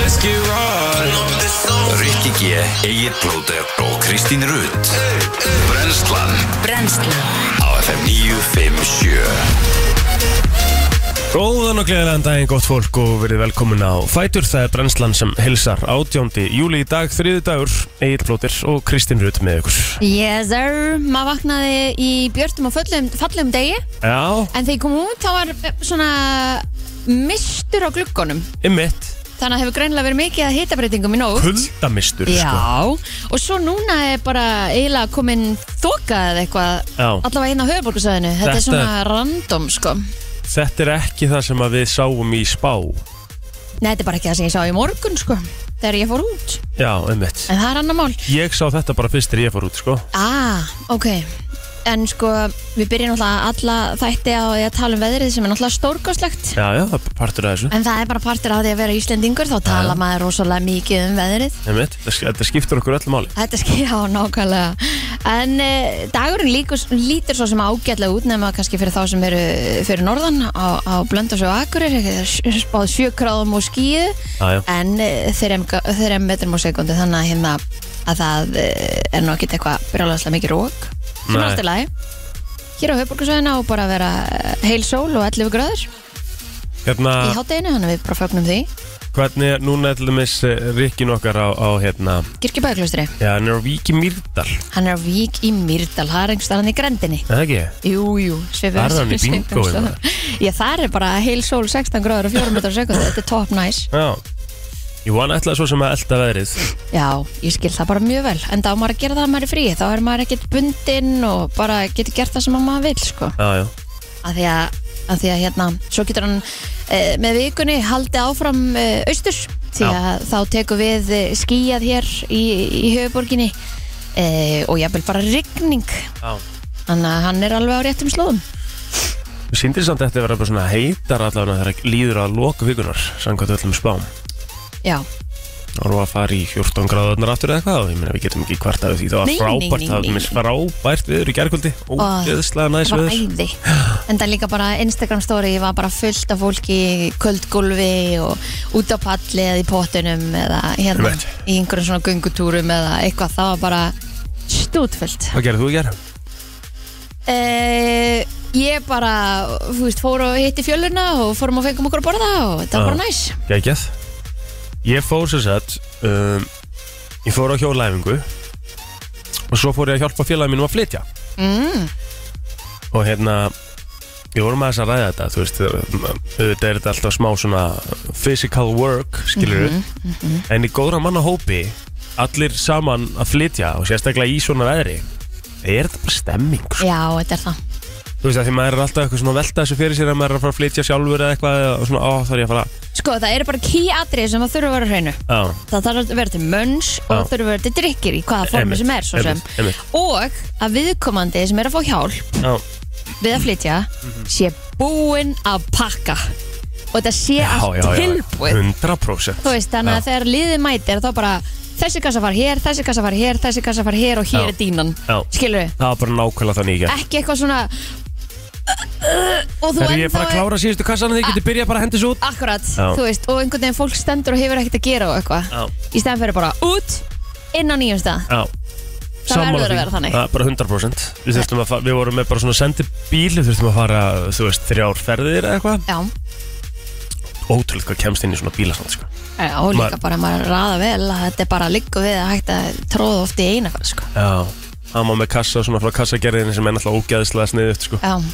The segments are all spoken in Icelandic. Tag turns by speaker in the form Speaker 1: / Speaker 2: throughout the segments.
Speaker 1: Let's get right
Speaker 2: Rikki G, Egil Blóter og Kristín Rutt Brenslan
Speaker 3: Brennslan
Speaker 2: á FM 957
Speaker 4: Góðan og gleðilegan daginn, gott fólk og verið velkomin á Fætur. Það er brennslan sem hilsar 18. júli í dag, þriði dagur, Egil Blóttir og Kristinn Rut með ykkur.
Speaker 3: Yes sir, maður vaknaði í björtum og fullum, fallum degi
Speaker 4: Já,
Speaker 3: En þegar ég kom út þá var eh, svona mistur á gluggunum
Speaker 4: ymmit,
Speaker 3: Þannig að hefur greinlega verið mikið að hitabreitingum í nóg
Speaker 4: kuldamistur, sko.
Speaker 3: Já, og svo núna er bara eiginlega komin þoka eða eitthvað
Speaker 4: Já.
Speaker 3: Allavega inn á höfuborgarsæðinu Þetta,
Speaker 4: Þetta-
Speaker 3: er svona random sko
Speaker 4: Þetta er ekki það sem að við sáum í spá.
Speaker 3: Nei, þetta er bara ekki það sem ég sá í morgun sko Þegar ég fór út
Speaker 4: Já, ymmit.
Speaker 3: En það er annar mál
Speaker 4: Ég sá þetta bara fyrst þegar ég fór út, sko.
Speaker 3: Ah, ok En sko, við byrjum náttúrulega alla þætti á því að tala um veðrið sem er náttúrulega stórkoslegt
Speaker 4: Já, já, það er partur af þessu.
Speaker 3: En það er bara partur af því að vera Íslendingur þá tala maður rosalega mikið um veðrið
Speaker 4: Ymmit, þetta skiptur okkur öll máli.
Speaker 3: Þetta skilja á nákvæmlega En eh, dagurinn líkur, lítur svo sem ágætlega út nema kannski fyrir þá sem eru fyrir norðan á, á Blöndas og Akurir spáð sjökráðum og skíu
Speaker 4: Já, já.
Speaker 3: en eh, þrem þrem metrum á sekundi þannig að hérna að það eh, er nú ekkert eitthvað brjálæðslega mikið rók sem er
Speaker 4: Nei.
Speaker 3: alltaf lagi Hér á höfburgarsvæðina og bara að vera eh, heil sól og 11 gráður
Speaker 4: Hérna,
Speaker 3: í hátteginu, þannig að við bara fögnum því
Speaker 4: hvernig er núna til dæmis eh, Rikkin okkar á, á hérna,
Speaker 3: Kirkjubæðklustri,
Speaker 4: já, hann er á Víki Mýrdal,
Speaker 3: hann er á Vík í Mýrdal, það er einhvers staðan í grendinni
Speaker 4: er það ekki?
Speaker 3: Jú, jú, svipið
Speaker 4: Þar er hann í
Speaker 3: svipið-
Speaker 4: bingói, maður.
Speaker 3: Já, það er bara heil sól 16 gráður og 4 metrar sekund Þetta er top nice
Speaker 4: Já Ég vona ætlaði svo sem að elda veðrið
Speaker 3: Já, ég skil það bara mjög vel En þá á maður að gera það að maður er frí Þá er maður ekkert bundinn og bara getur gert það sem að maður vil sko.
Speaker 4: Já, já
Speaker 3: Af því að, að, því að hérna, svo getur hann e, með vikunni haldið áfram e, austur Því
Speaker 4: Já.
Speaker 3: að þá tekur við eh, skýjað hér í, í höfuborginni e, Og jafnvel bara rigning
Speaker 4: Já
Speaker 3: Þannig að hann er alveg á réttum slóðum
Speaker 4: Við síndir samt eftir að vera bara svona heitar allavega þegar líður að loka vikunar samkvæmt öllum spám
Speaker 3: Já,
Speaker 4: Það voru að fara í 14 gráðunar aftur eða eitthvað og ég meina við getum ekki hvart af því það var
Speaker 3: Nei, nei, nei,
Speaker 4: frábært, það
Speaker 3: nei,
Speaker 4: var mér frábært viður í gerkvöldi ógeðslega næs
Speaker 3: Það var
Speaker 4: viður
Speaker 3: æði En það líka bara Instagram story var bara fullt af fólki í Kvöldgólfi og út á palli eða í pottunum eða hérna
Speaker 4: Einmitt.
Speaker 3: í einhverjum svona göngutúrum eða eitthvað það var bara stútfullt
Speaker 4: Hvað gerðið þú að gera?
Speaker 3: e, Ég bara þú veist, fór og hitti fjöluna og fórum og fengum okkur að borða og þetta var
Speaker 4: Já.
Speaker 3: bara næs
Speaker 4: Gægjað Ég fór sem sagt um, Ég fór á hjólæfingu Og svo fór ég að hjálpa félagin mínum að flytja
Speaker 3: mm,
Speaker 4: og hérna ég vorum aðeins að ræða þetta þú veist, um, auðvitað er þetta alltaf smá svona physical work, skilur en í góðra manna hópi allir saman að flytja og sérstaklega í svona veðri er þetta bara stemming, sko.
Speaker 3: Já, þetta er það
Speaker 4: þú veist, að því maður er alltaf eitthvað svona að velta þessu fyrir sér að maður er að fara að flytja sjálfur eða eitthvað og svona, ó, það er ég að fara
Speaker 3: Sko, það eru bara key atrið sem það þurfa að vera á hreinu
Speaker 4: á,
Speaker 3: það þarf að vera til mönns og
Speaker 4: Já.
Speaker 3: það þurfa að vera til drikkir í hvaða formi
Speaker 4: Ah. Einmitt,
Speaker 3: sem er svo sem
Speaker 4: einmitt, einmitt.
Speaker 3: og að viðkomandi sem er að fá hjálp
Speaker 4: á,
Speaker 3: við að flytja sé búinn að pakka og þetta sé allt tilbúið
Speaker 4: 100%
Speaker 3: þú veist þannig að
Speaker 4: Já.
Speaker 3: þegar liðið mætir þá bara þessi kassa fara hér, þessi kassa fara hér þessi kassa fara hér og
Speaker 4: Já.
Speaker 3: hér er dínan
Speaker 4: Já.
Speaker 3: skilur við,
Speaker 4: það var bara nákvæmlega þannig í gerð
Speaker 3: ekki eitthvað svona og þú
Speaker 4: er ég
Speaker 3: ennþá Ah.
Speaker 4: bara að klára síðustu kassan að þið getið byrjað bara að hendi svo út
Speaker 3: akkurat,
Speaker 4: Já.
Speaker 3: þú veist, og einhvern veginn fólk stendur og hefur ekkert að gera og eitthvað
Speaker 4: Já.
Speaker 3: í stæðan fyrir bara út inn á nýjum stað
Speaker 4: Já
Speaker 3: Það
Speaker 4: Sammála
Speaker 3: verður að
Speaker 4: því.
Speaker 3: vera þannig.
Speaker 4: Já, bara 100% Við, þurftum að fa- við vorum með bara svona sendibíl Við þurftum að fara, þú veist, þrjár ferðir eða eitthvað
Speaker 3: Já,
Speaker 4: Ótrúlega hvað kemst inn í svona bílasand sko.
Speaker 3: Já, og líka
Speaker 4: Maður-
Speaker 3: bara maður raða vel að þetta er bara liggur við að hægt að tróða oft í eina fara sko.
Speaker 4: Já Hann var með kassa, svona frá kassagerðinni sem er náttúrulega ógæðislega sniðut sko.
Speaker 3: Já,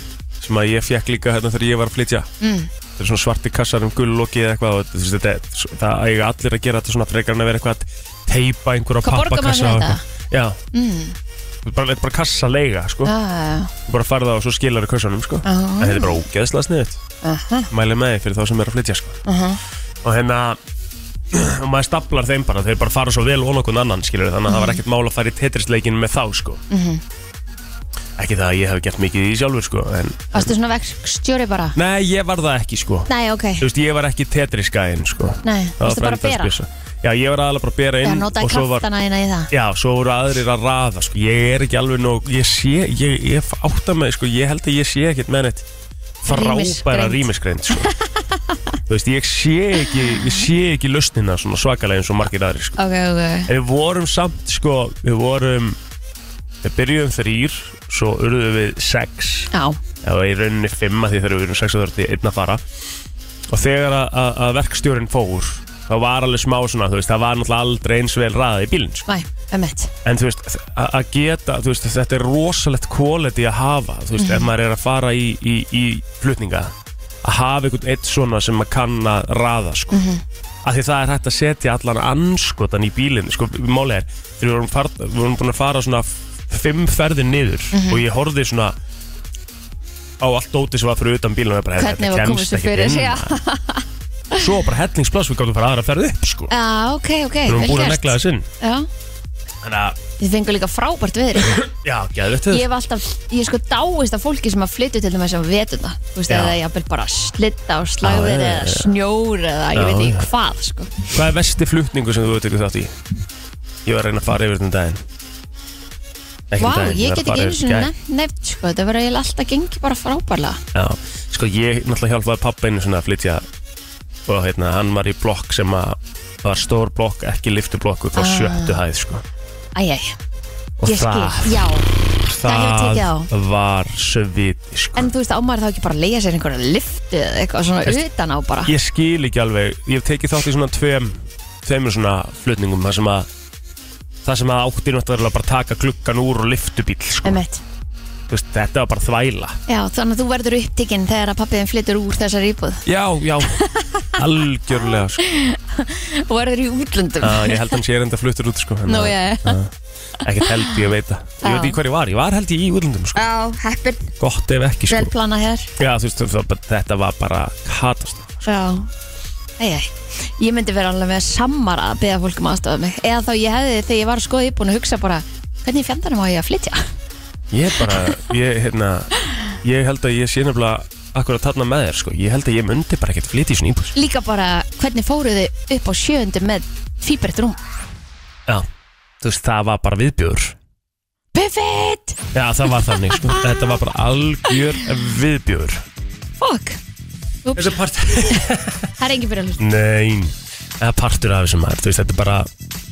Speaker 4: Sem að ég fekk líka hérna þegar ég var að flytja
Speaker 3: mm,
Speaker 4: Það eru svona svarti kassar um gulloki eða eitthvað og, þú veist, þetta, er- svo- Það eiga allir að gera þetta svona frekar en að vera eitthvað að teipa einhverja
Speaker 3: Hvað borgar maður
Speaker 4: pappakassa og
Speaker 3: fyrir þetta?
Speaker 4: eitthvað. Já,
Speaker 3: mm,
Speaker 4: bara, þetta er bara kassaleiga sko.
Speaker 3: já,
Speaker 4: ja.
Speaker 3: já,
Speaker 4: Bara farða og svo skilar kassanum sko.
Speaker 3: já,
Speaker 4: En þetta er bara ógeðslega sniðut
Speaker 3: aha,
Speaker 4: Mæli með því fyrir þá sem er að flytja sko.
Speaker 3: aha.
Speaker 4: Og hérna Og maður staplar þeim bara Þeir bara fara svo vel og nokkuð annan skilur Þannig að það var ekkert mál að fara í tetrisleikinu með þá sko.
Speaker 3: Mhm.
Speaker 4: Ekki það að ég hef gert mikið í því sjálfur sko, en...
Speaker 3: Varstu svona vekstjóri bara?
Speaker 4: Nei, ég var það ekki sko.
Speaker 3: Nei, ok,
Speaker 4: Þú veist, Ég var ekki tetrisgæðin sko.
Speaker 3: nei,
Speaker 4: Það var
Speaker 3: varstu bara að bera?
Speaker 4: frændansbyssa. Já, ég var aðalega bara að bera
Speaker 3: Já,
Speaker 4: inn
Speaker 3: notaði
Speaker 4: svo var,
Speaker 3: kraftana eina í það
Speaker 4: Já, svo voru aðrir að raða sko. Ég er ekki alveg nóg Ég sé, ég, ég átta með sko. Ég held að ég sé ekkert með neitt Frábæra
Speaker 3: Rýmisgreind.
Speaker 4: rýmisgreind sko. Þú þú veist, ég sé ekki, ég sé ekki lausnina svona svakalega eins og margir aðri, sko.
Speaker 3: Ok, ok,
Speaker 4: En við vorum samt, sko, við vorum, við byrjuðum þrýr, svo urðum við sex,
Speaker 3: já,
Speaker 4: eða í rauninni fimm að því þegar við erum sex að þörfti einn að fara. Og þegar að, að, að verkstjórin fór, það var alveg smá svona, þú veist, það var náttúrulega aldrei eins vel ræðið í bílinn, sko.
Speaker 3: næ, emmett
Speaker 4: En þú veist, að- að geta, þú veist, þetta er rosalegt quality að hafa, þú veist, ef
Speaker 3: Mhm.
Speaker 4: maður er að fara í, í, í flutninga, að hafa einhvern eitt svona sem maður kann að raða, sko. Mm
Speaker 3: Mhm.
Speaker 4: Af því það er hægt að setja allan anskotan í bílinn, sko, málið er, þegar við vorum, far, við vorum búin að fara svona f- fimm ferðir niður
Speaker 3: Mhm.
Speaker 4: og ég horfði svona á allt dótið sem var fyrir utan bílinn og ég bara,
Speaker 3: Hvernig
Speaker 4: þetta
Speaker 3: var
Speaker 4: kemst
Speaker 3: komist þú
Speaker 4: ekkert
Speaker 3: fyrir,
Speaker 4: inn,
Speaker 3: já.
Speaker 4: maður. Svo bara hellingsplass, við gáttum að fara aðra ferð upp, sko.
Speaker 3: Já, ok, ok,
Speaker 4: Við vorum
Speaker 3: vel
Speaker 4: búin að
Speaker 3: gert.
Speaker 4: negla þessi inn.
Speaker 3: Já,
Speaker 4: Þannig að,
Speaker 3: þið fengur líka frábært veðri
Speaker 4: já, geðvett þess.
Speaker 3: Ég hef alltaf, ég sko dáist af fólki sem að flytja til þess að vetuna Þú veist,
Speaker 4: Já.
Speaker 3: eða jafnvel bara slitta og slagðir
Speaker 4: Já, já, já,
Speaker 3: eða
Speaker 4: já.
Speaker 3: snjór eða ég
Speaker 4: Já,
Speaker 3: veit
Speaker 4: já.
Speaker 3: ekki hvað, sko
Speaker 4: Hvað er vesti flutningu sem þú hefur tekið þátt í? Ég var að reyna að fara yfir þetta um daginn Ekki um
Speaker 3: Vá,
Speaker 4: daginn,
Speaker 3: ég
Speaker 4: var að
Speaker 3: get ekki
Speaker 4: fara
Speaker 3: einu
Speaker 4: yfir
Speaker 3: sinni
Speaker 4: þetta í gær.
Speaker 3: nefnt, nefnt, sko Þetta verður eiginlega alltaf gengið bara frábærlega
Speaker 4: Já, sko ég náttúrulega hjálpaði pappa einu svona að flytja og hérna, hann var í blokk sem að var stór blokk, ekki liftublokk upp á sjöttu hæð, sko
Speaker 3: Æjæj,
Speaker 4: og
Speaker 3: Ah. ég skil, já hefur
Speaker 4: það,
Speaker 3: tekið á.
Speaker 4: var sviti, sko
Speaker 3: En þú veist, ámar þá ekki bara að leiða sér einhverja liftu eða eitthvað svona
Speaker 4: Veist-
Speaker 3: utan á bara
Speaker 4: Ég skil ekki alveg, ég hef tekið þátt í svona tveim tveimur svona flutningum þar sem að það sem að áttir náttúrulega bara taka klukkan úr og liftubíl, sko
Speaker 3: Emmett,
Speaker 4: Þú veist, þetta var bara þvæla
Speaker 3: já, þannig að þú verður upptikinn þegar að pappiðin flyttur úr þessar íbúð
Speaker 4: Já, já, algjörlega sko.
Speaker 3: og verður í útlöndum
Speaker 4: uh, Ég held hann sé enda fluttur út sko,
Speaker 3: Nú, já, já,
Speaker 4: Ekki held ég að veita Ég
Speaker 3: Já.
Speaker 4: veit ekki hver ég var, ég var held ég í útlundum sko.
Speaker 3: já, heppin,
Speaker 4: Gott ef ekki
Speaker 3: vel
Speaker 4: sko.
Speaker 3: planað hér
Speaker 4: Já, þú veist, það, bara- þetta var bara katast
Speaker 3: Já, ei, ei. Ég myndi vera alveg með samara að beða fólk um aðstofa mig Eða þá ég hefði þegar ég var að skoða íbúin að hugsa bara Hvernig fjandarnum á ég að flytja?
Speaker 4: Ég bara, ég, hérna Ég held að ég sé nefnilega akkur að þarna með þér sko. Ég held að ég myndi bara ekkert flytja í svona íbúð sko.
Speaker 3: Líka bara hvernig fóruð þið upp á sjöundu með fýbrett rúm?
Speaker 4: Já, þú veist, það var bara viðbjöður
Speaker 3: Buffett!
Speaker 4: Já, það var þannig, sko. þetta var bara algjör viðbjöður
Speaker 3: Fuck! Úps,
Speaker 4: Þessi part
Speaker 3: það er engin fyrir að hlusta
Speaker 4: Nei, það er partur af þessum maður, þú veist, þetta er bara,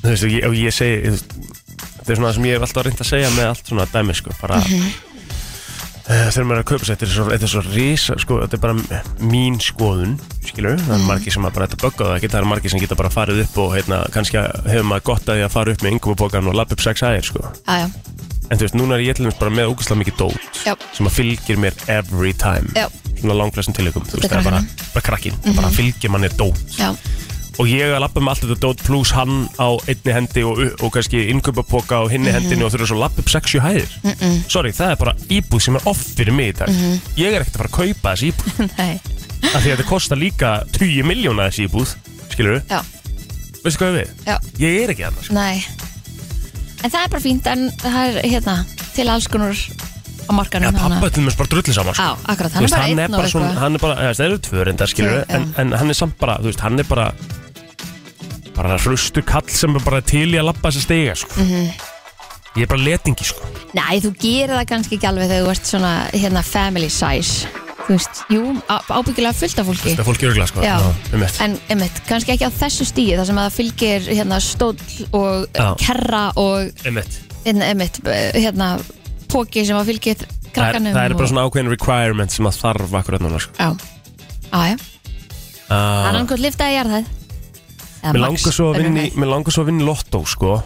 Speaker 4: þú veist, og ég, og ég segi, þú veist, þetta er svona það sem ég hef alltaf reynd að segja með allt svona dæmi, sko, bara, mm
Speaker 3: Mhm.
Speaker 4: þegar maður er að kaupa sér, þetta er svo, þetta er svo risa, sko, þetta er bara mín skoðun, skilur, það
Speaker 3: Mhm.
Speaker 4: er margir sem að bara, þetta böggaðu ekki, það er margir sem geta bara farið upp og, heitna, kannski að- hefur maður gott að því að fara upp með yngumabókan og lappa upp sex aðeir, sko,
Speaker 3: Já, já,
Speaker 4: en þú veist, núna er ég til dæmis bara með ógæslega mikið dót,
Speaker 3: Já.
Speaker 4: sem að fylgir mér every time,
Speaker 3: Já.
Speaker 4: svona langflestum tilvikum, þú veist, það er bara, bara krakkin,
Speaker 3: Mhm.
Speaker 4: bara fylgir manni dót
Speaker 3: já,
Speaker 4: og ég að lappa með allt þetta dót pluss hann á einni hendi og, og kannski innkaupapoka á hinni
Speaker 3: Mhm.
Speaker 4: hendinni og þurfa svo að lappa upp 60 hæðir sorry, það er bara íbúð sem er off fyrir mig í dag
Speaker 3: Mhm.
Speaker 4: ég er ekkert að fara að kaupa þessi íbúð
Speaker 3: nei,
Speaker 4: af því að þetta kostar líka 10 miljóna þessi íbúð skilur við,
Speaker 3: já,
Speaker 4: veistu hvað ég við
Speaker 3: já,
Speaker 4: ég er ekki sko. annars
Speaker 3: nei En það er bara fínt, en það er hérna til alls konar á
Speaker 4: ja,
Speaker 3: markanum
Speaker 4: pappa er til mér bara drullið saman sko.
Speaker 3: Já, akkurat,
Speaker 4: Þú
Speaker 3: hann er
Speaker 4: veist,
Speaker 3: bara
Speaker 4: hann er
Speaker 3: einn og
Speaker 4: bara svona,
Speaker 3: eitthvað
Speaker 4: hann er bara, eða, það eru tvö reyndar skilur
Speaker 3: Tvö, já.
Speaker 4: en, en hann er samt bara, þú veist, hann er bara bara hrustu kall sem er bara til í að lappa þessi stega sko.
Speaker 3: Mhm.
Speaker 4: ég er bara letingi sko.
Speaker 3: Nei, þú gerir það kannski ekki alveg þegar þú ert svona hérna family size Þú veist, jú, á- ábyggilega fullt af fólki
Speaker 4: Það er fólk örgla sko
Speaker 3: Já.
Speaker 4: um eitt
Speaker 3: En einmitt, kannski ekki á þessu stíi þar sem að það fylgir hérna stóll og
Speaker 4: Já.
Speaker 3: kerra og
Speaker 4: um eitt
Speaker 3: hérna, einmitt, hérna póki sem að fylgir
Speaker 4: það,
Speaker 3: krakkanum
Speaker 4: er bara
Speaker 3: og-
Speaker 4: svona ákveðin requirement sem að þarf akkurat núna sko
Speaker 3: Já, ája, hann
Speaker 4: uh,
Speaker 3: hann hvort liftaði jarðað
Speaker 4: Mér
Speaker 3: Eða Max,
Speaker 4: langar svo að
Speaker 3: önnur
Speaker 4: vinni
Speaker 3: hæð.
Speaker 4: Mér langar svo að vinni lottó sko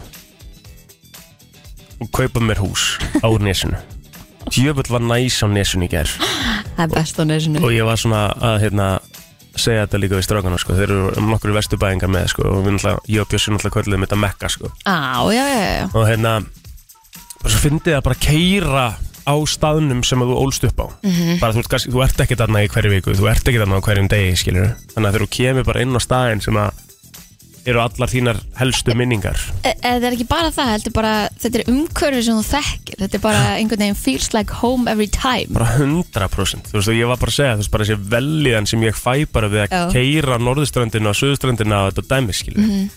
Speaker 4: og kaupa mér hús á nesinu Djöfull var næs á nesinu í gær
Speaker 3: Það er best á nesinu
Speaker 4: og ég var svona að hérna segja þetta líka við strákana sko þeir eru um nokkur vesturbæðingar með sko og við náttúrulega, ég og Bjössi náttúrulega kvöldum þetta mekka sko
Speaker 3: Á, já, já, já, já,
Speaker 4: og hérna og svo fyndið að bara keira á staðnum sem að þú ólst upp á
Speaker 3: Mhm.
Speaker 4: bara þú ert, kannski- þú ert ekki þarna í hverju viku þú ert ekki þarna á hverjum degi skilur þannig að þegar þú kemur bara inn á staðin sem að eru allar þínar helstu minningar
Speaker 3: e e það er ekki bara það, heldur bara þetta er umhverfi sem þú þekkir þetta er bara einhvern veginn feels like home every time
Speaker 4: bara 100% þú veist og ég var bara að segja þú veist bara þessi velliðan sem ég fæ bara við að
Speaker 3: Já.
Speaker 4: oh. keira norðuströndina og söðuströndina og þetta dæmi skilur
Speaker 3: Mhm.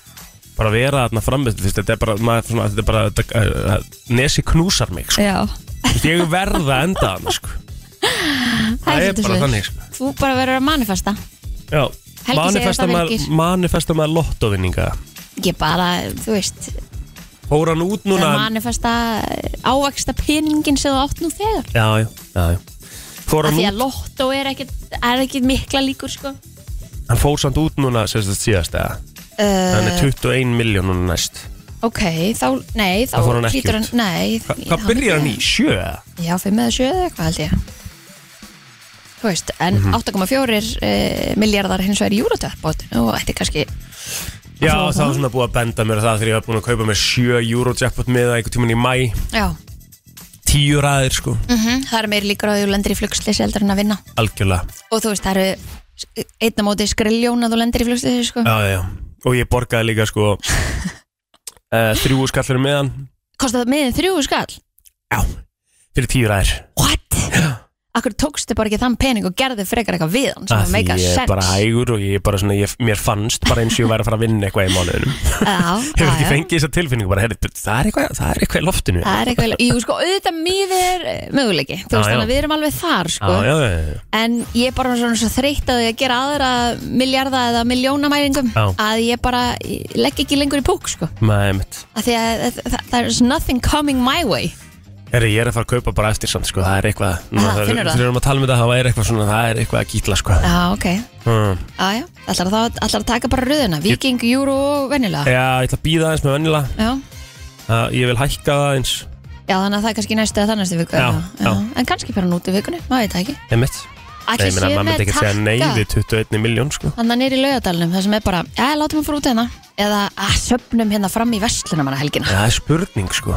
Speaker 4: bara vera þarna framvist þetta er bara, maður, svona, þetta er bara þetta, uh, uh, nesi knúsar mig sko.
Speaker 3: Já,
Speaker 4: Þú veist, ég verða enda þarna sko. það er
Speaker 3: svolítið
Speaker 4: bara
Speaker 3: svoleiðis.
Speaker 4: þannig sko.
Speaker 3: Þú bara verður að manifesta
Speaker 4: Já,
Speaker 3: Helgi segir að
Speaker 4: manifesta
Speaker 3: það
Speaker 4: maður,
Speaker 3: virkir
Speaker 4: manifesta maður lottovinninga
Speaker 3: Ég bara, þú veist
Speaker 4: Fór hann út
Speaker 3: Það
Speaker 4: núna
Speaker 3: er manifesta ávaksta peningin sem þú átt nú þegar
Speaker 4: Já, já, já, já. Fór
Speaker 3: Af
Speaker 4: hann,
Speaker 3: því
Speaker 4: út,
Speaker 3: að lottó er ekkit, er ekkit mikla líkur sko
Speaker 4: hann fór samt út núna sérstast síðast eða Hann er 21 miljón núna næst
Speaker 3: Eh, Ok, þá, nei, þá
Speaker 4: Það fór hann ekki
Speaker 3: hlýtur
Speaker 4: út.
Speaker 3: Nei
Speaker 4: Hva, Hvað byrjar hann í? Sjö? eða?
Speaker 3: Já, fimm eða sjö eða eitthvað held ég Þú veist, en
Speaker 4: Mhm.
Speaker 3: 8,4 e, miljardar hins vegar í júratöppbót og þetta er kannski
Speaker 4: Já,
Speaker 3: fór
Speaker 4: það
Speaker 3: hann.
Speaker 4: var svona búið að benda mér á það þegar ég var búin að kaupa mér sjö Eurojackpot miða einhvern tímann í mæ
Speaker 3: Já,
Speaker 4: Tíu ræðir sko,
Speaker 3: mm það eru meiri líkur á því að þú lendir í flugslýsi heldur en að vinna
Speaker 4: algjörlega
Speaker 3: og þú veist, það eru einna móti skriljón að þú lendir í flugslýsi sko.
Speaker 4: Já, já, já. og ég borgaði líka sko uh, Þrjú skallur meðan
Speaker 3: Kostar það miðin þrjú skall?
Speaker 4: Já, fyrir tíu ræðir
Speaker 3: What? Akkur tókstu bara ekki þann pening og gerði frekar eitthvað við hann sem
Speaker 4: Af
Speaker 3: að
Speaker 4: því
Speaker 3: meika
Speaker 4: ég er
Speaker 3: sens
Speaker 4: bara hægur og ég er bara svona, ég, mér fannst bara eins og ég væri að fara að vinna eitthvað í mánuðinum
Speaker 3: Já,
Speaker 4: Hefur ekki
Speaker 3: já, já.
Speaker 4: fengið þessa tilfinningu bara, herri, það er eitthvað, það er eitthvað í loftinu
Speaker 3: Það er eitthvað, jú sko, auðvitað mýðið er eh, möguleiki,
Speaker 4: Já,
Speaker 3: þú veist
Speaker 4: já.
Speaker 3: þannig að við erum alveg þar sko,
Speaker 4: Já, já, já, já.
Speaker 3: en ég er bara svona svo þreytt að því að gera aðra miljarda eða miljónamæringum
Speaker 4: Já.
Speaker 3: að ég bara ég legg ekki lengur í púk sko,
Speaker 4: Nei, einmitt.
Speaker 3: að því að það- það- there's nothing coming my way
Speaker 4: Herri, ég er að fara að kaupa bara eftir samt, sko, það er eitthvað Nú,
Speaker 3: Aha,
Speaker 4: það er-
Speaker 3: finnurðu það?
Speaker 4: Þegar við erum að tala um þetta, það er eitthvað svona, það er eitthvað að gítla, sko
Speaker 3: Já, ok,
Speaker 4: mm.
Speaker 3: já, já, ætlar þá ætlar að taka bara röðuna, viking, júru og venjulega
Speaker 4: Já, ég ætla að býða eins með vennila
Speaker 3: Já,
Speaker 4: uh, Ég vil hækka það eins,
Speaker 3: já, þannig að það er kannski í næstu eða þannastu viku
Speaker 4: Já,
Speaker 3: eða-
Speaker 4: já.
Speaker 3: En kannski fyrir hann út í vikunni, maður veit það ekki
Speaker 4: einmitt Nei,
Speaker 3: Ætli
Speaker 4: ég meina,
Speaker 3: sé
Speaker 4: maður
Speaker 3: með
Speaker 4: myndi ekki segja nei
Speaker 3: takka.
Speaker 4: við 21 miljón, sko
Speaker 3: Þannig að nýri í laugadalunum, það sem er bara, já, látum hann fara út hérna Eða, að söpnum hérna fram í vestluna manna helgina
Speaker 4: Það er spurning, sko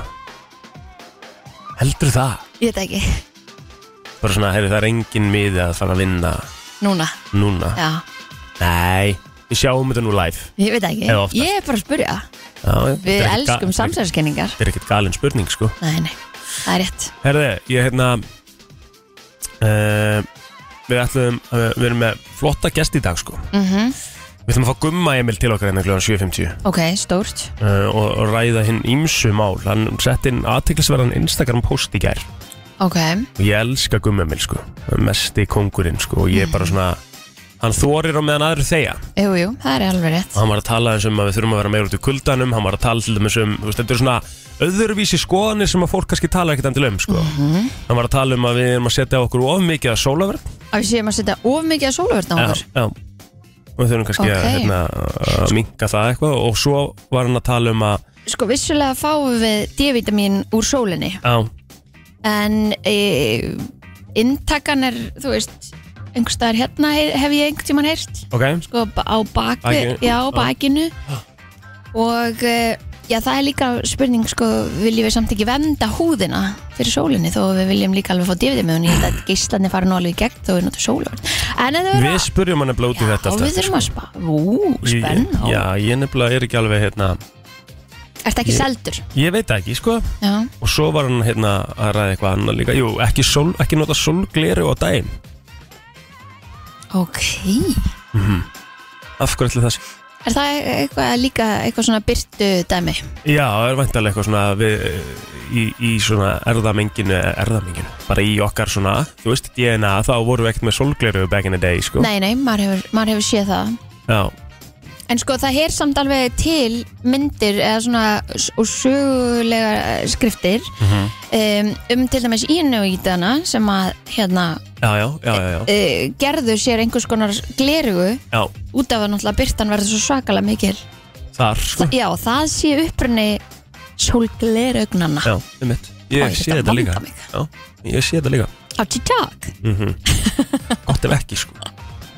Speaker 4: Heldur það?
Speaker 3: Ég veit það ekki,
Speaker 4: Bara svona, herri, það er engin miði að fara að vinna
Speaker 3: núna,
Speaker 4: núna
Speaker 3: já,
Speaker 4: Nei, við sjáum þetta nú live
Speaker 3: ég veit það
Speaker 4: Eða
Speaker 3: ekki
Speaker 4: oftast.
Speaker 3: Ég er bara að spurja,
Speaker 4: Já, já. Þetta er
Speaker 3: við
Speaker 4: ekkert ga-
Speaker 3: elskum samsæðiskenningar
Speaker 4: Þetta er ekkert galin spurning, sko
Speaker 3: Nei, nei, það er rétt
Speaker 4: Herði, ég hérna uh, Við ætlum uh, Við erum með flotta gest í dag sko
Speaker 3: mm
Speaker 4: Við ætlum að fá Gumma Emil til okkar hérna kljóðan 7.50 uh,
Speaker 3: Ok, stórt,
Speaker 4: eh, og, og ræða hinn ímsu mál Hann sett inn aðteklisverðan Instagram post í gær
Speaker 3: ok
Speaker 4: og ég elska Gumma Emil sko mesti kongurinn sko og ég er bara svona Hann þorir á meðan aðru þegja
Speaker 3: Jú, jú, það er alveg rétt
Speaker 4: og hann var að tala eins um að við þurfum að vera meira út í kuldanum hann var að tala til dæmis um, þú veist, þetta eru svona öðruvísi skoðanir sem að fólk kannski tala ekkert endilega um, sko
Speaker 3: Mhm.
Speaker 4: hann var að tala um að við erum að setja á okkur of mikið að sólaverð
Speaker 3: Að við séum að setja of mikið að sóluverðna á okkur
Speaker 4: já, og við þurfum kannski að,
Speaker 3: Ok.
Speaker 4: hérna, að minka það eitthvað og svo var hann að tala um að
Speaker 3: Sko, vissulega fáum við D-vitamin úr sólinni
Speaker 4: á,
Speaker 3: en e, intakan er, þú veist einhverstaðar hérna he- hef ég einhvern tímann heyrt
Speaker 4: ok,
Speaker 3: sko b- á
Speaker 4: Bakinu,
Speaker 3: bakvi, já, á
Speaker 4: já.
Speaker 3: bakinu og e, já, það er líka spurning, sko, viljum við samt ekki venda húðina fyrir sólinni þó að við viljum líka alveg fá divið með hún ég held að gíslarni fara nú alveg í gegn þó við notum sóluverð en það
Speaker 4: við spurjum hann nefnilega út í
Speaker 3: já,
Speaker 4: þetta
Speaker 3: við
Speaker 4: eftir, sko.
Speaker 3: þurfum að spá ú,
Speaker 4: Ég-
Speaker 3: spenn
Speaker 4: já, ég nefnilega er ekki alveg hérna,
Speaker 3: ertu ekki
Speaker 4: Ég-
Speaker 3: seldur
Speaker 4: ég veit það ekki, sko
Speaker 3: já,
Speaker 4: og svo var hann hérna að ræða eitthvað annað líka, jú, ekki, sól, ekki nota sólgleru á daginn,
Speaker 3: ok Mhm.
Speaker 4: af hverju ætli það sé
Speaker 3: er það eitthvað líka eitthvað svona byrtu dæmi
Speaker 4: Já, það er vantarlega eitthvað svona við, eh, í, í svona erðamenginu erðamenginu, bara í okkar svona þú veist, DNA, þá vorum við ekkert með solgleru back in the day, sko
Speaker 3: nei, nei, maður hefur, maður hefur séð það
Speaker 4: Já,
Speaker 3: En sko það er samt alveg til myndir eða svona s- og sögulega eh, skriftir
Speaker 4: Mhm.
Speaker 3: um, um til dæmis ínögítana sem að hérna
Speaker 4: já, já, já, já, já.
Speaker 3: uh, gerðu sér einhvers konar glerugu
Speaker 4: já
Speaker 3: út af að náttúrulega byrtan verður svo svakalega mikil.
Speaker 4: þar, sko
Speaker 3: Þa, já, það sé upprunni sólglerugnana
Speaker 4: Já, um mitt
Speaker 3: Ó,
Speaker 4: Ég
Speaker 3: ég
Speaker 4: sé
Speaker 3: þarf að
Speaker 4: þetta
Speaker 3: vanda
Speaker 4: líka
Speaker 3: mig.
Speaker 4: Já, ég sé þetta líka
Speaker 3: á TikTok.
Speaker 4: mm Gott ef ekki, sko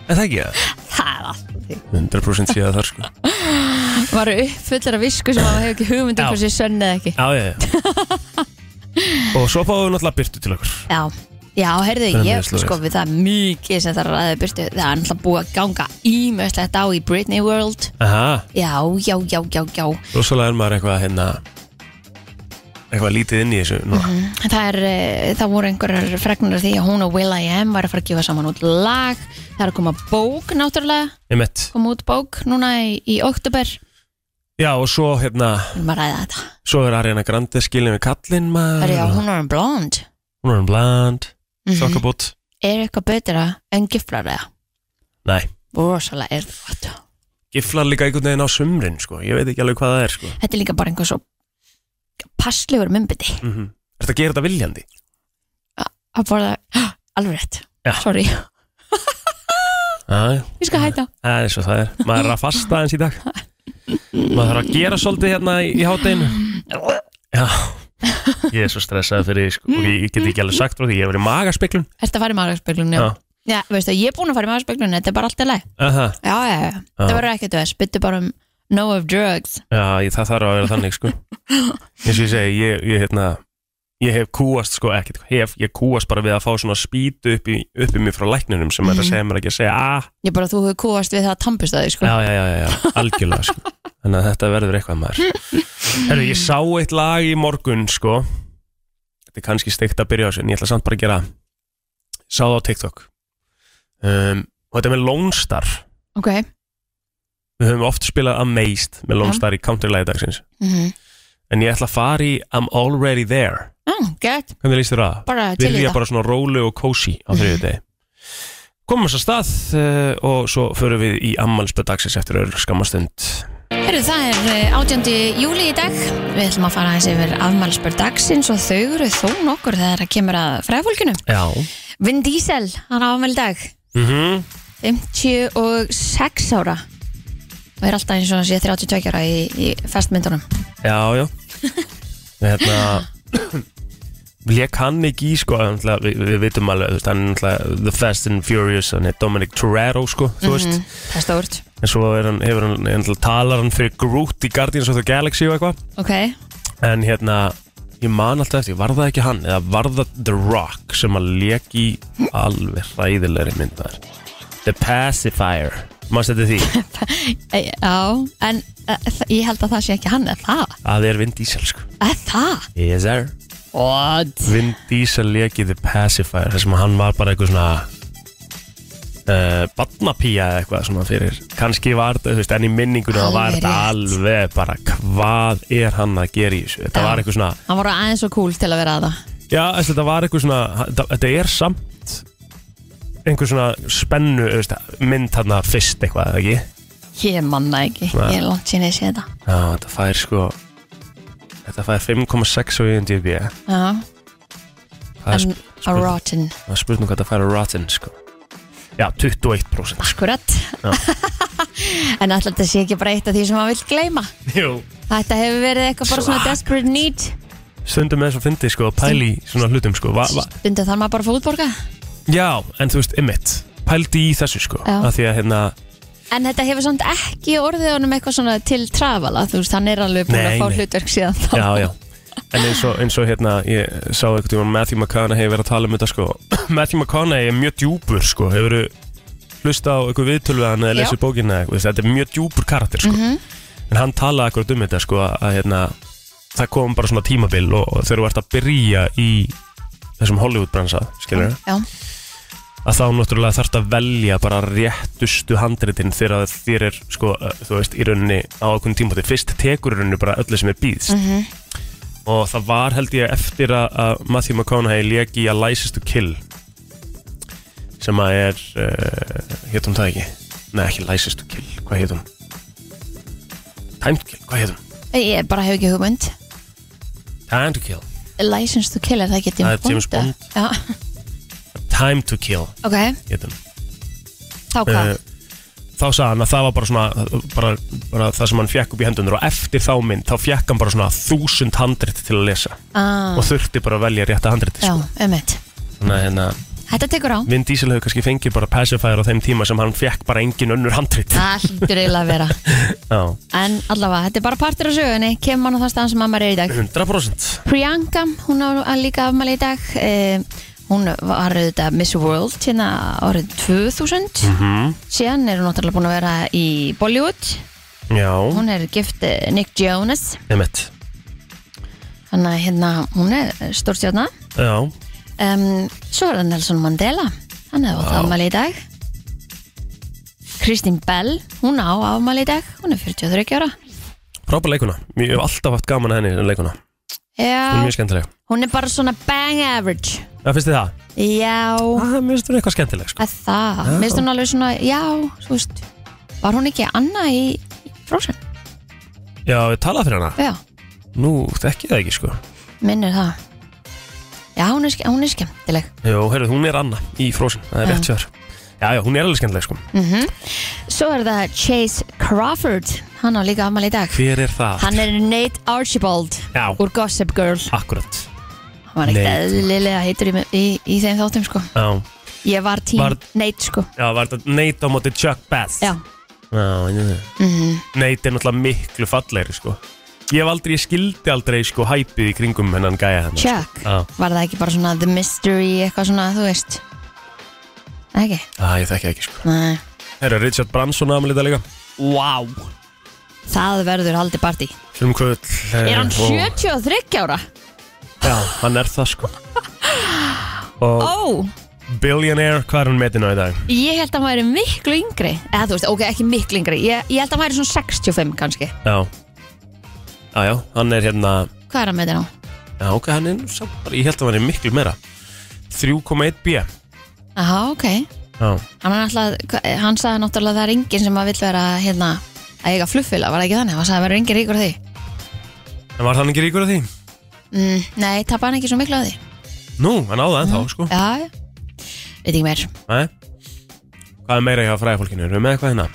Speaker 4: En það ekki, ja.
Speaker 3: Það er alltaf því.
Speaker 4: 100% sé það þar, sko
Speaker 3: Varu uppfullur af visku sem að hefur ekki hugmynd um
Speaker 4: Já.
Speaker 3: hversu sönn eða ekki.
Speaker 4: Já, já, já Og svo fáum við náttúrulega byrtu til okkur
Speaker 3: Já, já, heyrðu,
Speaker 4: Það er mjög
Speaker 3: ég
Speaker 4: slúðrið.
Speaker 3: sko við það er mikið sem það er ræðið byrtu Það er náttúrulega búið að ganga ímjöðslegt á í Britney World
Speaker 4: Aha,
Speaker 3: Já, já, já, já, já
Speaker 4: rosalega er maður eitthvað hérna eitthvað lítið inn í þessu núna
Speaker 3: Það, er, eh, það voru einhverjar fregnar af því að hún og Will.i.am var að fara að gefa saman út lag Það er að koma bók náttúrulega
Speaker 4: Ég mitt
Speaker 3: Koma út bók núna í, í oktober
Speaker 4: Já, og svo hérna
Speaker 3: Viljum að ræða þetta
Speaker 4: Svo er Ariana Grande skilin við kallinn maður
Speaker 3: Það er já, hún er blond
Speaker 4: Hún er um bland
Speaker 3: mm
Speaker 4: Sokkabút
Speaker 3: Er eitthvað betra en giflar eða?
Speaker 4: Nei
Speaker 3: rosalega erfat
Speaker 4: Giflar líka einhvern veginn á sumrin sko. Ég veit ekki alveg hvað það er sko.
Speaker 3: þetta er líka bara einhver svo passlegur mumbiti
Speaker 4: mm Ertu að gera þetta viljandi?
Speaker 3: að borða, alveg rétt
Speaker 4: Já.
Speaker 3: sorry,
Speaker 4: Æ,
Speaker 3: ég skal hætta
Speaker 4: það er svo það er Maður er að fasta eins í dag Maður þarf að gera svolítið hérna í, í hátæginu Já Ég er svo stressaði fyrir því sko. og ég, ég get ekki alveg sagt frá því Ég hef verið í magaspeglun
Speaker 3: Ertu að fara í magaspeglun, já.
Speaker 4: Já.
Speaker 3: Já, veistu, ég er búin að fara í magaspeglun, þetta er bara allt í leið.
Speaker 4: Aha.
Speaker 3: Já, já, já, það verður ekkert veist, byttu bara um no of drugs.
Speaker 4: Já, ég, það þarf að vera þannig sko eins og ég segi, ég, ég, hérna, ég hef kúast sko, ekkert hef, ég kúast bara við að fá svona spýtu upp í, upp í mig frá lækninum sem er að segja mér ekki að segja ah,
Speaker 3: Ég bara, þú hefur kúast við það að tampist að því, sko.
Speaker 4: já, já, já, já, já, algjörlega sko þannig að þetta verður eitthvað maður Herru, ég sá eitt lag í morgun sko þetta er kannski steikt að byrja á sér en ég ætla samt bara að gera sá það á TikTok um, og þetta er með Lone Star
Speaker 3: Ok.
Speaker 4: við höfum oft spilað Amazed með Lone
Speaker 3: Já.
Speaker 4: Star í Counter-lægi dagsins
Speaker 3: Mm
Speaker 4: en ég ætla að fara í I'm Already There
Speaker 3: ah, gett,
Speaker 4: Hvernig líst þér á það?
Speaker 3: bara til
Speaker 4: Við
Speaker 3: í
Speaker 4: líka
Speaker 3: það.
Speaker 4: bara svona rólu og kósi á þriðu degi Komum þess að stað uh, og svo förum við í ammalspöð dagsins eftir öll skammastund
Speaker 3: Herru, það er eh, 18. júli í dag. Við ætlum að fara aðeins yfir afmælspör dagsins og þau eru þó nokkur þegar að kemur að fræðfólkinu.
Speaker 4: Já
Speaker 3: Vin Diesel, hann á afmæli í dag.
Speaker 4: mm
Speaker 3: 56 ára. Og er alltaf eins og hann sé 32 ára í, í festmyndunum.
Speaker 4: Já, já Við hérna Lék hann ekki í sko náttúrulega, við, við vitum alveg, þú veist, hann er náttúrulega The Fast and Furious, hann er Dominic Toretto sko, þú veist,
Speaker 3: Það er stórt.
Speaker 4: en svo er hann, hefur hann, náttúrulega talar hann fyrir Groot í Guardians of the Galaxy og eitthvað
Speaker 3: Ok. Eh,
Speaker 4: En hérna, ég man alltaf eftir, var það ekki hann eða var það The Rock sem að lék í alveg hræðilegri myndar The Pacifier Mást þetta því?
Speaker 3: E, Já, en e, þa- ég held að það sé ekki hann, er það?
Speaker 4: Það er Vin Diesel sko
Speaker 3: Er það?
Speaker 4: Yes sir
Speaker 3: What?
Speaker 4: Vin Diesel lék í The Pacifier þar sem hann var bara eitthvað svona uh, barnapía eða eitthvað svona fyrir kannski var þetta, þú veist, en í minninguna
Speaker 3: Alveg
Speaker 4: var þetta
Speaker 3: rétt.
Speaker 4: alveg bara hvað er hann að gera í þessu þetta
Speaker 3: Já.
Speaker 4: var eitthvað svona
Speaker 3: Hann voru aðeins svo cool til að vera að það
Speaker 4: Já, þessi, þetta var eitthvað svona þetta- Þetta er samt einhver svona spennu þú veist, mynd þarna fyrst eitthvað, eða ekki?
Speaker 3: Ég manna ekki,
Speaker 4: Nei.
Speaker 3: ég er langt síðan ég sé þetta
Speaker 4: Já, þetta fær sko Þetta fær 5,6 á IMDb
Speaker 3: Já,
Speaker 4: Það er
Speaker 3: en
Speaker 4: sp-
Speaker 3: a
Speaker 4: spurning-
Speaker 3: rotten
Speaker 4: það er spurning hvað þetta fær á Rotten sko Já, 21% sko.
Speaker 3: Akkurat
Speaker 4: Já.
Speaker 3: En alltaf þetta sé ekki bara eitt af því sem hann vill gleyma
Speaker 4: Jú
Speaker 3: Þetta hefur verið eitthvað bara svona
Speaker 4: Svaka.
Speaker 3: desperate need
Speaker 4: Stundum með þess að fyndi sko að pæli svona hlutum sko va, va.
Speaker 3: Stundu þarf maður bara að fá útborga
Speaker 4: Já, en þú veist, ymmit Pældi í þessu sko
Speaker 3: Já.
Speaker 4: Af því að hérna
Speaker 3: En þetta hefur samt ekki orðið honum eitthvað svona til trafala Þú veist, hann er alveg búin
Speaker 4: Nei,
Speaker 3: að fá
Speaker 4: nei.
Speaker 3: hlutverk síðan þá
Speaker 4: já, já En eins og, eins og hérna, ég sá einhvern tíma Matthew McConaughey verið að tala um þetta sko Matthew McConaughey er mjög djúpur sko Hefur hlusta á einhver viðtölu við hann eða
Speaker 3: Já.
Speaker 4: lesið bókina eða eitthvað veist, Þetta er mjög djúpur karakter sko En hann talaði akkurat um þetta sko að hérna Það kom bara svona tímabil og, og þegar þú ert að byrja í þessum Hollywood bransa, skilur
Speaker 3: Já,
Speaker 4: að þá náttúrulega þarf að velja bara réttustu handritin þegar þér er, sko, uh, þú veist, í rauninni á okkur tímpóti, fyrst tekur í rauninni bara öllu sem er býðst og það var held ég eftir að, að Matthew McConaughey lék í að License to Kill sem að er uh, hétt hún það ekki? Nei, ekki License to Kill, hvað hétt hún? Time to Kill, hvað hétt hún?
Speaker 3: ég bara hef ekki hugmynd
Speaker 4: Time to Kill
Speaker 3: License to Kill, er það ekki
Speaker 4: Það er
Speaker 3: James Bond?
Speaker 4: James Bond.
Speaker 3: Já,
Speaker 4: Time to Kill
Speaker 3: ok,
Speaker 4: hétt hún
Speaker 3: þá hvað?
Speaker 4: Eh, þá sagði hann að það var bara svona bara, bara það sem hann fjekk upp í hendunur og eftir þá mynd þá fjekk hann bara svona þúsund handrit til að lesa
Speaker 3: ah,
Speaker 4: og þurfti bara að velja rétta handriti
Speaker 3: já,
Speaker 4: sko.
Speaker 3: ummitt
Speaker 4: þannig að hérna
Speaker 3: Þetta tekur á
Speaker 4: Vin Diesel hefur kannski fengið bara pacifier á þeim tíma sem hann fjekk bara engin önnur handrit
Speaker 3: Það hlýtur eiginlega að vera
Speaker 4: Já,
Speaker 3: En allavega, þetta er bara partur af sögunni Kemur hann á það staðan sem mamma er í dag
Speaker 4: 100%
Speaker 3: Priyanka, hún á að líka afmæli í dag eh, Hún var auðvitað Miss World hérna árið 2000
Speaker 4: Mm. Mhm.
Speaker 3: Síðan er hún náttúrulega búin að vera í Bollywood
Speaker 4: Já,
Speaker 3: Hún er gift eh, Nick Jonas
Speaker 4: emitt
Speaker 3: Þannig að hérna, hún er stórstjórna
Speaker 4: Já,
Speaker 3: um, Svo er það Nelson Mandela Hann hefði átt afmæli í dag Kristín Bell Hún á afmæli í dag Hún er 43 ára
Speaker 4: frábæð leikuna Ég hef alltaf haft gaman að henni leikuna Hún er
Speaker 3: Já,
Speaker 4: mjög skemmtileg
Speaker 3: hún er bara svona bang average
Speaker 4: Það finnst þið það?
Speaker 3: Já,
Speaker 4: Það finnst þið eitthvað skemmtileg sko.
Speaker 3: að það Mér finnst hún alveg svona, já, þú veist Var hún ekki annað í Frozen?
Speaker 4: Já, ég talaði fyrir hana
Speaker 3: Já,
Speaker 4: Nú, þekki ég það ekki sko
Speaker 3: minnir það Já, hún er, ske- hún er skemmtileg
Speaker 4: Jó, heyrðu, hún er Anna í Frozen, það er rétt sér Já, já, hún er alveg skemmtileg sko
Speaker 3: Mhm. Svo er það Chase Crawford Hann á líka afmæli í dag
Speaker 4: Hver er það?
Speaker 3: Hann er Nate Archibald
Speaker 4: Já.
Speaker 3: Úr Gossip Girl
Speaker 4: Akkurat
Speaker 3: Hann var ekkert
Speaker 4: Nate.
Speaker 3: eðlilega heitur í, í, í þeim þáttum sko
Speaker 4: Já,
Speaker 3: Ég var tím
Speaker 4: Var-
Speaker 3: Nate sko
Speaker 4: já var þetta Nate á móti Chuck Bass
Speaker 3: Já, Mhm.
Speaker 4: Já, ég veit það Nate er náttúrulega miklu fallegri sko Ég hef aldrei, ég skildi aldrei sko hæpið í kringum hennan gæja hennar sko.
Speaker 3: Chuck
Speaker 4: Já,
Speaker 3: Var það ekki bara svona The Mystery eitthvað svona, þú veist Ekki,
Speaker 4: ah, ég þekki það ekki sko
Speaker 3: nei
Speaker 4: Herra, Richard Branson aðmælita líka
Speaker 3: Wow Það verður haldið partí
Speaker 4: Hlumkvöld
Speaker 3: Er hann 73 ára?
Speaker 4: Já, hann er það sko Og
Speaker 3: Ó,
Speaker 4: Billionaire, hvað er hann metinu í dag?
Speaker 3: ég held að hann væri miklu yngri Eða þú veist, ok, ekki miklu yngri Ég, ég held að hann væri svona 65 kannski
Speaker 4: Já Já, já, hann er hérna
Speaker 3: Hvað er hann með þetta nú?
Speaker 4: Já, ok, hann er nú samt bara, ég held að hann er miklu meira 3,1 B Já
Speaker 3: Aha, ok Hann, er alltaf, hva- hann sagði náttúrulega að það er enginn sem að vill vera hérna að eiga flugfélag, var það ekki þannig? Hann sagði að verður enginn ríkur að því
Speaker 4: En var hann ekki ríkur af því?
Speaker 3: mm, Nei, tappa hann ekki svo miklu að því
Speaker 4: Nú, hann á það ennþá sko
Speaker 3: Já, já. veit ekki meir
Speaker 4: Nei Hvað er meira hjá fræðafólkinu? Erum við með eitthvað hérna?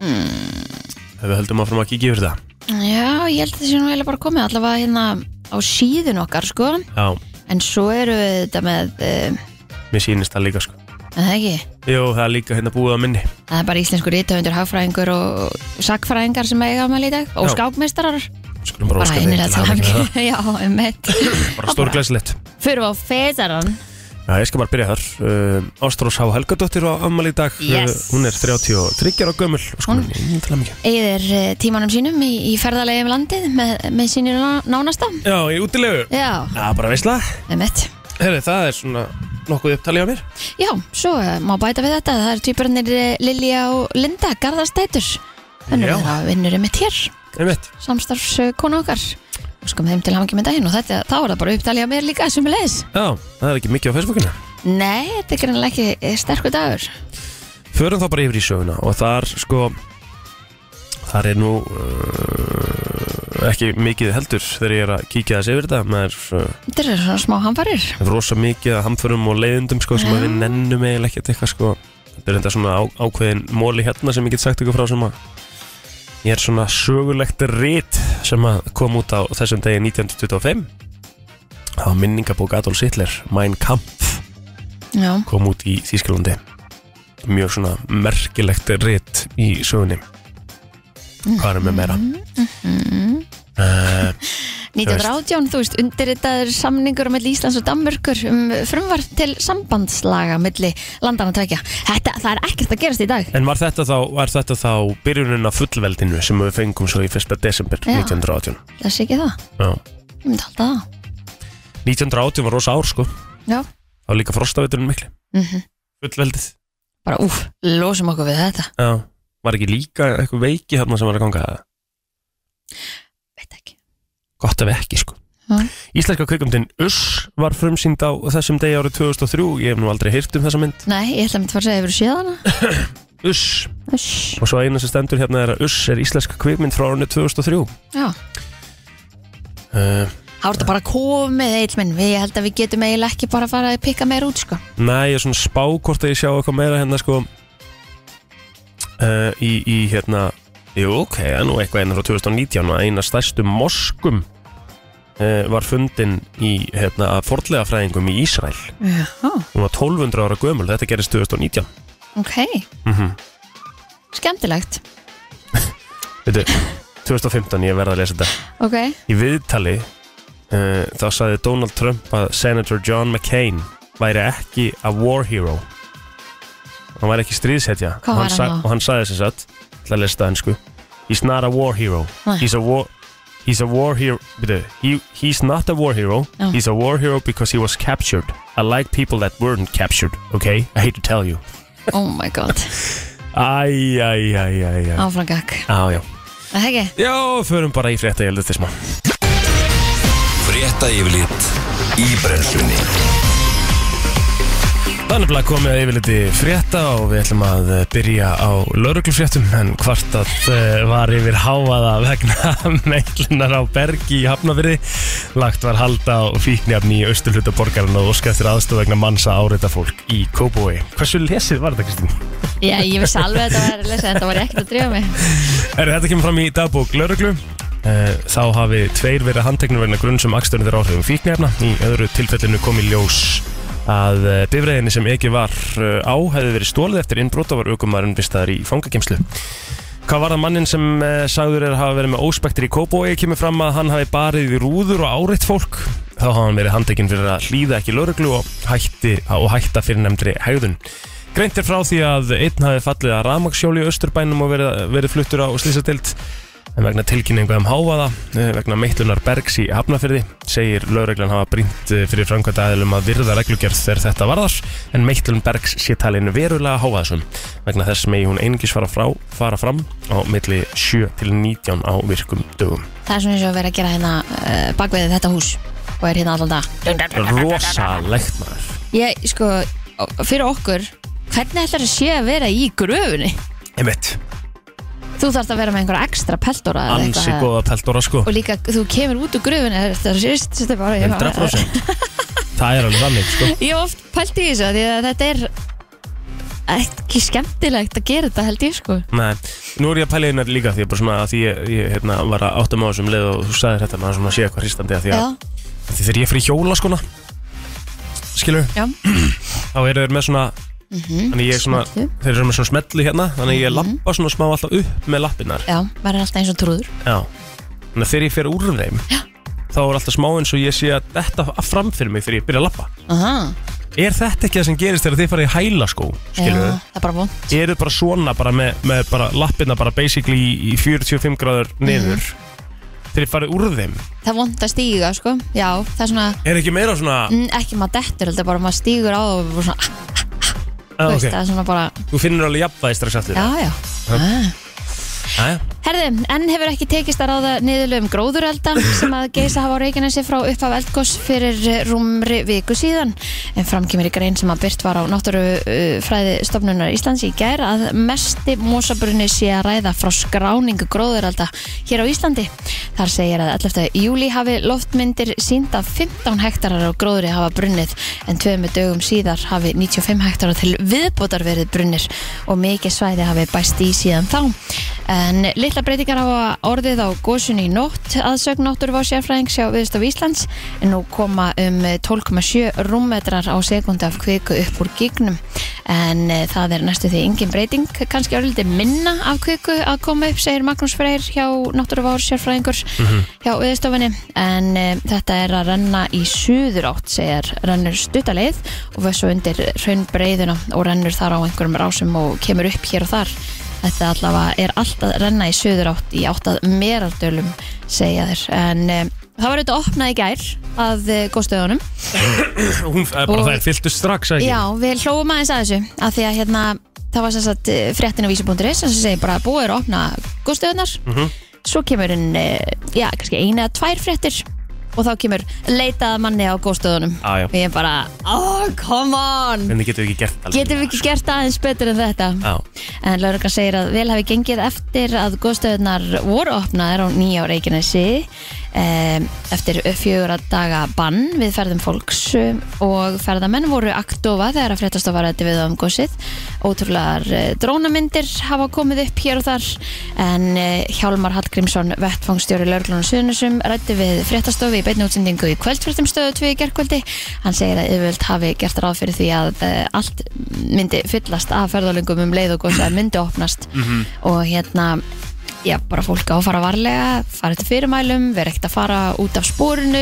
Speaker 4: Hmm. Ef við höldum áfram að kíkja yfir það
Speaker 3: Já, ég held að þessi nú eiginlega bara komið allavega hérna á síðun okkar sko
Speaker 4: Já,
Speaker 3: en svo eru við þetta með uh,
Speaker 4: mér sýnist það líka sko
Speaker 3: en það ekki,
Speaker 4: Jú, það er líka hérna búið á minni
Speaker 3: það er bara íslenskur rítahundur, hagfræðingur og sakfræðingar sem eiga afmæli í dag og
Speaker 4: Já.
Speaker 3: skákmeistarar
Speaker 4: Skulum bara
Speaker 3: bara
Speaker 4: óska þeim
Speaker 3: einilega
Speaker 4: til hamingju með það.
Speaker 3: Já, um mitt
Speaker 4: Bara stórglæsilegt
Speaker 3: Fyrir á feðaran
Speaker 4: Já, ég skal bara byrja þar uh, Ástrós Há Helgadóttir á ammali í dag Uh,
Speaker 3: Yes.
Speaker 4: Hún er 33 ára gömul og sko, hún til að mikið
Speaker 3: eigðir eh, tímanum sínum í, í ferðalegi um landið með, með sínir ná- nánasta
Speaker 4: Já, í útilegu
Speaker 3: Já,
Speaker 4: Já, bara veistla
Speaker 3: um mitt
Speaker 4: Herri, það er svona nokkuð upptalið á mér
Speaker 3: Já, svo eh, má bæta við þetta það eru tvíbarinnir Lilja og Linda Garðarstætur Þannig
Speaker 4: Já.
Speaker 3: að það vinnur um mitt hér
Speaker 4: Einmitt
Speaker 3: samstarfskona okkar og sko með þeim til hafa ekki með daginn og þetta, þá er það bara upptalið á mér líka sem er leiðis
Speaker 4: Já, það er ekki mikið á Facebookinu
Speaker 3: Nei, þetta er greinlega ekki eh, sterkur dagur
Speaker 4: Förum þá bara yfir í söguna og þar sko þar er nú uh, ekki mikið heldur þegar ég er að kíkja þess yfir þetta maður uh,
Speaker 3: Þetta eru svona smá hamfarir
Speaker 4: hefur rosa mikið að hamförum og leiðundum sko sem að við nennum eiginlega ekkert eitthvað sko þetta er enda svona á, ákveðin móli hérna sem ég get sagt ykkur frá sem að ég er svona sögulegt rit sem að kom út á þessum degi 1925 það var minningabók Adolf Hitler Mein Kampf
Speaker 3: Já,
Speaker 4: kom út í Þýskalandi mjög svona merkilegt ritt í sögunni hvað er með meira
Speaker 3: Mhm.
Speaker 4: uh,
Speaker 3: 1918, þú veist, undirritaður samningur á milli Íslands og Danmörkur um frumvarf til sambandslaga milli landana tökja. Þetta, það er ekkert að gerast í dag.
Speaker 4: en var þetta, þá, var þetta þá byrjunin af fullveldinu sem við fengum svo í 1. desember
Speaker 3: Já.
Speaker 4: 1918
Speaker 3: Það sé ekki það.
Speaker 4: Já.
Speaker 3: Ég myndi halda það.
Speaker 4: 1918 var rosa ár sko
Speaker 3: Já.
Speaker 4: það var líka frostaviturinn mikli
Speaker 3: Mm
Speaker 4: fullveldið
Speaker 3: Bara, úf, losum okkur við þetta.
Speaker 4: Já. var ekki líka eitthvað veiki þarna sem var að ganga
Speaker 3: Veit ekki.
Speaker 4: gott ef ekki sko
Speaker 3: Já.
Speaker 4: Íslenska kvikumtinn Us var frumsýnd á þessum degi árið 2003 ég hef nú aldrei heyrt um þessa mynd
Speaker 3: Nei, ég ætla að mynda að fara að segja, hefur séð hana?
Speaker 4: Us
Speaker 3: Uss.
Speaker 4: Og svo eina sem stendur hérna er að Uss er íslensk kvikmynd frá árunni 2003
Speaker 3: Já.
Speaker 4: uh,
Speaker 3: Það voru bara komið eitt minn, við ég held að við getum eiginlega ekki bara að fara að pikka meir út sko.
Speaker 4: Næ, ég er svona spá hvort að ég sjá eitthvað meira hérna sko uh, í, í hérna Jú, ok, það er nú eitthvað eina frá 2019 að eina stærstu moskum uh, var fundin í hérna, forlega fræðingum í Ísræl
Speaker 3: Já.
Speaker 4: Hún var 1200 ára gömul, þetta gerist 2019
Speaker 3: Ok,
Speaker 4: mm
Speaker 3: skemmtilegt.
Speaker 4: Veitu, 2015, ég verða að lesa þetta
Speaker 3: Ok,
Speaker 4: Í viðtali uh, þá sagði Donald Trump að Senator John McCain væri ekki a war hero hann væri ekki stríðsetja
Speaker 3: Hvað
Speaker 4: og
Speaker 3: var hann
Speaker 4: sa-
Speaker 3: þá?
Speaker 4: og hann sagði þess að til að lesta ennsku he's not a war hero
Speaker 3: Nei.
Speaker 4: he's a war He's a war hero byrju, he, He's not a war hero
Speaker 3: Já.
Speaker 4: He's a war hero because he was captured I like people that weren't captured Okay, I hate to tell you
Speaker 3: oh my god,
Speaker 4: Æ, æ, æ, æ, æ
Speaker 3: áframgak.
Speaker 4: Já, já
Speaker 3: Það ekki?
Speaker 4: Já, förum bara í frétta ég held þetta smá
Speaker 2: Frétta yfirlit í brennslunni
Speaker 4: Þannig að komið að yfirliti frétta og við ætlum að eh, byrja á lauruglufréttum en kvartat eh, var yfir háaða vegna meiklunar á Bergi í Hafnafyrði. Lagt var halda á fíknjafni í austurhluta borgarinn og óskað þér aðstof vegna manns að áreita fólk í Kóbói. Hversu lesið var þetta, Kristín?
Speaker 3: Já, ég vissi alveg að þetta var að lesa, þetta var ekkert að drífa mig
Speaker 4: Er þetta kemur fram í dagbók lauruglu? Eh, Þá hafi tveir verið handteknur vegna um grunn sem aksturinn þeirra áhrifum fíknjafna. Í öðru tilfellinu kom í ljós að eh, bifreiðinni sem ekki var eh, á hefði verið stólið eftir innbrot og var aukumæðurinn vistaðar í fangakemslu. Hvað var það mannin sem eh, sagður er að hafa verið með óspektir í Kóbói kemur fram að hann hafi barið í rúður og áreitt fólk. Þá hafa hann verið handtekinn fyrir að hlýða ekki lauruglu og, hætti, og hætta fyrir nefndri hegðun. Greint er frá því að einn hafi fallið að rafmaksjóli í Östurbænum og verið, verið fluttur á slísatild en vegna tilkynningu um hávaða eh, vegna meitlunar bergs í hafnafyrði segir lögreglan hafa brýnt eh, fyrir framkvæmta aðilum að virða reglugjörð þegar þetta varðar en meitlun bergs sé talin verulega hávaðasum vegna þess megi hún einungis fara, frá, fara fram á milli 7 til 19 á virkum dögum
Speaker 3: Það er svona eins og að vera að gera hérna uh, bakveðið þetta hús og er hérna allan dag
Speaker 4: rosalegt maður
Speaker 3: Ég, sko, ó- fyrir okkur hvernig ætlar að sé að vera í gröfunni?
Speaker 4: einmitt,
Speaker 3: Þú þarft að vera með einhverja ekstra peltora eða
Speaker 4: ansi
Speaker 3: eitthvað.
Speaker 4: góða peltóra sko
Speaker 3: og líka þú kemur út úr gröfunni þetta er sérst, þetta er bara
Speaker 4: 100% það er alveg þannig sko
Speaker 3: Ég hef oft pælt í þessu af því að þetta er ekki skemmtilegt að gera þetta held ég sko
Speaker 4: Nei, nú er ég að pæla einar líka því að, bara svona, að því ég, ég hérna, var að áttum á þessum leið og þú sagðir þetta maður svona sé eitthvað hristandi að því að
Speaker 3: Já,
Speaker 4: af því þegar ég fyrir hjóla skona skilur,
Speaker 3: já, Mhm,
Speaker 4: þá eru þeir með svona þannig ég er svona,
Speaker 3: Smellu. Mhm.
Speaker 4: þeir eru með svona smelli hérna þannig ég lappa svona smá alltaf upp með lappirnar
Speaker 3: já, maður er alltaf eins og trúður
Speaker 4: Já, þannig að þegar ég fer úr þeim
Speaker 3: Já.
Speaker 4: þá er alltaf smá eins og ég sé að þetta fram fyrir mig þegar ég byrja að lappa
Speaker 3: Aha,
Speaker 4: Er þetta ekki það sem gerist þegar þið farið í hæla skó,
Speaker 3: já,
Speaker 4: skilur
Speaker 3: það er bara von
Speaker 4: eru bara svona bara með, með bara lappirna bara basically í- í 45 gráður
Speaker 3: Mhm.
Speaker 4: niður þegar ég farið úr þeim
Speaker 3: Það er vond að stíga sko Já, það er svona,
Speaker 4: er ekki meira svona
Speaker 3: mm, ekki maður dettur heldur bara maður stígur á og bara svona,
Speaker 4: ah,
Speaker 3: þú veist,
Speaker 4: okay.
Speaker 3: það er svona bara
Speaker 4: þú finnur alveg jafnvæði strax aftur
Speaker 3: Já, já ah.
Speaker 4: Jæja.
Speaker 3: Herði, enn hefur ekki tekist að ráða niðurlögum um gróðurelda sem að geisa hafa á Reykjanesi frá upphaf eldgoss fyrir eh, rúmri viku síðan. En framkýmur í grein sem að byrt var á náttúrufræði stofnunar Íslands í gær að mesti mosabrunni sé að ræða frá skráningu gróðurelda hér á Íslandi. Þar segir að 11. júli hafi loftmyndir sínt að 15 hektarar á gróðri hafa brunnið en tveimu dögum síðar hafi 95 hektarar til viðbótar verið brunnir og mikið svæði hafi bæst í síðan þá. En litla breytingar hafa orðið á gósun í nótt aðsögn náttúruvá sérfræðing sjá viðstof Íslands en nú koma um 12,7 rúmmetrar á sekundu af kviku upp úr gígnum en eh, það er næstu því engin breyting kannski orðið minna af kviku að koma upp segir Magnús Freyr hjá náttúruvá sérfræðingur hjá viðstofinni en eh, þetta er að renna í suður átt segir rennur stuttaleið og vössu undir hraunbreiðuna og rennur þar á einhverjum rásum og kemur upp hér og þar Þetta allavega er allt að renna í söður átt í átt að meraldölum segja þér, en um, það var auðvitað opnað í gær að uh, góðstöðunum
Speaker 4: Hún, eh, bara
Speaker 3: Og-
Speaker 4: það er fylltu strax ekki
Speaker 3: Já, við hlóum aðeins að þessu af því að hérna, það var sem sagt eh, fréttin á vísi.is sem segir bara að búið er að opna góðstöðunar svo kemur en, já, kannski eina eða tvær fréttir og þá kemur leitað að manni á góðstöðunum
Speaker 4: Á, já.
Speaker 3: og ég bara, oh, come on
Speaker 4: en þið getur ekki gert alveg
Speaker 3: getum við ekki gert aðeins betur en þetta
Speaker 4: Já,
Speaker 3: En lauruglan segir að vel hafi gengið eftir að góðstöðunar voru opnaðar á nýja á Reykjanesi um, eftir fjögur daga bann við ferðum fólks um, og ferðamenn voru aktofa þegar að fréttast að vara þetta við á um góðsið. Ótrúlegar eh, drónamyndir hafa komið upp hér og þar en eh, Hjálmar Hallgrímsson, vettfangstjóri lauruglan og suðunusum, rætti við fréttastofu í beinni útsendingu í kvöldfréttum stöðu 2 í gerkvöldi. Hann segir að yfirvöld hafi gert ráð fyrir því að eh, allt myndi fyllast af ferðalöngum um leið og góðs að myndi opnast og hérna já, bara fólk á að fara varlega fara eftir fyrirmælum, vera ekkert að fara út af spórinu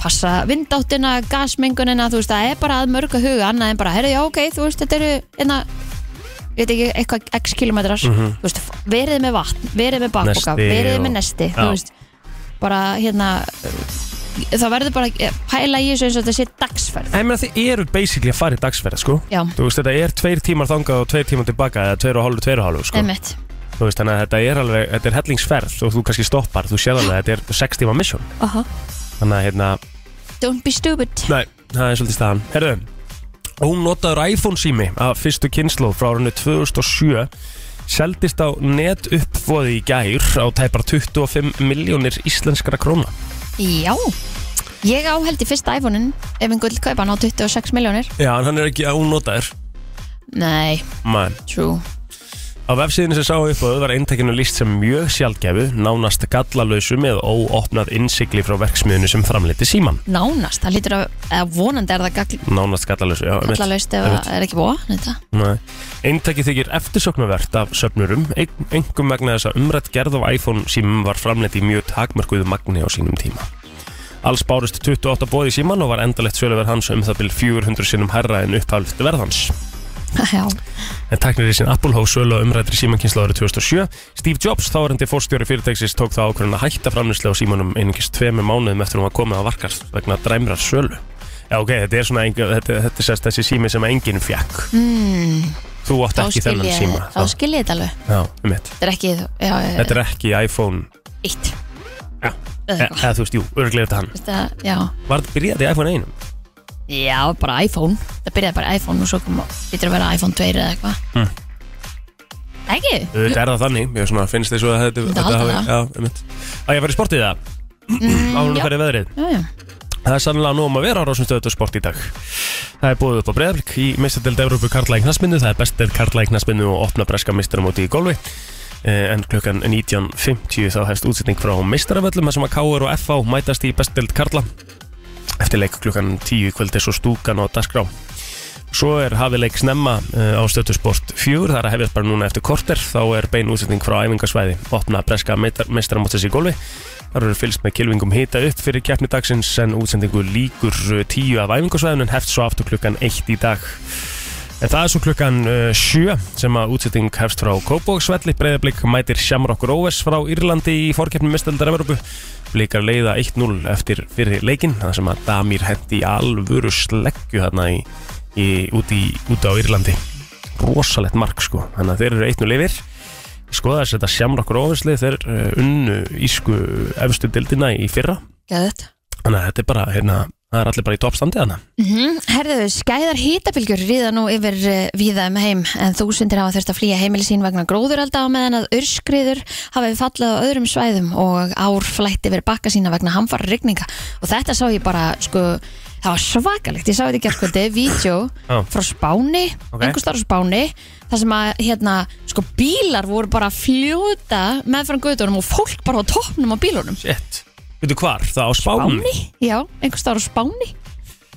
Speaker 3: passa vindáttina, gasmengunina, þú veist það er bara að mörgu huga annað en bara, herru, já, ok, þú veist, þetta eru einna, ég veit ekki, eitthvað x kilometrar, þú veist, verið með vatn verið með bakboka,
Speaker 4: Mhm. Nesti
Speaker 3: verið með
Speaker 4: og-
Speaker 3: nesti
Speaker 4: Já.
Speaker 3: þú veist, bara hérna það verður bara að pæla í þessu eins og þetta sé dagsferð
Speaker 4: En ég meina, þið eru basically að fara í dagsferða sko
Speaker 3: já,
Speaker 4: Þú veist þetta er tveir tímar þangað og tveir tímar tilbaka eða tveir og hálfu, tveir og hálfu sko
Speaker 3: emmitt
Speaker 4: Þú veist þannig að þetta er alveg, þetta er hellingsferð og þú kannski stoppar, þú séð alveg að þetta er sex tíma mission Þannig að hérna,
Speaker 3: don't be stupid
Speaker 4: nei, það er svolítið staðan Herðu, Ónotaður iPhone sími af fyrstu kynnslóð frá árinu 2007 seldist á netuppfóði í gær á tæpar 25 miljónir íslenskara króna.
Speaker 3: Já Ég áheldi fyrst iPhone-in ef einhvern kaupa hann á 26 miljónir
Speaker 4: Já, en hann er ekki ónotaður.
Speaker 3: Nei,
Speaker 4: Man.
Speaker 3: true
Speaker 4: Á vefsíðinu sem sá uppfóðu var eintekinu líst sem mjög sjálfgefu, nánast gallalösu með óopnað innsikli frá verksmiðinu sem framleiti síman.
Speaker 3: Nánast, það lítur að, eða vonandi er það gagl-
Speaker 4: Nánast gallalösu, já. einmitt.
Speaker 3: gallalaust ef
Speaker 4: einmitt.
Speaker 3: það er ekki búa
Speaker 4: Nei. Eintækið þykir eftirsöknuvert af söfnurum, ein- einkum vegna þess að umrætt gerð af iPhone símum var framleitt í mjög takmörkuðu magni á sínum tíma. Alls bárust 28 bóði síman og var endalegt söluverð hans um það byrj 400 sinnum herra en upphæflst verð hans.
Speaker 3: Já,
Speaker 4: En teknir í sin Apple hóf sölu á umrættri símankynsla árið 2007. Steve Jobs, þáverandi fórstjóri fyrirtæksins, tók það ákvörðan að hætta framlýslega á símanum einingis tveimur mánuðum eftir hún var komið á varkar vegna dræmrar sölu. Já, ok, þetta er svona, engu, þetta, þetta er sérst þessi sími sem enginn fjekk. Mm. Þú átt
Speaker 3: Hmm. þá
Speaker 4: ekki
Speaker 3: skil
Speaker 4: þennan
Speaker 3: ég,
Speaker 4: síma.
Speaker 3: þá skil Eh. ég þetta alveg
Speaker 4: Já, um mitt.
Speaker 3: Þetta er ekki, já, já,
Speaker 4: Þetta er ekki iPhone,
Speaker 3: eitt
Speaker 4: Já. e
Speaker 3: Eða eitthvað.
Speaker 4: eða þú veist, jú, örglega þetta hann.
Speaker 3: Þetta, já,
Speaker 4: Var þetta byrjaði í iPhone 1?
Speaker 3: já, bara iPhone Það byrjaði bara iPhone og svo kom Lítur að vera iPhone 2 eða eitthvað
Speaker 4: Hm.
Speaker 3: Ekki?
Speaker 4: Þetta er það þannig, ég svona finnst þessu að þetta,
Speaker 3: Þetta halda það. Mm,
Speaker 4: já, um mitt. Að ég var í sportið það, ánum
Speaker 3: já.
Speaker 4: að færi veðrið.
Speaker 3: Já, já,
Speaker 4: Það er sannlega nú um að vera á Rósum stöðu sport í dag. Það er búið upp á Breiðaflik í meistardeld Evrópu Karla í knaspinu, það er besteld Karla í knaspinu og opna breska meistaramóti í golfi. Eh, En klukkan 19.50 þá hefst útsetning frá meistaravöllum þar sem að KR og FH mætast í besteld Karla. Eftir leik klukkan 10 í kvöld er svo stúkan og dasgrá. Svo er hafið leik snemma eh, á stöðu sport 4, það er að hefjast bara núna eftir korter, þá er bein útsetning frá æfingarsvæði, opna breska meistaramótis í golfi. Þar eru fylgst með kilvingum hita upp fyrir keppni dagsins en útsendingu líkur uh, 10 af æfingarsvæðunum hefst svo aftur klukkan 1 í dag. En það er svo klukkan uh, 7 sem að útsending hefst frá Kópóksvelli, breyðablík mætir Shamrock Rovers frá Írlandi í fórkeppni mestaldar Evropu. Blíkar leiða 1-0 eftir fyrir leikinn, það sem að Damir hendi í alvöru sleggju þarna í, í, úti, í, úti á Írlandi. Rosalegt mark sko, þannig að þeir eru 1-0 yfir skoða þess að þetta sjamra okkur ofinslið þeir uh, unnu ísku efstu dildina í fyrra
Speaker 3: geða þetta
Speaker 4: þannig að þetta er bara, hérna, það er allir bara í toppstandi hana
Speaker 3: Mhm, Herðu, skæðar hitabilgjur ríða nú yfir uh, víða um heim en þúsundir hafa þurft að flýja heimili sín vegna gróðuralda á meðan að urskriður hafa við fallað á öðrum svæðum og ár flætt yfir bakka sína vegna hamfara rigninga og þetta sá ég bara, sko, það var svakalegt ég sá þetta ekki allkvöldi, vídeo
Speaker 4: Já.
Speaker 3: frá Spáni,
Speaker 4: Ok.
Speaker 3: okay. einhvers þar á Spáni þar sem að, hérna, sko, bílar voru bara að fljóta meðfram guðdónum og fólk bara á toppnum á bílunum
Speaker 4: Shit, veitu hvar, það á Spáni
Speaker 3: Já, einhvers þar á Spáni Nú,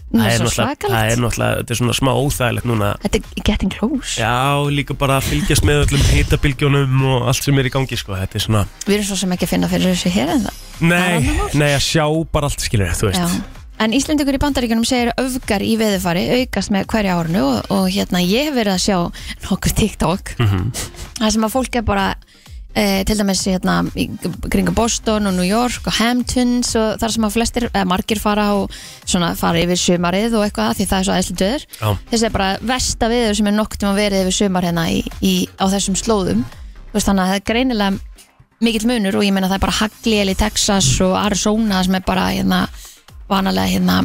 Speaker 4: Hmm. Það er
Speaker 3: svo
Speaker 4: náttúrulega,
Speaker 3: svakalegt.
Speaker 4: það er náttúrulega, þetta er svona smá óþægilegt núna
Speaker 3: Þetta er getting close
Speaker 4: Já, líka bara að fylgjast með öllum hitabilgjónum og allt sem er í gangi sko, þetta er svona
Speaker 3: Við erum svo sem ekki að finna fyrir þessu hér en það
Speaker 4: Nei, nei að sjá bara allt skilur, þú veist
Speaker 3: Já. En Íslendingur í bandaríkunum segir öfgar í veðufari aukast með hverja árinu og, og hérna ég hef verið að sjá nokkur TikTok Það sem að fólk er bara e, til dæmis hérna í kringum Boston og New York og Hamptons og þar sem að flestir, eða margir fara og svona fara yfir sumarið og eitthvað því það er svo aðeinslega döður
Speaker 4: Já.
Speaker 3: Þessi er bara versta veður sem er noktum að verið yfir sumar hérna í, í, á þessum slóðum Þú veist, Þannig að það er greinilega mikill munur og ég meina það er bara Hagliel í Texas og Arizona sem er bara hérna, vanalega hérna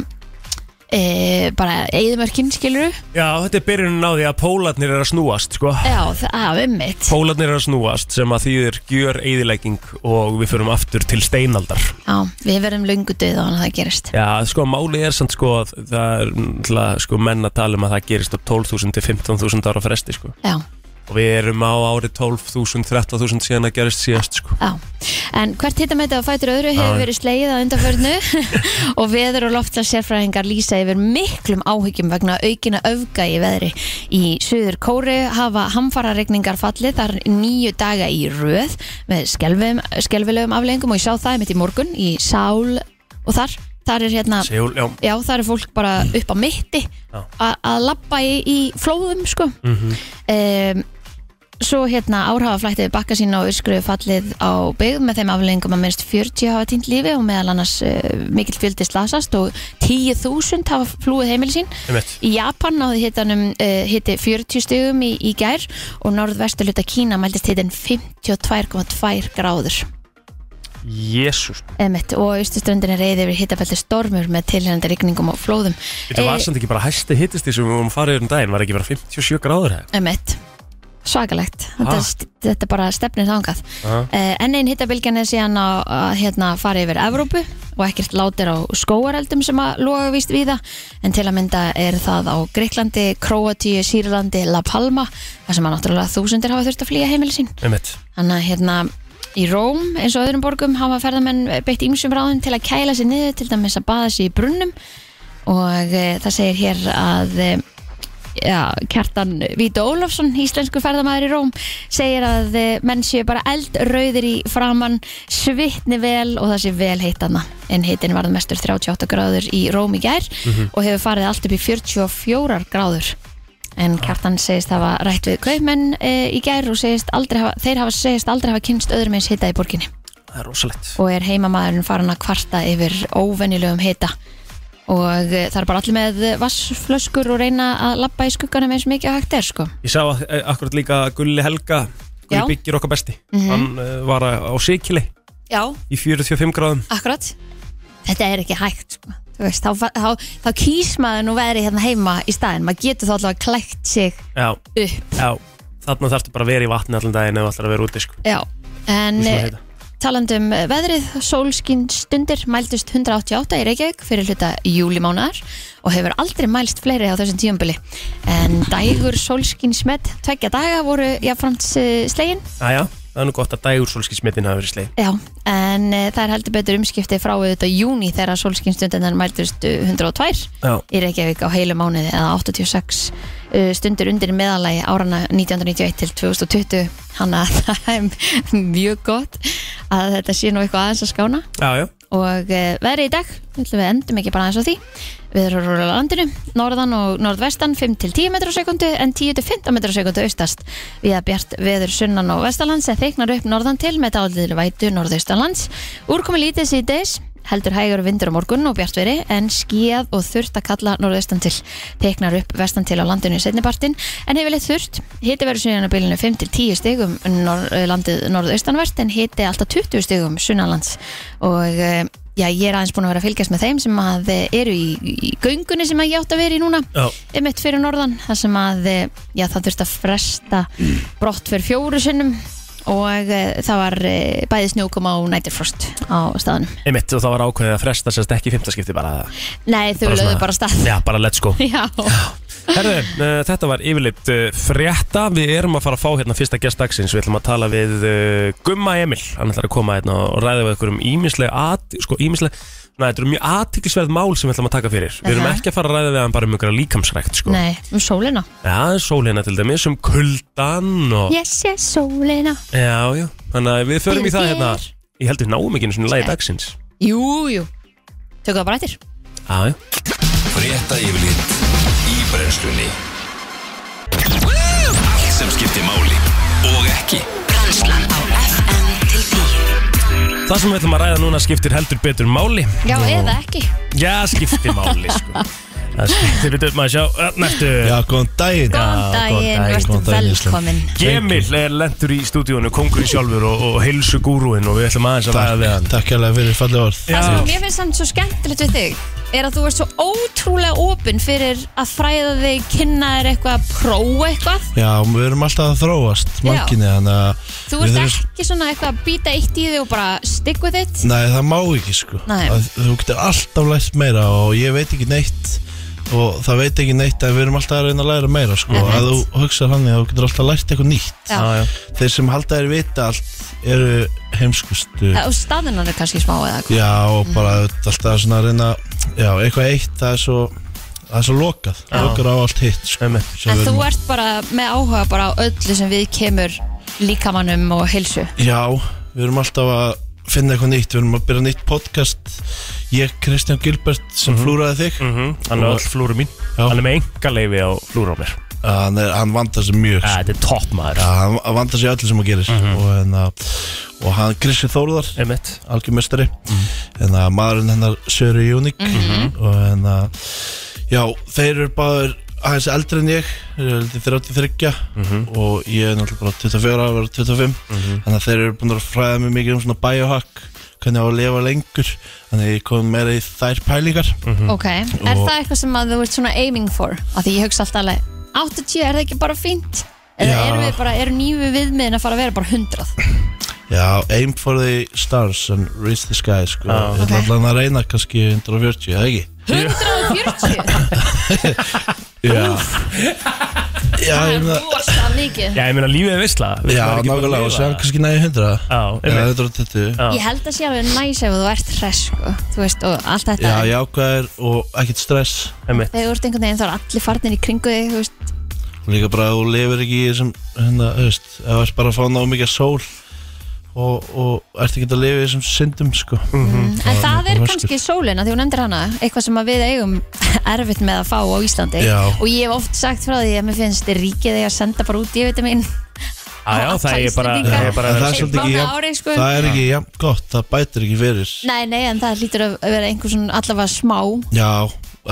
Speaker 3: e, bara eigðmörkin skilur
Speaker 4: Já, þetta er byrjunin á því að pólarnir er að snúast sko
Speaker 3: já, það er ummitt
Speaker 4: Pólarnir er að snúast sem að þýðir gjör eyðilegging og við förum aftur til steinaldar
Speaker 3: já, við verðum löngu döð á hann að það gerist
Speaker 4: Já, sko, máli er samt sko að það er náttúrulega, sko, menn að tala um að það gerist á 12.000 til 15.000 ára fresti sko.
Speaker 3: já,
Speaker 4: og við erum á ári 12.000, 13.000 síðan að gerist síðast sko.
Speaker 3: já. en hvert hitamæti á fætur öðru hefur verið slegið á undanförnu og veður og loftla sérfræðingar lýsa yfir miklum áhyggjum vegna aukina öfga í veðri í Suður Kóri hafa hamfararegningar fallið þar nýju daga í röð með skelfum, skelfilegum afleggingum og ég sá það mitt í morgun í Sál og þar þar er hérna
Speaker 4: Sjól, já,
Speaker 3: já, það er fólk bara upp á mitti
Speaker 4: Já.
Speaker 3: a- að labba í, í flóðum sko mm svo hérna árhafa flættið bakka sína og öskruðu fallið á byggð með þeim aflengum að minnst 40 hafa týnt lífi og meðal annars uh, mikill fjöldi slasast og 10.000 hafa flúið heimili sín
Speaker 4: einmitt
Speaker 3: Í Japan náði hittanum uh, hitti 40 stugum í, í gær og norðvestu hluta Kína mæltist hittin 52,2 gráður
Speaker 4: Jésús
Speaker 3: Emitt, og austurströndin er reyði yfir hitabelti stormur með tilhengandi rigningum og flóðum
Speaker 4: Þetta
Speaker 3: Eh.
Speaker 4: var samt ekki bara hæsti hittist sem við vorum farið um daginn, var ekki bara 57 gráður eða?
Speaker 3: Emitt, svakalegt
Speaker 4: Ha?
Speaker 3: þetta, st- þetta bara stefnir þangað
Speaker 4: Ha?
Speaker 3: uh, En ein hittabilgjan er síðan að, að hérna, fara yfir Evrópu og ekkert látir á skóareldum sem að loga víst viða en til að mynda er það á Greiklandi, Króatíu, Sýrlandi, La Palma þar sem að náttúrulega þúsundir hafa þurft að flýja heimili sín
Speaker 4: Einmitt.
Speaker 3: Þannig að hérna í Róm eins og öðrum borgum hafa ferðamenn beitt ýmsum ráðum til að kæla sér niður til dæmis að baða sér í brunnum og e, það segir hér að e, já, Kjartan Víta Ólafsson, íslensku ferðamæður í Róm segir að e, menn séu bara eldrauðir í framann svitni vel og það sé vel heitanna en heitin varð mestur 38 gráður í Róm í gær og hefur farið allt upp í 44 gráður en Kjartan segist hafa rætt við kaupmenn e, í gær og segist aldrei hafa, þeir hafa segist aldrei hafa kynst öðrum eins hita í borginni
Speaker 4: Það er rosalegt
Speaker 3: og er heimamaðurinn farin að kvarta yfir óvenjulegum hita og e, það er bara allir með vassflöskur og reyna að labba í skugganum eins mikið og hægt er sko
Speaker 4: Ég sá að, eh, akkurat líka að Gulli Helga
Speaker 3: Já. Mhm.
Speaker 4: Gulli byggir okkar besti Hann uh, var að- á Sikili
Speaker 3: Já,
Speaker 4: í 45 gráðum
Speaker 3: akkurat Þetta er ekki hægt sko Þú veist, þá, fa- þá, þá kýs maður nú verið hérna heima í staðin maður getur þá allavega klækt sig
Speaker 4: Já,
Speaker 3: upp
Speaker 4: já Þarna þarftu bara að vera í vatni allan daginn ef þú ætlar að vera úti sko.
Speaker 3: Já, en
Speaker 4: Í svona
Speaker 3: e,
Speaker 4: hita.
Speaker 3: Talandum um, eh, veðrið, sólskinn stundir mældist 188 í Reykjavík fyrir hluta júlimánaðar og hefur aldrei mælst fleiri á þessum tíumbili. En dægur sólskinn smett tveggja daga voru jáfnframt slegin.
Speaker 4: Æja, það er nú gott að dægur solskismitin hafi verið sleið
Speaker 3: Já, en eh, það er heldur betur umskipti frá auðvitað júni þegar sólskinn stundirnar mældist eh, 102
Speaker 4: Já,
Speaker 3: í Reykjavík á heilu mánuði eða 86 uh, stundur undir meðalagi árana 1991 til 2020 hann að það er mjög gott að þetta sé nú eitthvað aðeins að skána
Speaker 4: já, já
Speaker 3: og uh, veðri í dag, ætlum við endum ekki bara aðeins á því við erum rúlega landinu, norðan og norðvestan 5-10 metrar á sekundu en 10-15 metrar á sekundu austast við að bjart veður sunnan og vestalands en þeiknar upp norðan til með dálítil vætu norðaustanlands, úrkomi lítið síðdeis heldur hægur vindur á morgun og bjartveri en skíð og þurft að kalla norðaustan til teknar upp vestan til á landinu í setnipartin en hefilegt þurft hiti verður sunnan á bylunu 5-10 stigum um nor eh, landið norðaustanvert en hiti alltaf 20 stigum um sunnanlands og eh, já, ég er aðeins búin að vera að fylgjast með þeim sem að eh, eru í, í göngunni sem að ég átt að vera í núna
Speaker 4: Já,
Speaker 3: um eitt fyrir norðan þar sem að eh, já, það þurfti að fresta brott fyrir fjóru sinnum og eh, það var eh, bæði snjókoma og nætirfrost á staðanum
Speaker 4: einmitt og það var ákveðið að fresta sérst ekki í fimmtaskipti bara
Speaker 3: Nei, þau
Speaker 4: Bara
Speaker 3: lögðu
Speaker 4: svona-
Speaker 3: bara af stað
Speaker 4: Já, bara let's go
Speaker 3: Já,
Speaker 4: Herðu, uh, þetta var yfirleitt uh, frétta Við erum að fara að fá hérna fyrsta gest dagsins Við ætlum að tala við uh, Gumma Emil Hann ætlar að koma hérna og ræða við okkur um ímisleg at, sko, ímisleg, Næ, þetta eru mjög athyglisverð mál sem við ætlum að taka fyrir Við erum
Speaker 3: Aha.
Speaker 4: ekki að fara að ræða við hann bara um einhverja líkamsrækt sko.
Speaker 3: nei, um sólina
Speaker 4: Já, sólina til dæmis, um kuldan og...
Speaker 3: Yes, yes, sólina
Speaker 4: Já, já, þannig að við förum í
Speaker 3: Fyrir
Speaker 4: það hérna
Speaker 3: þér.
Speaker 4: Ég held við náum ekki einu svona lagi dagsins
Speaker 3: Jú, jú, tökum það bara eftir
Speaker 4: Já, já
Speaker 2: Frétta yfirlit í brennslunni Allt sem skiptir máli og ekki
Speaker 5: Brennslan á FM til 10
Speaker 4: Það sem við ætlum að ræða núna skiptir heldur betur máli
Speaker 3: Já, eða ekki
Speaker 4: Já, skiptir máli, sko Það skiptir betur, maður sjá, öðn eftir
Speaker 1: Já, góðan daginn
Speaker 4: góðan
Speaker 3: Góðan daginn,
Speaker 4: daginn,
Speaker 3: verður
Speaker 1: góðan daginn, Ísland.
Speaker 3: velkomin
Speaker 4: Gemil er lendur í stúdíónu, kongurinn sjálfur og, og heilsu gúrúinn og við ætlum aðeins að ræða við hann
Speaker 1: Takk hérlega fyrir fallið orð
Speaker 4: Já.
Speaker 3: Það sem mér finnst samt svo skemmtilegt við þig er að þú ert svo ótrúlega opinn fyrir að fræða þig, kynna þér eitthvað að prófa eitthvað
Speaker 1: Já, við erum alltaf að þróast, manginni Þannig að
Speaker 3: Þú
Speaker 1: við
Speaker 3: ert
Speaker 1: erum-
Speaker 3: ekki svona eitthvað að býta eitt í þig og bara stick with it
Speaker 1: Nei, það má ekki sko
Speaker 3: Nei.
Speaker 1: Að Þú getur alltaf lært meira og ég veit ekki neitt og það veit ekki neitt að við erum alltaf að reyna að læra meira sko
Speaker 3: Einmitt.
Speaker 1: að þú hugsa hann að þú getur alltaf lært eitthvað nýtt
Speaker 3: Já.
Speaker 4: Já, já.
Speaker 1: þeir sem halda þér vita allt eru heimskustu
Speaker 3: og staðinan er kannski smá eða eitthvað
Speaker 1: Já, og bara mm. alltaf svona að reyna Já, eitthvað eitt, það er svo það er svo lokað,
Speaker 4: Já.
Speaker 1: lokar á allt hitt sko.
Speaker 4: Einmitt.
Speaker 1: Svo
Speaker 3: En
Speaker 1: við
Speaker 3: þú
Speaker 1: erum-
Speaker 3: ert bara með áhuga bara á öllu sem við kemur líkamannum og heilsu
Speaker 1: Já, við erum alltaf að finna eitthvað nýtt, við erum að byrja nýtt podcast Ég, Kristján Gilbert, sem flúraði þig
Speaker 4: Mhm, Hann er all flúru mín
Speaker 1: Já.
Speaker 4: Hann er með enga leifi á flúru á mér
Speaker 1: hann, er, hann vandar sig mjög sko.
Speaker 4: Þetta er topp maður
Speaker 1: Já, hann hann vandar sig í öllu sem hann gerir og, en, og hann Krissi Þórðar
Speaker 4: Einmitt.
Speaker 1: algjörmestari en að Hérna, maðurinn hennar Söru Júnik og en að já, þeir eru báður aðeins eldri en ég þeir eru held ég 33 og ég er náttúrulega bara 24 ára, 25 þannig að þeir eru búin að fræða mig mikið um svona biohack hvernig á að lifa lengur þannig að ég kom meira í þær pælingar
Speaker 3: Ok, er það eitthvað sem að þú ert svona aiming for? Af því ég hugsa alltaf alveg 80, er það ekki bara fínt? Eða
Speaker 1: Já.
Speaker 3: erum við bara, eru nýju viðmiðin að fara að vera bara 100?
Speaker 1: Já, aim for the stars and reach the sky sko.
Speaker 4: Já.
Speaker 1: Ég ætla
Speaker 3: Ok.
Speaker 1: allan að reyna kannski 140, eða ekki?
Speaker 3: 140?
Speaker 1: Já Já,
Speaker 3: Það
Speaker 1: ég
Speaker 3: er
Speaker 1: meina
Speaker 3: rosa mikið
Speaker 4: Já, ég meina lífið er visla
Speaker 1: Já, nákvæmlega, og sér kannski næði 100
Speaker 4: Já,
Speaker 1: Eða
Speaker 4: einmitt.
Speaker 1: 120
Speaker 4: Já.
Speaker 3: Ég held að sé alveg næs ef þú ert hress sko. Þú veist, og allt þetta
Speaker 1: Já, jákvæðir og ekkert stress
Speaker 4: Einmitt.
Speaker 3: Þegar þú ert einhvern veginn þá er allir farnir í kringu þig Þú veist,
Speaker 1: og líka bara að þú lifir ekki í þessum hérna, þú veist, ef þú ert bara að fá ná mikið sól og, og ert ekki að lifa í þessum syndum sko
Speaker 3: En það er
Speaker 1: mjög
Speaker 3: kannski sólina, því hún endur hana eitthvað sem að við eigum erfitt með að fá á Íslandi
Speaker 1: Já.
Speaker 3: og ég hef oft sagt frá því að mér finnst ríkið þegar að senda bara út í veitum minn
Speaker 4: Já, já, það er bara,
Speaker 3: Íslendingar.
Speaker 4: það er bara
Speaker 1: En það er
Speaker 3: Eitt
Speaker 1: svolítið ekki
Speaker 3: blóð
Speaker 1: jafn,
Speaker 3: ári, sko.
Speaker 1: það er ekki jafn gott, það bætir ekki fyrir
Speaker 3: Nei, nei, en það lítur að vera einhver svona allavega smá
Speaker 1: Já,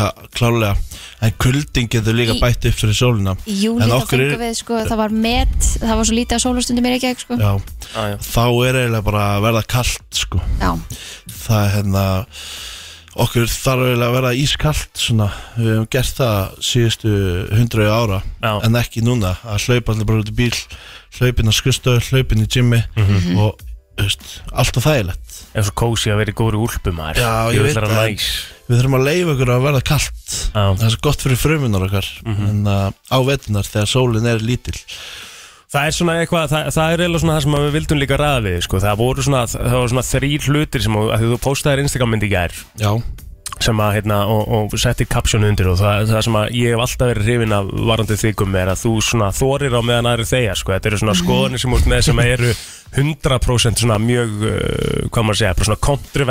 Speaker 1: að, klálega en kuldin getur líka
Speaker 3: Í-
Speaker 1: bætt upp fyrir sólina
Speaker 3: í júli
Speaker 1: En
Speaker 3: þá
Speaker 1: okkur er-
Speaker 3: fengum við sko, það var met, það var svo lítið að sólastundi mér ekki sko.
Speaker 1: Já,
Speaker 4: Já, já.
Speaker 1: þá er eiginlega bara að verða kalt sko
Speaker 3: Já,
Speaker 1: það er hérna okkur þarf eiginlega að vera ískalt svona, við hefum gert það síðustu hundru ára
Speaker 4: Já.
Speaker 1: en ekki núna, að hlaupa allir bara út í bíl hlaupin á skustöð, hlaupin í gymmi
Speaker 4: Mhm.
Speaker 1: og veist, allt og þægilegt
Speaker 4: Ég er svo kósi að vera í góðri úlpu maður
Speaker 1: Já, ég veit
Speaker 4: það
Speaker 1: það.
Speaker 4: Næs
Speaker 1: við þurfum að leifa okkur að verða kalt
Speaker 4: Já. Mhm.
Speaker 1: það er svo gott fyrir frumunar okkar en uh, á vetunar þegar sólin er lítil
Speaker 4: Það er svona eitthvað, það, það er eiginlega svona það sem að við vildum líka ræða við, sko. Það voru svona, það voru svona þrýr hlutir sem, að því þú postaðir Instagram myndi í gær,
Speaker 1: já,
Speaker 4: sem að, hérna, og, og settir kapsjónu undir og það, það sem að ég hef alltaf verið hrifin af varandi þykum er að þú svona þorir á meðan aðri þegja, sko. Þetta eru svona
Speaker 1: Mhm.
Speaker 4: skoðanir sem út með sem að eru 100% svona mjög, uh, hvað maður segja, bara svona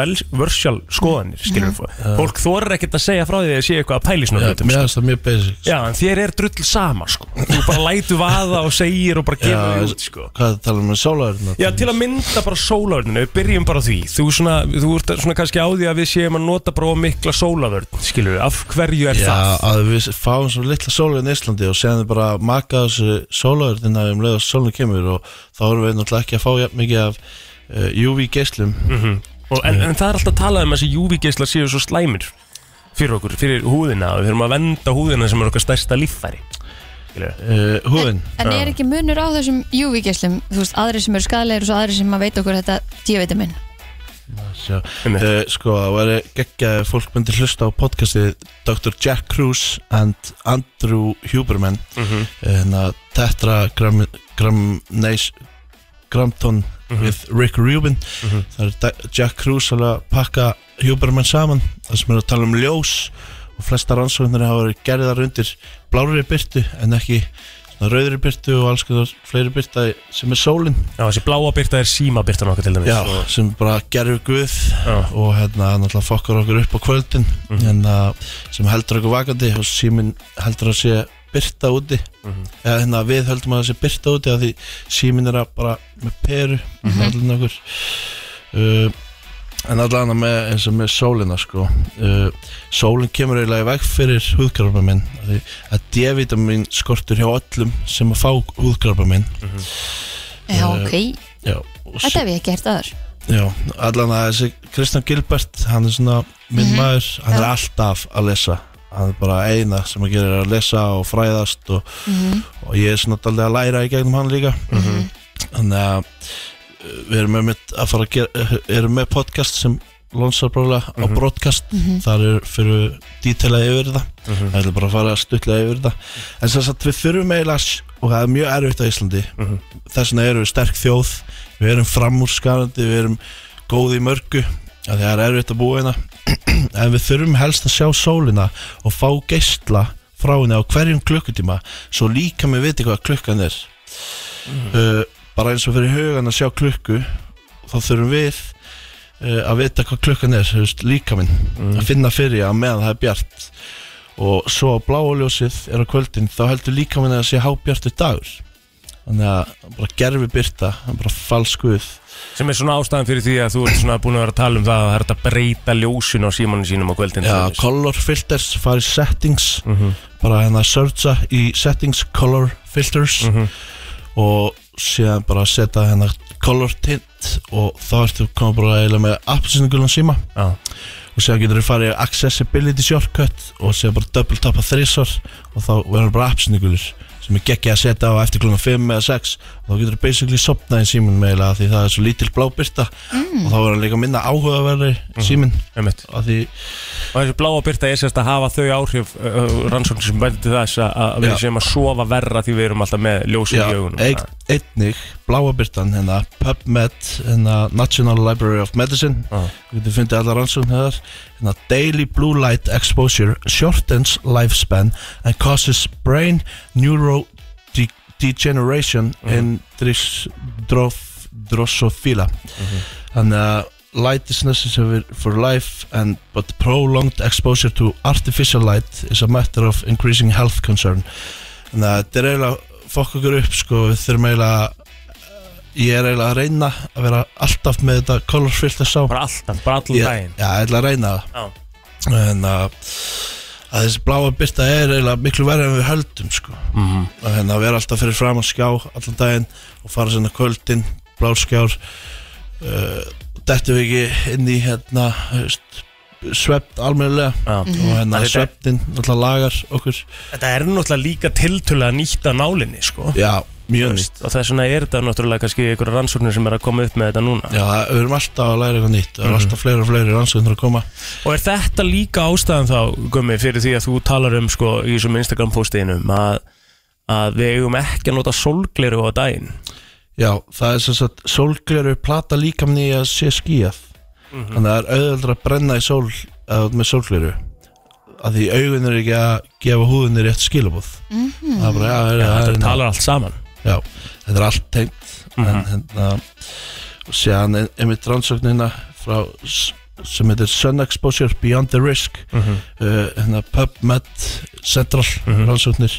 Speaker 4: controversial skoðanir, skilur Fólk þorir ekkert að segja frá því að sé eitthvað að pæli svona
Speaker 1: Mhm. já
Speaker 4: hlutum,
Speaker 1: mér finnst það mjög basic sko.
Speaker 4: Já, en þér er drull sama, sko Þú bara lætu vaða og segir og bara
Speaker 1: Já,
Speaker 4: gefur þig út, sko
Speaker 1: hvað talaðum við um sólaverðina
Speaker 4: Já, til að mynda bara sólavörninu, við byrjum bara á því Þú, svona, þú ert svona kannski á því að við séum að nota bara of mikla sólavörn Skilur við, af hverju er
Speaker 1: Já,
Speaker 4: það?
Speaker 1: að við fáum svo litla sólu í Íslandi og séðan við bara maka þessu sólaurðina um leið að sólun kemur og þá erum við náttúrulega ekki að fá jafn mikið af uh, UV geislum
Speaker 4: Mhm. Og, en, en það er alltaf talað um að þessi júvigeislar séu svo slæmir Fyrir okkur, fyrir húðina og Við þurfum að venda húðina sem er okkar stærsta líffæri Skilur við
Speaker 1: uh, húðin.
Speaker 3: en er ekki munur á þessum UV-gæslum, þú veist, aðri sem eru skadalegir og svo aðri sem að veit okkur þetta díveitum minn
Speaker 1: Uh, sko, það væri geggja ef fólk myndi hlusta á podcastið Dr. Jack Cruz and Andrew Huberman mm -hmm. Tetra Gram, Gram, Neis, Gramton with Rick Rubin það er Da- Jack Cruz alveg að pakka Huberman saman það sem er að tala um ljós og flesta rannsóknir hafa verið gerðar undir blárri byrtu en ekki svona rauðri byrtu og alls konar fleiri byrta sem er sólin
Speaker 4: Já, þessi bláa byrta er síma byrtan okkar til dæmis
Speaker 1: Já, sem bara gerur guð
Speaker 4: Já.
Speaker 1: og hérna náttúrulega fokkar okkur upp á kvöldin mm sem heldur okkur vakandi og síminn heldur að sé byrta úti eða hérna við höldum að það sé byrta úti af því síminn er að bara með peru mm okkur uh, en allan með eins og með sólina sko uh, sólin kemur eiginlega í veg fyrir húðkarpa minn því að D-vitamin skortur hjá öllum sem að fá húðkarpa minn
Speaker 3: Já,
Speaker 1: Eh,
Speaker 3: ok,
Speaker 1: Já, og svo-
Speaker 3: þetta hef ég ekki hert aður
Speaker 1: Já, allan að þessi Kristján Gilbert, hann er svona minn maður, hann er alltaf að lesa hann er bara eina sem að gera er að lesa og fræðast og,
Speaker 3: Mhm.
Speaker 1: og ég er svona daldið að læra í gegnum hann líka þannig að uh, við erum með, að fara að gera eh, erum með podcast sem lonsar brálega á broadcast,
Speaker 3: Mhm.
Speaker 1: þar er fyrir dítilega yfir það það er bara að fara að stutlega yfir það en þess að við þurfum eiginlega að s- og það er mjög erfitt á Íslandi þess vegna erum við sterk þjóð við erum framúrskarandi, við erum góð í mörgu af því að það er erfitt að búa hérna en við þurfum helst að sjá sólina og fá geisla frá henni á hverjum klukkutíma svo líka með viti hvað klukkan er uh, bara eins og fyrir hugan að sjá klukku þá þurfum við uh, að vita hvað klukkan er þú veist, líka minn að finna fyrir að meðan það er bjart og svo á bláa ljósið er á kvöldin þá heldur líka minn að sé hábjartur dagur þannig að bara gerfi byrta bara falskuð
Speaker 4: Sem er svona ástæðan fyrir því að þú ert svona búin að vera að tala um það að það er hægt að breyta ljósun á símanu sínum á kvöldin til
Speaker 1: Já,
Speaker 4: dæmis.
Speaker 1: color filters, fara í settings bara hérna searcha í settings color filters og síðan bara setja hérna color tint og þá ertu koma bara eiginlega með appelsinu síma
Speaker 4: Já,
Speaker 1: og séðan getur þú farið í accessibility shortcut og séðan bara double tappa þrísvar og þá verður bara appsinu sem er geggja að setja á eftir klunga 5 eða 6 og þá getur þú basically sopnað í síminn meðlega því það er svo lítil blábyrta mm. og þá verður hann líka minna áhugaverði síminn
Speaker 4: einmitt
Speaker 1: af því
Speaker 4: Og þessi bláa byrta er sérst að hafa þau áhrif uh, rannsóknir sem bendur þess að- að við
Speaker 1: Já.
Speaker 4: séum að sofa verra því við erum alltaf með ljósið
Speaker 1: já,
Speaker 4: í augunum
Speaker 1: ein, einnig bláa byrtan hérna PubMed hérna National Library of Medicine
Speaker 4: Já.
Speaker 1: við getum fundið allar rannsókn hér hérna, Daily blue light exposure shortens lifespan and causes brain neurodegeneration
Speaker 4: Mm.
Speaker 1: in dris, drof, drosophila
Speaker 4: mhm.
Speaker 1: þannig að light is necessary for life and but prolonged exposure to artificial light is a matter of increasing health concern þannig að þetta er eiginlega fokk okkur upp sko, við þurfum eiginlega eh, ég er eiginlega að reyna að vera alltaf með þetta colorfilter sá
Speaker 4: Bara alltaf, bara allan
Speaker 1: Ég-
Speaker 4: daginn
Speaker 1: Já, ég ætla að reyna
Speaker 4: Já.
Speaker 1: það En að, að þessi bláa byrta er eiginlega miklu verið en við höldum sko.
Speaker 4: Mhm.
Speaker 1: að, hérna, að vera alltaf fyrir fram að skjá allan daginn og fara sinna kvöldin blár skjár uh, dettum við ekki inn í hérna, veist, svept almennilega
Speaker 4: Já.
Speaker 1: og hérna
Speaker 4: Að þetta-
Speaker 1: sveptin alltaf lagar okkur
Speaker 4: Þetta er náttúrulega líka tiltölulega nýtt að nálinni sko.
Speaker 1: Já, mjög nýtt
Speaker 4: Veist, og þess vegna er þetta náttúrulega kannski einhverja rannsóknir sem er að koma upp með þetta núna
Speaker 1: Já, það- við erum alltaf að læra eitthvað nýtt Það eru alltaf fleiri og fleiri rannsóknir að koma
Speaker 4: og er þetta líka ástæðan þá Gummi, fyrir því að þú talar um sko, í þessum Instagram postiðinum að, að við eigum ekki að nota solgleru á daginn
Speaker 1: Já, það er sem sagt sólgleru plata líkamni í að sé skíjað þannig að það er auðvöldur að brenna í sól eða þú ert með sólgleru að því augun er ekki að gefa húðinni rétt skilabóð það er bara, já, er,
Speaker 4: Já,
Speaker 1: það
Speaker 4: þetta
Speaker 1: er,
Speaker 4: talar allt saman
Speaker 1: já, þetta er allt tengt en hérna og séðan ein- einmitt rannsóknina frá s- sem heitir Sun Exposure Beyond the Risk uh, hérna PubMed Central rannsóknir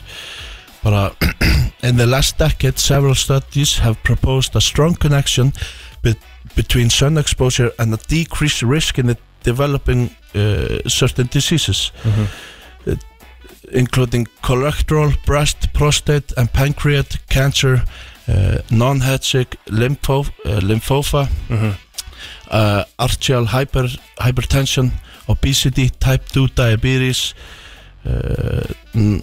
Speaker 1: bara in the last decade several studies have proposed a strong connection be between sun exposure and a decreased risk in the developing uh, certain diseases
Speaker 4: Mhm,
Speaker 1: Uh, including colorectal, breast, prostate and pancreatic cancer uh, non-Hodgkin lympho uh, lymphoma
Speaker 4: mhm.
Speaker 1: uh, arterial hyper, hypertension obesity, type 2 diabetes uh, n-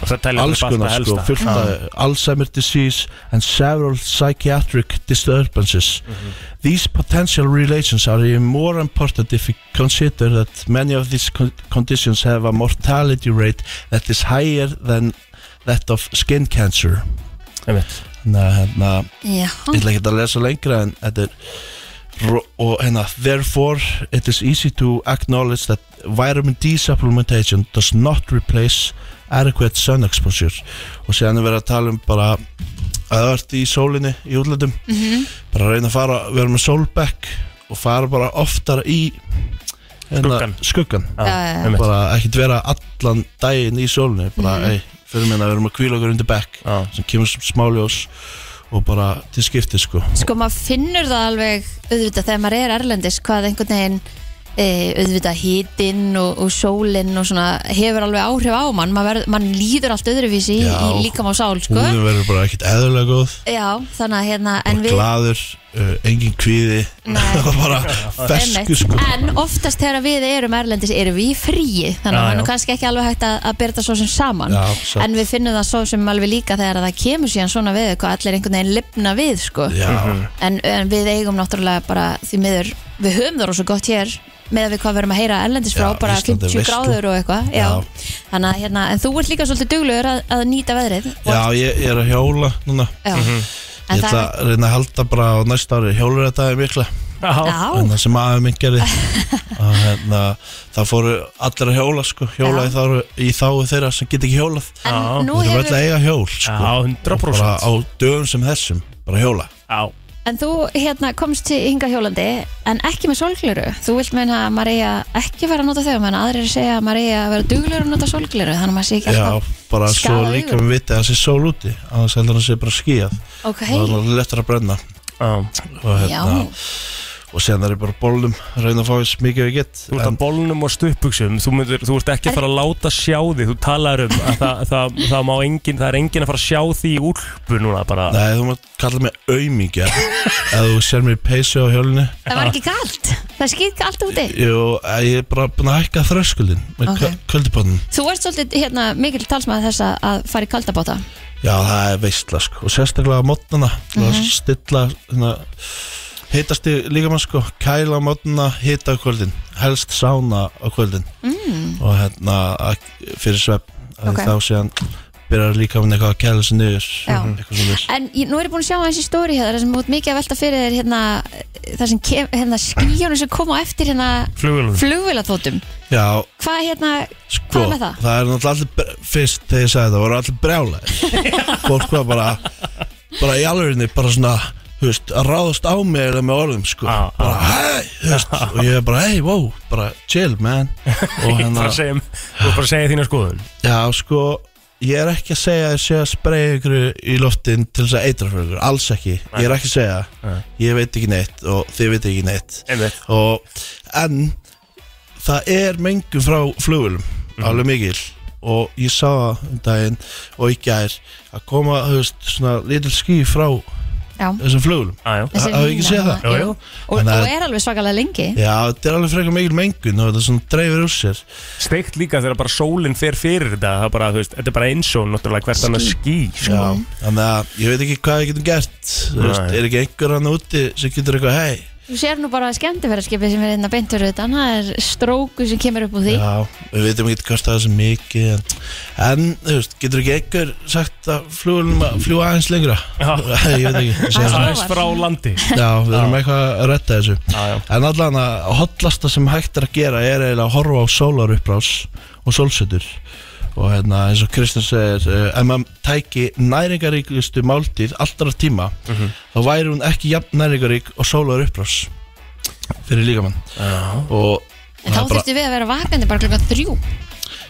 Speaker 4: og það telja
Speaker 1: alls
Speaker 4: bara upp
Speaker 1: konar
Speaker 4: allt að
Speaker 1: sko,
Speaker 4: helsta.
Speaker 1: fullt af Alzheimer disease and several psychiatric disturbances.
Speaker 4: Mhm.
Speaker 1: These potential relations are even more important if we consider that many of these con conditions have a mortality rate that is higher than that of skin cancer.
Speaker 4: Einmitt.
Speaker 1: Þannig að hérna,
Speaker 3: Já,
Speaker 1: ég ætla ekki að lesa lengra en þetta er ro- og hérna therefore it is easy to acknowledge that vitamin D supplementation does not replace adequate sun exposure og séðan er verið að tala um bara að það ert í sólinni í útlöndum
Speaker 3: Mhm.
Speaker 1: bara að reyna að fara, vera með sólbekk og fara bara oftar í
Speaker 4: Skuggann.
Speaker 1: skuggan.
Speaker 4: Já,
Speaker 3: Já, já, já.
Speaker 4: einmitt.
Speaker 1: bara ekkert vera allan daginn í sólinni bara, mm -hmm. ei, fyrir minna við erum að kvíla okkur undir bekk
Speaker 4: Já.
Speaker 1: sem kemur sem smáljós og bara til skipti sko
Speaker 3: sko maður finnur það alveg auðvitað þegar maður er erlendis hvað einhvern veginn e, auðvitað hítinn og, og sólinn og svona hefur alveg áhrif á mann mann verð, man líður allt öðruvísi í,
Speaker 1: Já.
Speaker 3: í líkam á sál sko
Speaker 1: Húðin verður bara ekkert eðurlega góð
Speaker 3: Já, þannig að hérna en
Speaker 1: bara
Speaker 3: við
Speaker 1: glaður, uh, engin kvíði og bara fesku
Speaker 3: Einmitt.
Speaker 1: sko
Speaker 3: En oftast þegar við erum erlendis erum við í fríi þannig
Speaker 4: Já,
Speaker 3: að það
Speaker 4: já.
Speaker 3: er kannski ekki alveg hægt að, að byrja það svo sem saman
Speaker 1: Já, satt.
Speaker 3: en við finnum það svo sem alveg líka þegar það kemur síðan svona við hvað allir einhvern veginn lifna við sko.
Speaker 1: Já,
Speaker 3: en, en við eigum náttúrulega bara því miður, við höfum það rosa gott hér með að við hvað við erum að heyra erlendis frá
Speaker 1: Já,
Speaker 3: bara
Speaker 1: Ísland er
Speaker 3: 50
Speaker 1: veisla.
Speaker 3: gráður og eitthvað já.
Speaker 1: Já.
Speaker 3: Þannig að hérna, en þú ert líka svolítið duglegur að, að nýta veðrið og-
Speaker 1: já ég, ég er að hjóla núna
Speaker 3: já.
Speaker 1: Ég
Speaker 3: En
Speaker 1: ætla
Speaker 3: það,
Speaker 1: að reyna að halda bara á næsta ári Hjólur þetta er mikla
Speaker 4: Já.
Speaker 3: já,
Speaker 1: En það sem aðeins minn gerði að, hérna, Það fóru allir að hjóla sko Hjóla
Speaker 3: Já.
Speaker 1: í þáu, í þáu þeirra sem get ekki hjólað
Speaker 3: en
Speaker 4: Já.
Speaker 3: nú
Speaker 1: Við erum öll
Speaker 3: hefur
Speaker 1: að eiga hjól
Speaker 4: Já,
Speaker 1: sko
Speaker 4: 100%
Speaker 1: Bara á dögum sem þessum Bara hjóla
Speaker 4: Já.
Speaker 3: En þú hérna komst til hinga hjólandi en ekki með sólgleru. Þú vilt meina að Maria ekki fara að nota þau meðan aðrir segja að Maria vera duglegur að nota sólgleru þannig að maður sé ekki
Speaker 1: Já, bara svo
Speaker 3: skaða
Speaker 1: líka
Speaker 3: augun.
Speaker 1: við viti að það sé sól úti að það sé bara skíjað
Speaker 3: Ok,
Speaker 1: Það er lettur að brenna
Speaker 4: Já.
Speaker 1: og,
Speaker 3: já,
Speaker 1: hérna, og sen er ég bara á bólnum að reyna að fá eins mikið og ég get
Speaker 4: Þú ert að bólnum og stuttbuxum þú, myndir, þú ert ekki að fara að láta sjá því Þú talar um að það, það, það, má engin, það er engin að fara að sjá því í úlpu núna bara
Speaker 1: Nei, þú mátt kalla mig aumingja Ef þú sér mér í peysu á hjólinu
Speaker 3: Það var ekki kalt, það skýtt allt úti
Speaker 1: Jú, eh, ég er bara búin að hækka þröskuldin með
Speaker 3: Ok.
Speaker 1: okay. kvöldipotnum
Speaker 3: Þú ert svolítið hérna, mikil talsmaður þess að- að fara í kaldabóta
Speaker 1: Já, það er veistla sko Og sérstaklega á mótnana mm
Speaker 3: Mhm.
Speaker 1: -hmm. Stilla hérna, Hittast í líka mann sko Kæla á mótnana, hitta á kvöldin Helst sána á kvöldin mm. Og hérna að, fyrir svepp
Speaker 3: Ok.
Speaker 1: okay. Þá síðan byrjar líka mann eitthvað að kæla sér niður
Speaker 3: Já.
Speaker 1: Eitthvað sem þess
Speaker 3: En ég, nú er ég búin að sjá aðeins í stóri hérna þar sem mútt mikið að velta fyrir þér hérna, þar sem kem, hérna skíjónu sem koma á eftir hérna
Speaker 4: Flugulunum
Speaker 3: flugvélaþótum
Speaker 1: Já,
Speaker 3: Hvað hérna,
Speaker 1: Sko,
Speaker 3: Hvað með það?
Speaker 1: er náttúrulega allir bre- Fyrst þegar ég sagði það voru allir brjálæðir Fólk var bara Bara í alvegurinni bara svona þú veist, að ráðast á mig eða með orðum sko.
Speaker 4: Á, á.
Speaker 1: bara hei þú veist, og ég er bara hei, wow, bara chill man og
Speaker 4: Þú ert
Speaker 1: hérna,
Speaker 4: bara að segja, um- þú ert bara að segja þína skoðun
Speaker 1: já sko ég er ekki að segja að ég sé að spreja ykkur í loftin til þess að eitra fyrir ykkur alls ekki, ég er ekki að segja
Speaker 4: Nei.
Speaker 1: ég veit ekki neitt og þið veit ekki neitt
Speaker 4: Einmitt
Speaker 1: og, en það er mengun frá flugulum alveg mikil og ég sá það um daginn og í gær að koma, þú veist, svona lítil ský frá
Speaker 3: já
Speaker 1: þessum flugulum
Speaker 4: Á, já.
Speaker 3: þessi
Speaker 1: Ha- hafa ekki
Speaker 3: lína
Speaker 1: séð það?
Speaker 3: hérna,
Speaker 4: Jú, jú.
Speaker 3: Og,
Speaker 1: Þannig að-
Speaker 3: og er alveg svakalega lengi
Speaker 1: Já, þetta er alveg frekar mikil mengun og þetta svona dreifir úr sér
Speaker 4: Steikt líka þegar bara sólinn fer fyrir þetta Það er bara, þú veist, þetta er bara eins og náttúrulega hvert annað ský sko.
Speaker 1: Já, þannig að ég veit ekki hvað við getum gert Þú veist,
Speaker 4: Nei.
Speaker 1: er ekki einhver hann úti sem getur eitthvað hei
Speaker 3: Þú sér nú bara skemmtifæraskipið sem er hérna beintur utan Það er stróku sem kemur upp úr því
Speaker 1: Já, við veitum ekki hvað það er sem mikið en, en, þú veist, getur ekki einhver sagt að flugulum að fljúa aðeins lengra
Speaker 4: Já.
Speaker 1: Ég veit ekki, ég segi
Speaker 3: Aðeins
Speaker 1: það.
Speaker 4: Aðeins frá landi
Speaker 1: Já, við erum eitthvað að retta þessu
Speaker 4: Já, já.
Speaker 1: En allan að hotlasta sem hægt er að gera er eiginlega að horfa á sólarupprás og sólsetur og hérna eins og Kristján segir eh, ef maður tæki næringaríkustu máltíð allra tíma þá væri hún ekki jafn næringarík og sólarupprás fyrir líkamann og
Speaker 3: En
Speaker 1: það er
Speaker 3: þá
Speaker 1: bara-
Speaker 3: þurftum við að vera vakandi bara klukkan þrjú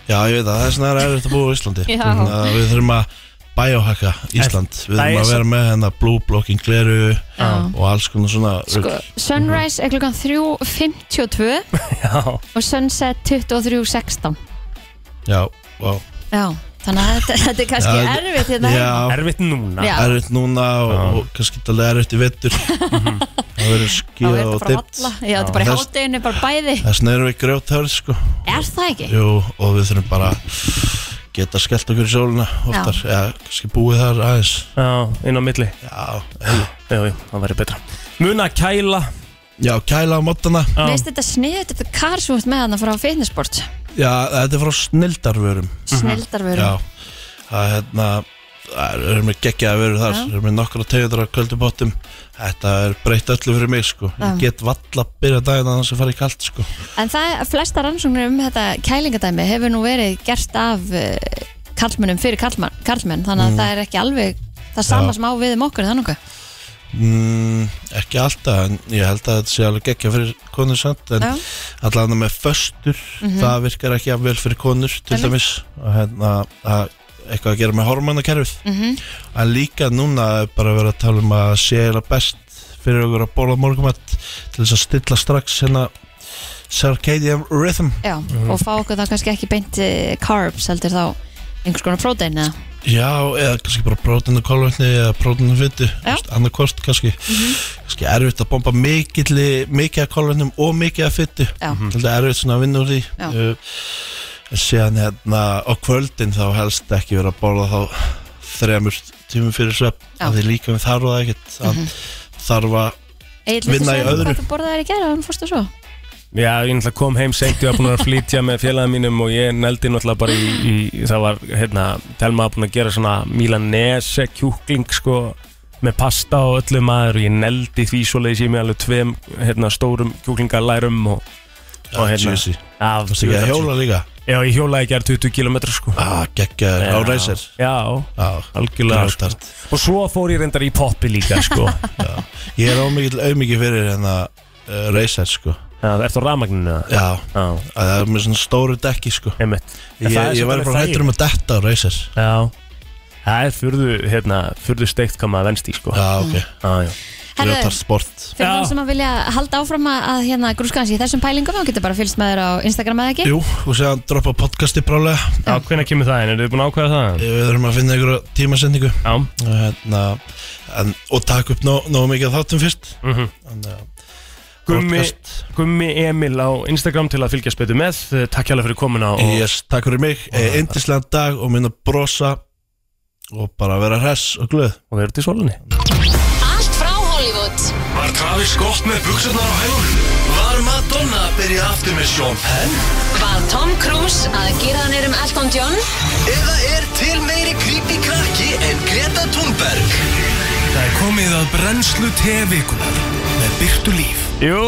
Speaker 1: Já, ég veit það, þess vegna er erfitt að búa á Íslandi
Speaker 3: Já.
Speaker 1: Þannig að Við þurfum að biohacka Ísland Við
Speaker 4: það er
Speaker 1: þurfum að vera með hérna blue blocking gleru
Speaker 3: Já.
Speaker 1: og alls konar svona
Speaker 3: Sko,
Speaker 1: rugl.
Speaker 3: sunrise er klukkan 3.52
Speaker 4: Já,
Speaker 3: og sunset 23.16
Speaker 1: Já, wow.
Speaker 3: Já, þannig að þetta, þetta er kannski
Speaker 1: Já,
Speaker 3: erfitt hérna
Speaker 1: Já,
Speaker 4: erfitt núna
Speaker 3: Já.
Speaker 1: erfitt núna og, og kannski alveg erfitt í vettur það verður
Speaker 3: Mhm. Það
Speaker 1: skíða
Speaker 3: verður
Speaker 1: og
Speaker 3: þetta bara
Speaker 1: dipt
Speaker 3: valla Já, þetta er bara í
Speaker 1: Þess-
Speaker 3: hátteginu, bara bæði
Speaker 1: þess vegna erum við grjóthörð sko
Speaker 3: Er það ekki?
Speaker 1: Jú, og við þurfum bara að geta skellt okkur í sóluna oftar, já, kannski búið þar aðeins
Speaker 4: Já, inn á milli
Speaker 1: já, hei.
Speaker 4: Jú, jú, það verður betra Muna að kæla
Speaker 1: já kæla á mótana
Speaker 4: Já.
Speaker 3: Veist þetta sniðut, þetta er kar sem þú ert með hana frá fitnessport
Speaker 1: já, þetta er frá snildarvörum
Speaker 3: Snildarvöru
Speaker 1: Mhm. já, það er hérna það er- við erum við geggjaði vörur þar
Speaker 3: Já.
Speaker 1: við erum við nokkra tegundur af köldubottum þetta er breytt öllu fyrir mig sko
Speaker 3: Já.
Speaker 1: ég get valla að byrja daginn að hans að fara í kalt sko
Speaker 3: En það, flesta rannsóknir um þetta kælingadæmi hefur nú verið gert af uh, karlmennum fyrir karlmann, karlmenn þannig að það er ekki alveg það sama
Speaker 1: Mhm. Já.
Speaker 3: sem á við um okkur þannig að
Speaker 1: Mm, ekki alltaf, en ég held að þetta sé alveg geggja fyrir konur samt en
Speaker 3: Já. Mm.
Speaker 1: allavega með föstur það virkar ekki að vel fyrir konur til
Speaker 3: Einmitt.
Speaker 1: dæmis og hérna að eitthvað að gera með hormonakerfið
Speaker 3: Mhm.
Speaker 1: en líka núna er bara verið að tala um að sé eða best fyrir okkur að bóla morgumatt til þess að stilla strax hérna circadian rhythm
Speaker 3: Já,
Speaker 1: Mhm.
Speaker 3: og fá okkur það kannski ekki beint eh, carbs heldur þá einhvers konar prótein eða
Speaker 1: Já, eða kannski bara prótin og kolvetni eða prótin og fytti,
Speaker 3: Já.
Speaker 1: annarkvort kannski kannski erfitt að bomba mikilli, mikið af kolvetnum og mikið af fytti
Speaker 3: Já. Mhm.
Speaker 1: Mm. þetta er erfitt svona að vinna úr því
Speaker 3: Já.
Speaker 1: uh, síðan hérna á kvöldin þá helst ekki vera að borða þá þremur tímum fyrir svepp
Speaker 3: Já.
Speaker 1: af því líka við þarf það ekkert mm
Speaker 3: Mhm.
Speaker 1: -hmm. þarf að,
Speaker 3: Egil,
Speaker 1: Vinna í öðru.
Speaker 3: Hvað þú borðaði þær í gera, hann fórstu svo
Speaker 4: Já, ég náttúrulega kom heim seint, ég var búin að flytja með félagin mínum og ég neldi náttúrulega bara í, í það var, hérna, Telma var búin að gera svona milanese kjúkling, sko, með pasta og öllu maður og ég neldi því svoleiðis ég með alveg tveim, hérna, stórum kjúklingalærum og, og hérna,
Speaker 1: juicy.
Speaker 4: Já,
Speaker 1: Varstu ekki að hjóla líka
Speaker 4: Já, ég hjólaði ekki 20 km, sko.
Speaker 1: ah, geggjaður á reysir
Speaker 4: Já,
Speaker 1: Já,
Speaker 4: algjörlega, sko.
Speaker 1: grátart.
Speaker 4: Og svo fór ég reyndar í poppi líka, sko.
Speaker 1: ég er ómikið auðmikið fyrir hérna uh, reysir sko
Speaker 4: Já, ertu á rafmagninu? eða?
Speaker 1: Já,
Speaker 4: Já,
Speaker 1: að það er með svona stóru dekki sko
Speaker 4: einmitt. En
Speaker 1: Ég,
Speaker 4: það er
Speaker 1: ég
Speaker 4: samt
Speaker 1: var
Speaker 4: alveg
Speaker 1: bara hættur um að detta á reysir
Speaker 4: Já Það er fyrðu, hérna, fyrðu steikt hvað maður venst í sko
Speaker 1: Já, ok
Speaker 4: Já, já
Speaker 3: Mm. Herðu.
Speaker 1: Ljótar sport
Speaker 3: Fyrir
Speaker 4: Já.
Speaker 3: þá sem að vilja halda áfram að, að hérna grúskaðans í þessum pælingum þá getur bara fylgst með þér á Instagram eða ekki
Speaker 1: Jú, og séðan droppa podcasti brálega
Speaker 4: Já, hvenær kemur það inn? Eru þið búin að ákveða það?
Speaker 1: Við þurfum að finna einhverja tímasendingu
Speaker 4: Já,
Speaker 1: hérna, en, Og taka upp nóg, nóg mikið af þáttum fyrst
Speaker 4: mhm
Speaker 1: Þannig að
Speaker 4: Gummi,
Speaker 1: podcast-
Speaker 4: Gummi Emil á Instagram til að fylgjast betur með Eh, Takk hjálpa fyrir komuna og
Speaker 1: Yes, takk fyrir mig Eh, Yndislegan dag og minna brosa Og bara vera hress og glöð
Speaker 4: og við erum til svolunni
Speaker 5: Allt frá Hollywood
Speaker 2: Var Travis gott með buksarnar á hælunum? Var Madonna að byrja aftur með Sean Penn?
Speaker 5: Var Tom Cruise að gera hann um Elton John
Speaker 2: Eða er til meiri creepy krakki en Greta Thunberg? Það er komið að brennslu tevikunar með Byrtu Líf.
Speaker 4: Jú,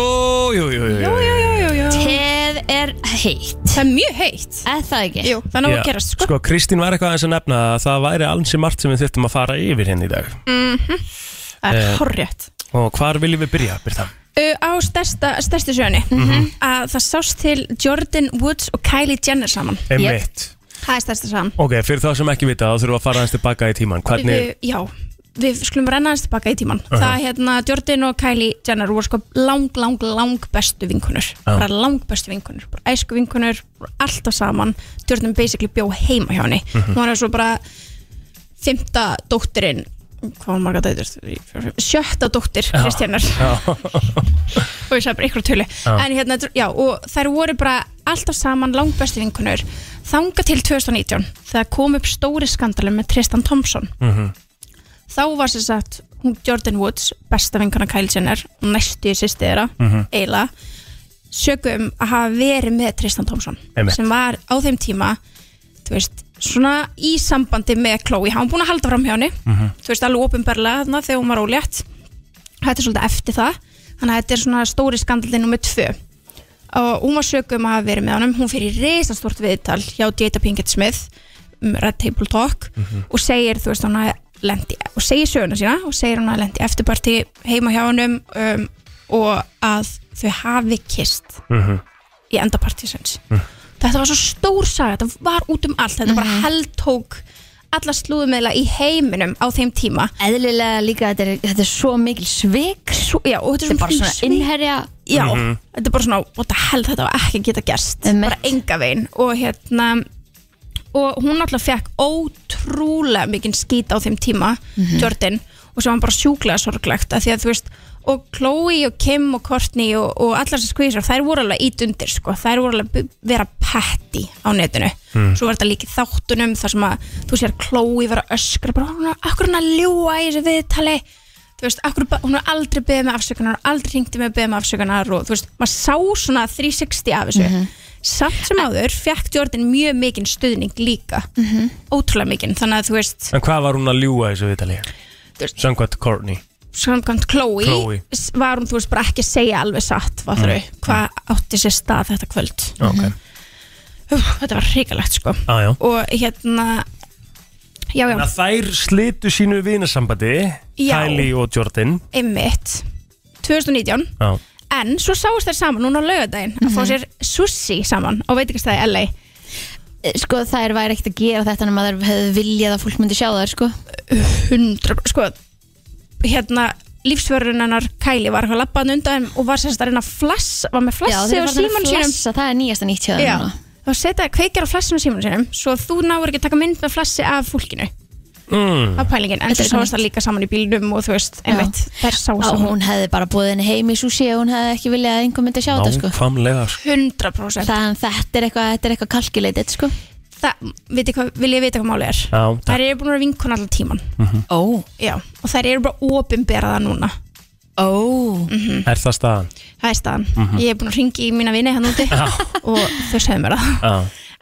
Speaker 4: jú, jú, jú, jú, jú.
Speaker 3: Teð er heitt
Speaker 6: Það er mjög heitt
Speaker 3: Eða það ekki
Speaker 6: Jú, það er náttúrulega að
Speaker 4: Já,
Speaker 6: gerast sko.
Speaker 4: Sko, Kristín var eitthvað aðeins að nefna að það væri alls í margt sem við þurftum að fara yfir henni í dag
Speaker 6: Það
Speaker 4: eh,
Speaker 6: er horrið
Speaker 4: Og hvar viljum við byrja, Byrta?
Speaker 6: uh, á stærsta, stærstu sjöunni
Speaker 4: Mhm.
Speaker 6: að það sást til Jordan Woods og Kylie Jenner saman
Speaker 4: Eh. Emmitt
Speaker 6: það er stærsta saman
Speaker 4: Ok, fyrir þá sem ekki vita þá þurfum við að fara aðeins tilbaka í tíman Hvernig,
Speaker 6: við, já, við skulum renna aðeins tilbaka í tíman það hérna Jordan og Kylie Jenner voru sko lang, lang, lang bestu vinkunur bara lang bestu vinkunur bara æsku vinkunur, bara alltaf saman Jordan basically bjó heima hjá henni
Speaker 4: Mhm.
Speaker 6: hún var svo bara fymta dóttirinn hvað var marga dætur? Þrír, fjórir, fimm- sjötta dóttir Kristjanar og ég sagði bara ykkur tölu en hérna, já, og þær voru bara alltaf saman langbestu vinkunur þanga til 2019 þegar kom upp stóri skandalum með Tristan Thompson þá var sér sagt hún Jordan Woods, besta vinkuna Kylie Jenner og næstu í sýsti þeirra eiginlega, sögum að hafa verið með Tristan Thompson
Speaker 4: Einmitt.
Speaker 6: sem var á þeim tíma þú veist, svona í sambandi með Chloe, hann var búin að halda fram hjá henni þú veist, alveg ofinberlega þarna þegar hún var ólétt þetta er svolítið eftir það þannig að þetta er svona stóri skandalinn nummer tvö og hún var sögum að hafa verið með honum hún fyrir reisastort viðtal hjá Jada Pinkett Smith um Red Table Talk og segir þú veist hún að lendi og segir söguna sína og segir hún að lendi eftirparti heima hjá honum um, og að þau hafi kist í endapartísins þetta var svo stór saga, þetta var út um allt þetta bara heldtók alla slúðumiðla í heiminum á þeim tíma
Speaker 3: Eðlilega líka þetta er, þetta er svo mikil svik
Speaker 6: svo, já, og þetta
Speaker 3: Þetta
Speaker 6: er
Speaker 3: er bara svona
Speaker 6: svik-
Speaker 3: innherja
Speaker 6: já, þetta er bara svona what the hell, þetta var ekki að geta gerst
Speaker 3: Einmitt.
Speaker 6: bara enga veginn og hérna og hún alltaf fekk ótrúlega mikinn skít á þeim tíma Jordan og sem var bara sjúklega sorglegt af því að þú veist og Chloe og Kim og Courtney og, og allar sem skvísar, þær voru alveg ít undir sko. þær voru alveg að vera petti á netinu, svo var þetta líka í þáttunum þar sem að þú sér Chloe var að öskra, bara hún er akkur hún er að ljúa í þessu viðtali þú veist, akkur, hún er aldrei beðið með afsökunar hún er aldrei hringti með beðið með afsökunar og þú veist, maður sá svona 360 af þessu samt sem áður fekk Jordan mjög mikinn stuðning líka ótrúlega mikinn, þannig að þú veist
Speaker 4: en hvað var hún að ljúga í þessu vitali?
Speaker 6: Þú veist-
Speaker 4: Samkvæmt Courtney
Speaker 6: samkvæmt Chloe,
Speaker 4: Chloe.
Speaker 6: s- var hún þú veist bara ekki að segja alveg satt mm -hmm. hvað átti sér stað þetta kvöld
Speaker 4: Ok,
Speaker 6: Úf, þetta var hrikalegt sko
Speaker 4: aðjá
Speaker 6: og hérna já já,
Speaker 4: Þannig að þær slitu sínu vinasambandi
Speaker 6: Já.
Speaker 4: Kylie og Jordan
Speaker 6: einmitt 2019
Speaker 4: Já,
Speaker 6: en svo sáust þær saman núna á laugardaginn að fá sér sushi saman á veitingastæði LA
Speaker 3: Sko þær væri ekkert að gera þetta en maður hefði viljað að fólk myndi sjá þær sko
Speaker 6: hundra, sko hérna, lífsvörunarnar Kæli var eitthvað labbaðan undan þeim og var semst að reyna að flass, var með
Speaker 3: Já
Speaker 6: flassi
Speaker 3: þeir
Speaker 6: á
Speaker 3: eru farin
Speaker 6: síman
Speaker 3: að
Speaker 6: sínum
Speaker 3: flassa, það er nýjasta nýtt hjá
Speaker 6: Já,
Speaker 3: þeim núna.
Speaker 6: þá setja kveikjar á flassinu á síman sínum svo þú náur ekki að taka mynd með flassi af fólkinu
Speaker 4: mm.
Speaker 6: af pælingin, en
Speaker 3: Þetta
Speaker 6: svo
Speaker 3: er
Speaker 6: sáast
Speaker 3: nýtt.
Speaker 6: það líka saman í bílnum og þú veist, einmitt, þær sá
Speaker 3: Að
Speaker 6: saman
Speaker 3: Hún hefði bara búið henni heim í sushi og hún hefði ekki viljað að einhver myndi sjá þetta sko
Speaker 4: nákvæmlega sko.
Speaker 6: 100% það,
Speaker 3: Þannig þetta er eitthvað, þetta er eitthvað kalkileitit sko
Speaker 6: það viti hvað, vil ég vita hvað máli er
Speaker 4: Já, takk. Mhm.
Speaker 6: þær eru búin að vera vinkun allan tíman
Speaker 3: Ó,
Speaker 6: já, og þær eru bara opinberaða núna
Speaker 3: ó
Speaker 6: Mm.
Speaker 4: Er það staðan?
Speaker 6: það er staðan,
Speaker 4: Mhm.
Speaker 6: ég er búin að ringi í mína vini hann úti og þau segðu mér það
Speaker 4: Já,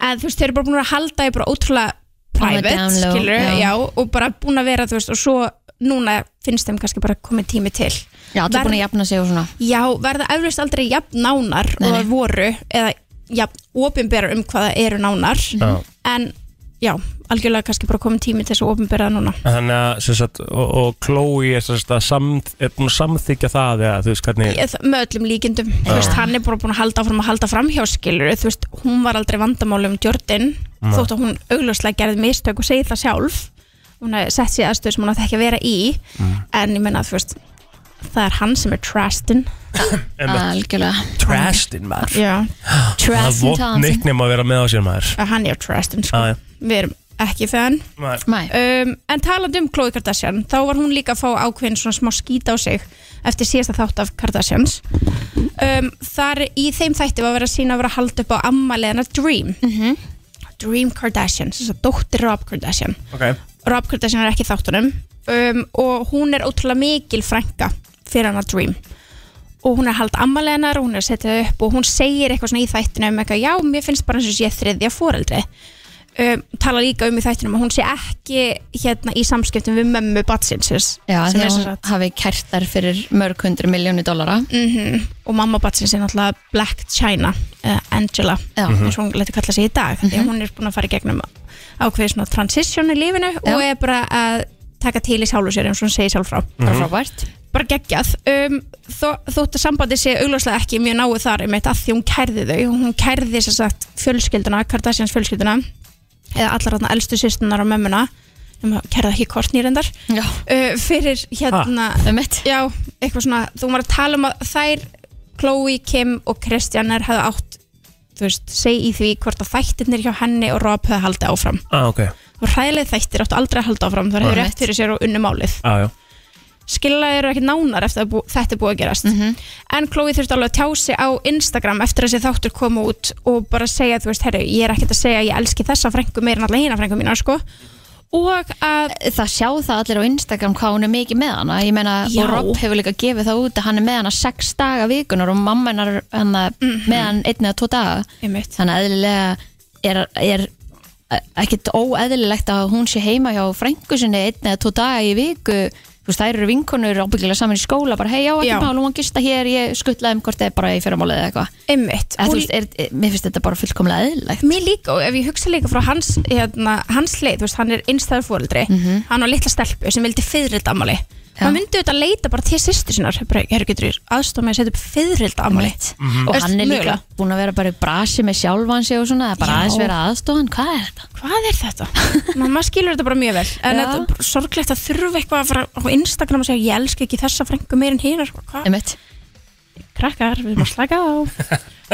Speaker 6: að þú veist, þeir eru bara búin að halda í bara ótrúlega
Speaker 3: On the
Speaker 6: private,
Speaker 3: down low,
Speaker 6: skilur,
Speaker 3: já.
Speaker 6: já. og bara búin að vera, þú veist, og svo núna finnst þeim kannski bara komið tími til
Speaker 3: Já, það er búin að jafna sig og svona
Speaker 6: Já, verða eflaust aldrei jafn nánar
Speaker 3: Nei,
Speaker 6: og
Speaker 3: nei.
Speaker 6: þær voru, eða jafn opinbera um hvaða eru nánar
Speaker 4: já
Speaker 6: en já, algjörlega kannski bara komið tími til þess að opinbera núna
Speaker 4: Þannig að, sem sagt, og, og Chloe er, sem sagt, að samþ, er búin að samþykja það eða, þú veist, hvernig
Speaker 6: Ég- það- með öllum líkindum, þú veist, hann er bara búin að halda áfram að halda fram hjá skilur, þú veist, hún var aldrei vandamáli um Jordan, þótt að hún augljóslega gerði mistök og
Speaker 4: Mm.
Speaker 6: segi það sjálf hún hafði sett sér aðstöð sem hún átti ekki að vera í en ég meina, þú veist það er hann sem er Trastin
Speaker 3: algjörlega
Speaker 4: Trastin maður
Speaker 6: Já,
Speaker 4: Það er
Speaker 3: Trastin
Speaker 4: vott
Speaker 3: Thompson
Speaker 4: nicknum að vera með á sér maður Ah,
Speaker 6: að hann er Trastin sko.
Speaker 4: Já, já.
Speaker 6: Við erum ekki fenn
Speaker 4: maður
Speaker 3: Mæ,
Speaker 6: um, En talandi um Khloe Kardashian þá var hún líka að fá ákveðin svona smá skýt á sig eftir síðasta þátt af Kardashians um, Þar í þeim þætti var verið að sína að vera að halda upp á ammaliðana Dream Dream Kardashian, þess að dóttir Rob Kardashian
Speaker 4: Ok,
Speaker 6: Rob Kardashian er ekki í þáttunum um, og hún er ótrúlega mikil frænka fyrir hann að Dream og hún er hald ammalenar og hún er að setja það upp og hún segir eitthvað svona í þættinu um eitthvað já, mér finnst bara eins og sé þriðja foreldri um, tala líka um í þættinum að hún sé ekki hérna í samskiptum við mömmu batsinsins
Speaker 3: já
Speaker 6: sem er
Speaker 3: þegar
Speaker 6: sem
Speaker 3: hún
Speaker 6: sagt-
Speaker 3: hafi kertar fyrir mörg hundru miljónu dólara
Speaker 6: Mhm. og mamma batsins er náttúrulega Black China uh, Angela,
Speaker 3: Já.
Speaker 6: eins og hún leti kalla sig í dag því að hún er búin að fara í gegnum ákveðið svona transition í lífinu og er bara að taka til í sálu sér eins og hún segir sjálf frá
Speaker 3: bara frábært
Speaker 6: bara geggjað um, þó, þótt að sambandi sé augljóslega ekki mjög náið þar um að því hún kærði þau hún kærði sem sagt fjölskylduna Kardashians fjölskylduna eða allar þarna elstu sýstunar og mömmuna hún kærði ekki Kourtney reyndar
Speaker 3: Já,
Speaker 6: uh, fyrir hérna
Speaker 3: um mitt
Speaker 6: Já, eitthvað svona, þú var að tala um að þær, Chloe, Kim og Kristjanar hefðu átt, þú veist, seg í því hvort að þættirnir hjá henni og Rob hefðu haldið áfram.
Speaker 4: ah, ok,
Speaker 6: Og hræðileg þættir áttu aldrei að halda áfram, þar hefur
Speaker 3: Nei.
Speaker 6: rétt fyrir sér og unnu málið.
Speaker 4: ah, já
Speaker 6: Skilla eru ekki nánar eftir að bú, þetta er búið að gerast.
Speaker 3: Mhm.
Speaker 6: En Chloe þurfti alveg að tjá sig á Instagram eftir að þessi þáttur koma út og bara segja, þú veist, herru, ég er ekkert að segja að ég elski þessa frængu meira en alla hina frængu mína, sko. Og að,
Speaker 3: Það sjá það allir á Instagram hvað hún er mikið með hana Ég meina,
Speaker 6: Já.
Speaker 3: og Rob hefur líka gefið það út að hann er með hana sex daga vikunar og mamma hennar hana, með hann einn eða tvo daga
Speaker 6: Mhm. einmitt,
Speaker 3: þannig að eðlilega er, er e, ekkert óeðlilegt að hún sé heima hjá frængu sinni einn eða tvo daga í viku þú veist, þær eru vinkonur ábyggilega saman í skóla bara hei, já, ekki
Speaker 6: Já.
Speaker 3: mál, hún var að gista hér ég skuttlaði um hvort þið er bara í fyrramálið eða eitthvað
Speaker 6: einmitt.
Speaker 3: Eða,
Speaker 6: Og-
Speaker 3: þú veist, er, er, mér finnst þetta bara fullkomlega eðlilegt
Speaker 6: Mér líka og ef ég hugsa líka frá hans, hérna, hans leið, þú veist, hann er einstæður fóreldri, hann var litla stelpu sem vildi fyrirrild ammali.
Speaker 3: Mhm. Já.
Speaker 6: Hann myndi auðvitað leita bara til sýstu sinnar, bara, herru getur þér aðstofa mig að setja upp fyrirrild ammali.
Speaker 4: Mm.
Speaker 3: og
Speaker 6: Veist,
Speaker 3: hann er líka
Speaker 6: mögulega.
Speaker 3: búin að vera bara í brasi með sjálfan sig og svona, það er bara
Speaker 6: Já.
Speaker 3: aðeins vera aðstofan hvað er þetta?
Speaker 6: Hvað er þetta? Mamma skilur þetta bara mjög vel, en
Speaker 3: Já.
Speaker 6: þetta er bara sorglegt að þurfa eitthvað að fara á Instagram og segja ég elska ekki þessa frængu meir en hinar, hvað?
Speaker 3: Einmitt.
Speaker 6: Krakkar, við erum að slaka á.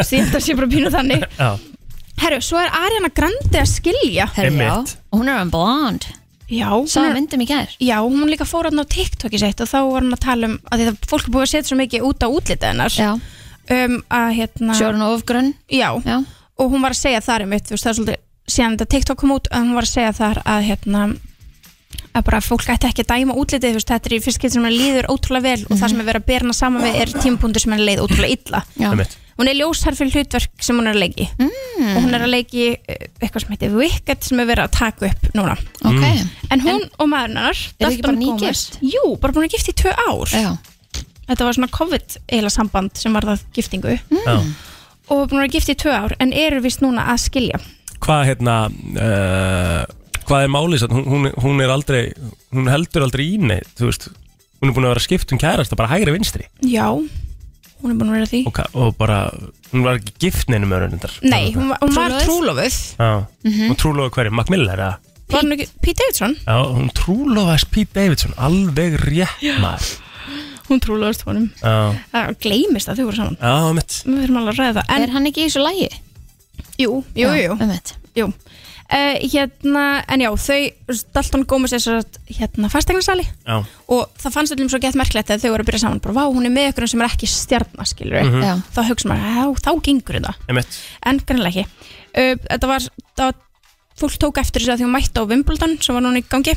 Speaker 6: Því þetta sé bara pínu þannig.
Speaker 4: Já,
Speaker 6: Herru, svo er Ariana Grande að skilja.
Speaker 3: Herri, já.
Speaker 4: Einmitt.
Speaker 3: og hún er hann blond
Speaker 6: Já, hún
Speaker 3: sá
Speaker 6: er-
Speaker 3: myndum í gær
Speaker 6: Já, hún líka fór hann á TikTokið sitt og þá var hann að tala um að því það fólk er búið að setja svo mikið út á útlitið hennar
Speaker 3: já,
Speaker 6: um að hérna
Speaker 3: sjórun og ofgrunn
Speaker 6: Já,
Speaker 3: já,
Speaker 6: og hún var að segja þar einmitt, þú veist það er svolítið síðan þetta TikTok kom út að hún var að segja þar að hérna að bara fólk ætti ekki að dæma útlitið þú veist þetta er í fyrst skipti sem hann líður ótrúlega vel og það sem er verið að bera hana saman við er tímpúndur sem hann leið ótrúlega illa
Speaker 3: já.
Speaker 4: einmitt
Speaker 6: hún er ljósar fyrir hlutverk sem hún er að leiki mm. og hún er að leiki eh, eitthvað sem heitir Wicked sem er verið að taka upp núna
Speaker 3: ok,
Speaker 4: Mm.
Speaker 6: En hún og maðurinn hennar
Speaker 3: þau ekki
Speaker 6: Dalton
Speaker 3: bara
Speaker 6: Gomez-
Speaker 3: nýgift?
Speaker 6: Jú, bara búin að gifta í tvö ár
Speaker 3: já
Speaker 6: Þetta var svona COVID eila samband sem var það giftingu
Speaker 4: Já.
Speaker 6: og búin að gifta í tvö ár en eru vist núna að skilja
Speaker 4: Hvað hérna uh, Hvað er málið satt? Hún, hún, hún er aldrei Hún heldur aldrei í neitt Þú veist Hún er búin að vera skipt um kærast bara hægri vinstri
Speaker 6: Já, hún er búin að vera því
Speaker 4: og, ka- og bara Hún var ekki gift neinum öðrun endar
Speaker 6: Nei, hún var, hún var trúlofuð
Speaker 4: Já
Speaker 3: Mhm.
Speaker 4: Hún trúlofa hverju? Mac Miller eða?
Speaker 6: Var hún ekki, Pete Davidson?
Speaker 4: Já, hún trúlofaðist Pete Davidson Alveg rétt maður
Speaker 6: Hún trúlofust honum
Speaker 4: Já,
Speaker 6: Það gleymist að þau voru saman
Speaker 4: já, mitt
Speaker 6: Við verðum alveg að ræða það
Speaker 3: er
Speaker 6: En,
Speaker 3: hann ekki í þessu lægi?
Speaker 6: jú, jú, jú, jú. Uh, hérna, en já, þau Dalton Gómez er svo að hérna fastegnarsali
Speaker 4: Já,
Speaker 6: og það fannst öllum svo gett merkilegt þegar þau voru að byrja saman, bara vá, hún er með ykkur sem er ekki stjarnaskilur mm
Speaker 3: Já.
Speaker 6: þá hugsa maður, já, þá gengur þetta
Speaker 4: einmitt
Speaker 6: en grannlega ekki uh, þetta var, það var, fólk tók eftir þessu að því hún mætti á Wimbledon sem var núna í gangi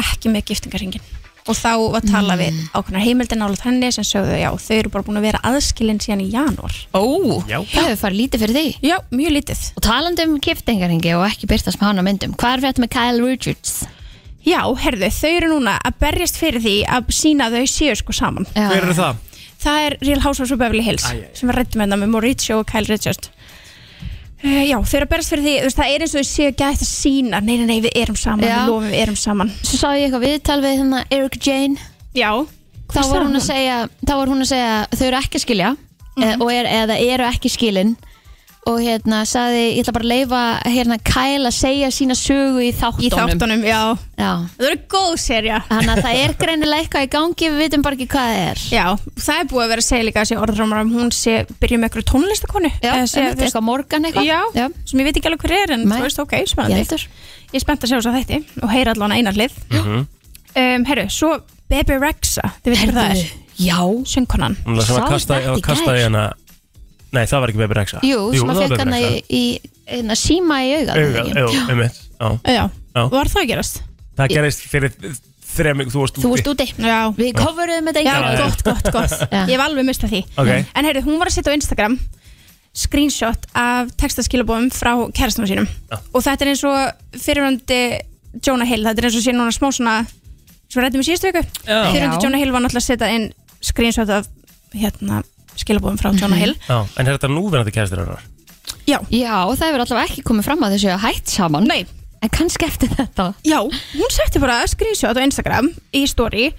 Speaker 6: ekki með giftingarringin og þá var tala við ákveðnar heimildin nálega henni sem sögðu, já, þau eru bara búin að vera aðskilin síðan í janúar
Speaker 3: Ó,
Speaker 4: Já.
Speaker 3: það hefur farið lítið fyrir þig
Speaker 6: já, mjög lítið
Speaker 3: Og talandi um giftingarhingi og ekki byrtast með hann á myndum Hvað er fyrir þetta með Kyle Richards?
Speaker 6: já, herðu, þau eru núna að berjast fyrir því að sína að þau séu sko saman
Speaker 3: Já.
Speaker 4: Hver eru það?
Speaker 6: Það er Real Housewives of Beverly Hills sem við rættum hérna með Mauricio og Kyle Richards uh, Já, þau eru að berast fyrir því þú veist, það er eins og þau séu ekki að þetta sína nei, nei, nei, við erum saman,
Speaker 3: Já.
Speaker 6: við lofum við erum saman
Speaker 3: Svo sá ég eitthvað viðtal við hérna Eric Jane
Speaker 6: Já,
Speaker 3: Þá var hún að eh,
Speaker 6: Mhm.
Speaker 3: segja, þá var hún að segja Þau eru ekki að skilja mm og er, eða eru ekki skilin Og og hérna sagði, ég ætla bara að leifa hérna Kyle að segja sína sögu í þáttunum.
Speaker 6: í þáttunum, já
Speaker 3: Já,
Speaker 6: Það eru góð serja
Speaker 3: þannig að það er greinilega eitthvað í gangi, við vitum bara ekki hvað það er.
Speaker 6: Já, það er búið að vera að segja líka þessi orðrömmar um hún sé, byrja með einhverju tónlistakonu
Speaker 3: Já,
Speaker 6: Eða
Speaker 3: einmitt,
Speaker 6: Eh, sé, þú veist,
Speaker 3: eitthvað morgan eitthvað.
Speaker 6: já,
Speaker 3: já.
Speaker 6: sem ég veit ekki alveg hver er en
Speaker 3: Nei.
Speaker 6: þú veist, ok,
Speaker 3: Ég
Speaker 6: spennandi
Speaker 3: heldur.
Speaker 6: Ég er spennt að sjá þess að þetta og heyra allan einar lið
Speaker 4: Mhm.
Speaker 6: um, Herru, svo Bebe Rexa, þið veitum hvað það er
Speaker 3: Já.
Speaker 6: Söngkonan
Speaker 4: Hún sem
Speaker 3: Sá
Speaker 4: að kasta,
Speaker 3: þetta í
Speaker 4: kasta í
Speaker 3: gær.
Speaker 4: hana Nei, það var ekki Baby Rexa
Speaker 3: Jú, sem
Speaker 4: það var
Speaker 3: að
Speaker 4: Baby
Speaker 3: fekk hana í,
Speaker 4: Rexha.
Speaker 3: í hérna, síma í augað.
Speaker 4: Auga, Jú, einmitt já.
Speaker 6: Já,
Speaker 4: Já.
Speaker 6: var það að gerast?
Speaker 4: Það gerist fyrir þreming Þú varst
Speaker 3: Þú
Speaker 4: úti
Speaker 3: ert úti.
Speaker 6: Já,
Speaker 3: Við coveruðum þetta í
Speaker 6: já
Speaker 3: gær.
Speaker 6: gott, gott, gott
Speaker 3: Já.
Speaker 6: Ég hef alveg mistað því
Speaker 4: Ok.
Speaker 6: En heyrðu, hún var að setja á Instagram screenshot af textaskilabóðum frá kærastunum sínum
Speaker 4: Já.
Speaker 6: og þetta er eins og fyrirvöndi Jonah Hill, þetta er eins og sé núna smá svona sem við rættum í síðustu viku
Speaker 4: Já.
Speaker 6: fyrirvöndi
Speaker 3: Já.
Speaker 6: Jonah Hill var náttúrulega að setja inn screenshot af hérna skilabóðum frá Jonah Hill
Speaker 4: Já, en er þetta núverandi kæristur hennar?
Speaker 6: Já,
Speaker 3: Já, það hefur allavega ekki komið fram að þessu að hætt saman.
Speaker 6: nei,
Speaker 3: En kannski eftir þetta.
Speaker 6: já hún setti bara screenshot á Instagram í story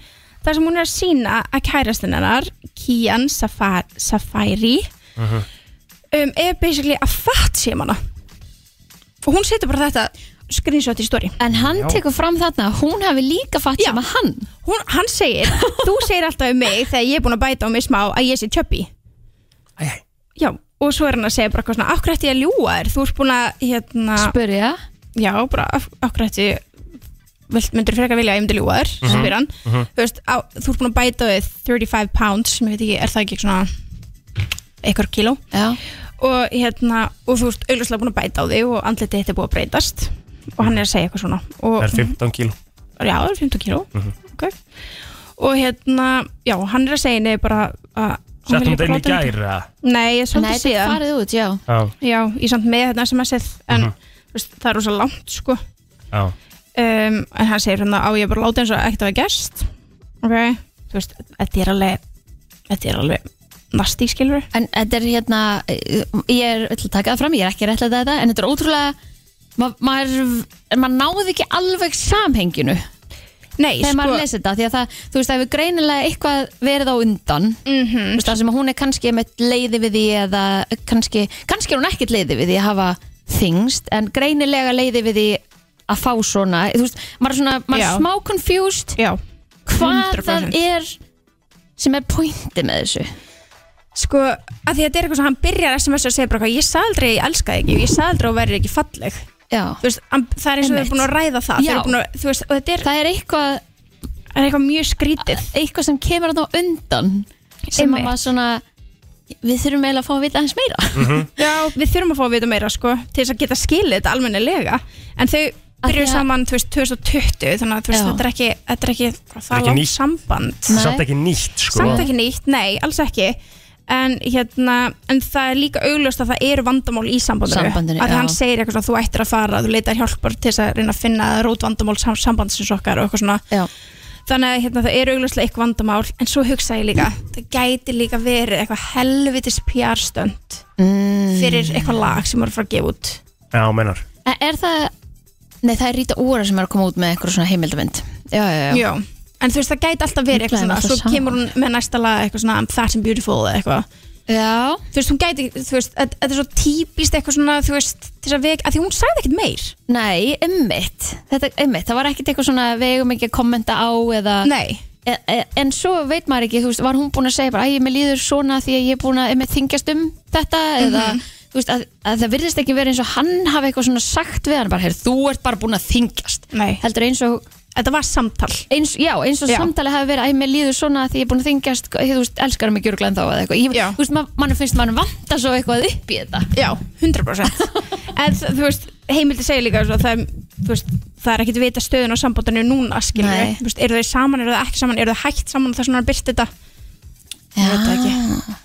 Speaker 6: þar sem hún er að sína að kærastinn hennar Kian Safar Safari um, er basically að fatt sér hana og hún setur bara þetta screenshot í story
Speaker 3: En hann tekur fram þarna að hún hafi líka fatt
Speaker 6: Já.
Speaker 3: sem að hann.
Speaker 6: hún, hann segir, þú segir alltaf um mig þegar ég er búin að bæta á mig smá að ég sé tjöppi já, og svo er hann að segja bara eitthvað svona, akkur ætti ég að ljúa þér þú ert búin að, hérna
Speaker 3: Spurja.
Speaker 6: já, bara af- akkur ætti vilt myndur frekar vilja að ég myndi ljúa þér
Speaker 4: Mhm,
Speaker 6: mm spyr hann, þú veist, á, þú ert búin að bæta á þig 35 pounds, sem ég veit ekki, er það ekki svona einhver kíló
Speaker 3: Já.
Speaker 6: og hérna, og þú ert auðvitað búin að bæta á þig og andlitið þetta er búin að breytast og hann er að segja eitthvað svona og,
Speaker 4: Það Mhm. er 15 kíló
Speaker 6: já, það er 15 kíló ok og hérna, já, hann er að segja henni bara að hún
Speaker 4: Settum
Speaker 6: vilji
Speaker 4: þetta inn í
Speaker 6: bara láta henni-
Speaker 4: gæra
Speaker 6: nei, ég samt
Speaker 3: Nei, þetta
Speaker 6: að
Speaker 3: er
Speaker 6: síðan
Speaker 3: farið út, já.
Speaker 4: Já,
Speaker 6: já, ég samt með hérna þetta sem að segð en
Speaker 4: Mhm.
Speaker 6: þú veist, það er rosa langt sko
Speaker 4: já
Speaker 6: um, en hann segir hérna á ég bara að láta eins og ekkert að gest ok, þú veist, þetta er alveg þetta er alveg nasti skilur
Speaker 3: En þetta er hérna, eh, ég er ég ætla að taka það fram, ég er ekki rétt að þetta, en þetta er ótrúlega, ma maður, maður náði ekki alveg samhenginu
Speaker 6: nei,
Speaker 3: þegar maður
Speaker 6: sko,
Speaker 3: lesi þetta, því að það, þú veist, það hefur greinilega eitthvað verið á undan,
Speaker 6: mm
Speaker 3: þú veist, það sem að hún er kannski með leiði við því eða kannski, kannski er hún ekkert leiði við því að hafa þingst, en greinilega leiði við því að fá svona, þú veist, maður er svona, maður
Speaker 6: Já.
Speaker 3: er smá confused
Speaker 6: já
Speaker 3: hvað
Speaker 6: 100%.
Speaker 3: það er sem er pointi með þessu.
Speaker 6: sko, að því að þetta er eitthvað sem hann byrjar SMS að segja bara hvað, ég sagði aldrei að ég elska þig ekki og ég sagði aldrei að þú verður ekki falleg
Speaker 3: Já.
Speaker 6: Þú veist, hann- það er eins og þau
Speaker 3: Einmitt.
Speaker 6: eru búin að ræða það Þau
Speaker 3: Já.
Speaker 6: eru búin að, þú veist, og þetta er,
Speaker 3: Það er eitthvað
Speaker 6: það er eitthvað mjög skrítið
Speaker 3: eitthvað sem kemur þarna á undan sem
Speaker 6: Einmitt.
Speaker 3: að maður svona við þurfum eiginlega að fá að vita aðeins meira
Speaker 6: Já, við þurfum að fá að vita meira sko, til þess að geta skilið þetta almennilega en þau
Speaker 3: því
Speaker 6: byrjuðu
Speaker 3: að-
Speaker 6: saman þú veist, 2020 þannig að þú veist,
Speaker 3: Já.
Speaker 6: þetta er ekki, þetta er ekki hvað, það
Speaker 4: ekki
Speaker 6: er langt
Speaker 4: nýtt.
Speaker 6: samband
Speaker 3: Nei.
Speaker 4: Samt ekki nýtt, sko
Speaker 6: samt ekki nýtt, nei, alls ekki en, hérna, en það er líka augljóst að það eru vandamál í sambandinu,
Speaker 3: Sambandinu,
Speaker 6: að
Speaker 3: já.
Speaker 6: hann segir eitthvað svona, þú ættir að fara, þú leitar hjálpar til þess að reyna að finna rót vandamál sam- sambandsins okkar og eitthvað svona
Speaker 3: Já.
Speaker 6: þannig að hérna, það er augljóslega eitthvað vandamál en svo hugsa ég líka, það gæti líka verið eitthvað helvitis PR-stönd
Speaker 3: Mm.
Speaker 6: fyrir eitthvað lag sem voru að fara að gefa út
Speaker 4: Já, menar
Speaker 3: En er það nei það er Rita Ora sem er að koma út með eitthvað svona heimildamind já, já, já.
Speaker 6: Já. en þú veist það gæti alltaf verið eitthvað
Speaker 3: Líklega er
Speaker 6: svona,
Speaker 3: alltaf
Speaker 6: svo
Speaker 3: sama.
Speaker 6: kemur hún með næsta lag eitthvað svona I'm fat and beautiful eða eitthvað
Speaker 3: já.
Speaker 6: þú veist, hún gæti, þú veist, þetta þetta er svo típist eitthvað svona, þú veist, til þess að veg að því hún sagði ekkert meir,
Speaker 3: nei, ummitt þetta ummitt, það var ekkert eitthvað svona við eigum ekki að kommenta á eða
Speaker 6: nei
Speaker 3: e, e, en svo veit maður ekki, þú veist, var hún búin að segja bara, æ, mér líður svona því að ég er búin að einmitt þingjast um þetta eða
Speaker 6: Mhm.
Speaker 3: Þú veist, að, að það virðist ekki verið eins og hann hafi eitthvað svona sagt við hann bara, heyrðu, þú ert bara búin að þingjast
Speaker 6: Nei.
Speaker 3: heldur eins og
Speaker 6: þetta var samtal
Speaker 3: eins, já, eins og
Speaker 6: Já.
Speaker 3: samtalið hafi verið að mér líður svona því ég er búin að þingjast því þú veist, elskar mig gjörglega en þá eða eitthvað Ég-
Speaker 6: Já.
Speaker 3: þú veist, man, mann finnst mann vanta svo eitthvað upp í þetta
Speaker 6: Já, 100% En þ- þú veist, heimildi segir líka svo, að það, er, þú veist, það er ekkit vita stöðun á sambandinu núna, skilur
Speaker 3: Nei.
Speaker 6: við Eru þau saman, eru þau ekki saman, eru þau hægt saman og það er svona að byrta þetta
Speaker 3: Já,
Speaker 6: veit það ekki.
Speaker 3: Ah.